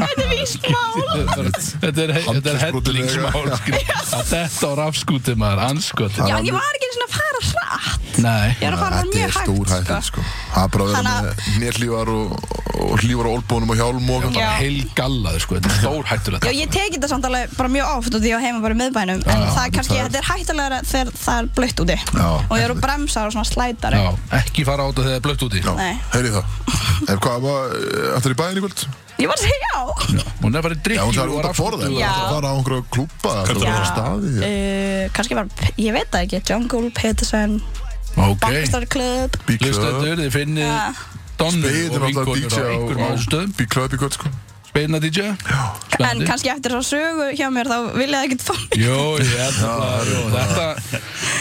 G: Þetta er víst mál
B: Þetta er, þetta er hellingsmál, sko. Að Þetta á rafskúti maður, anskotin.
G: Já, en ég var ekki einu svona að fara hratt
B: Nei.
G: Ég var að fara
A: Þetta
G: mjög
A: er
G: hægt,
A: stór hægt, sko Það er bara að vera
G: Þannig
A: með nérlífar og, og hlífar á olbónum og hjálm og
G: Já.
B: Heilgallaður, sko. Þetta er stór
G: Já,
B: hættulegt.
G: ég teki þetta samt alveg bara mjög oft og því ég var heima bara í miðbænum en það er kannski, þetta er hættulegra þegar það er blöytt úti
A: Já.
G: og ég eru bremsar og svona slætari
B: Já, ekki fara á þetta þegar það er blött úti.
A: Já,
G: Nei.
A: heyri það Ef hvað, ættir í bæðin í kvöld?
G: Ég var að segja já
B: Hún er bara í
A: Já, hún þarf
B: drikki
A: út að borða
G: Já.
A: Það þarf að fara á einhverja klúpa Það þarf að fara á staði
G: uh, kannski var, ég veit það ekki, Jungle, Peterson,
B: Ok. Eh,
G: Bangstar Club
A: Bíklöp
B: Hlustendur, þið finnið
G: Ja.
B: Donnu
A: Beðið
B: og
A: er alltaf
B: vinkonur
A: DJ
B: á einhverjum
A: á
B: ástöðum
A: Bíklöp í kvöld, sko
B: Beina DJ
G: En
B: Spennandi
G: kannski eftir þess sögu hjá mér þá vil ég það ekkert fá mig
B: Jó, ég held að Þetta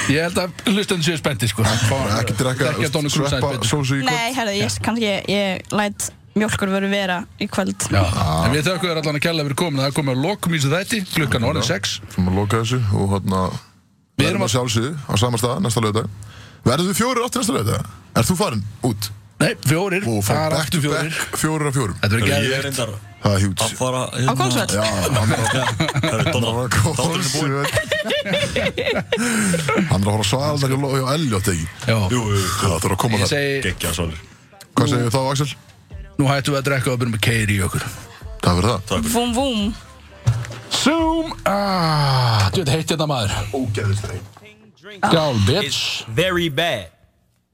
B: Ég held að hlustendur séu spennti sko
A: Ekki drekka,
B: Ekki að Donny Cruz
A: sveppa
B: aðeins betur
A: sósu í kvöld
G: Nei, herðu, ég, kannski ég, ég læt mjölkur veru vera í kvöld
B: Já, en við þökkum þér allan að kella fyrir komin Það er komið á lokum í þessu þætti, klukkan orðin 6
A: sem að loka þessu og hérna
B: Við
A: við
B: erum
A: erum að sjálfsögðu á sama stað næsta lögdag verður við fjórir átti næsta lögdag er þú farin út
B: Nei, fjórir,
A: og
B: það
A: back
B: er
A: to
B: aftur fjórir
A: back fjórir af fjórum
B: Þetta verður
D: Ég
B: gæðið
D: er reyndar
A: það er hjúts
D: að fara
G: á
E: hérna.
G: Kóngsvöld.
A: já hann er
D: Það er
A: hann er
D: Donna
A: að
D: Þátturinn er búinn
A: kóðsvöld hann er að horfa svaldag og lofa hjá Elliot ekki
B: Já,
D: Jú, jú,
A: það þarf að koma
B: ég
A: það
B: segi,
D: geggja svalir
A: hvað segir þá Axel?
B: nú hættum við að drekka og byrjum að keiri í okkur
A: það verður það
G: Vum vum
B: Zoom ah, Þú veit, heitt hérna maður
A: ógeðist þeim
B: Gál, bitch
C: Very bad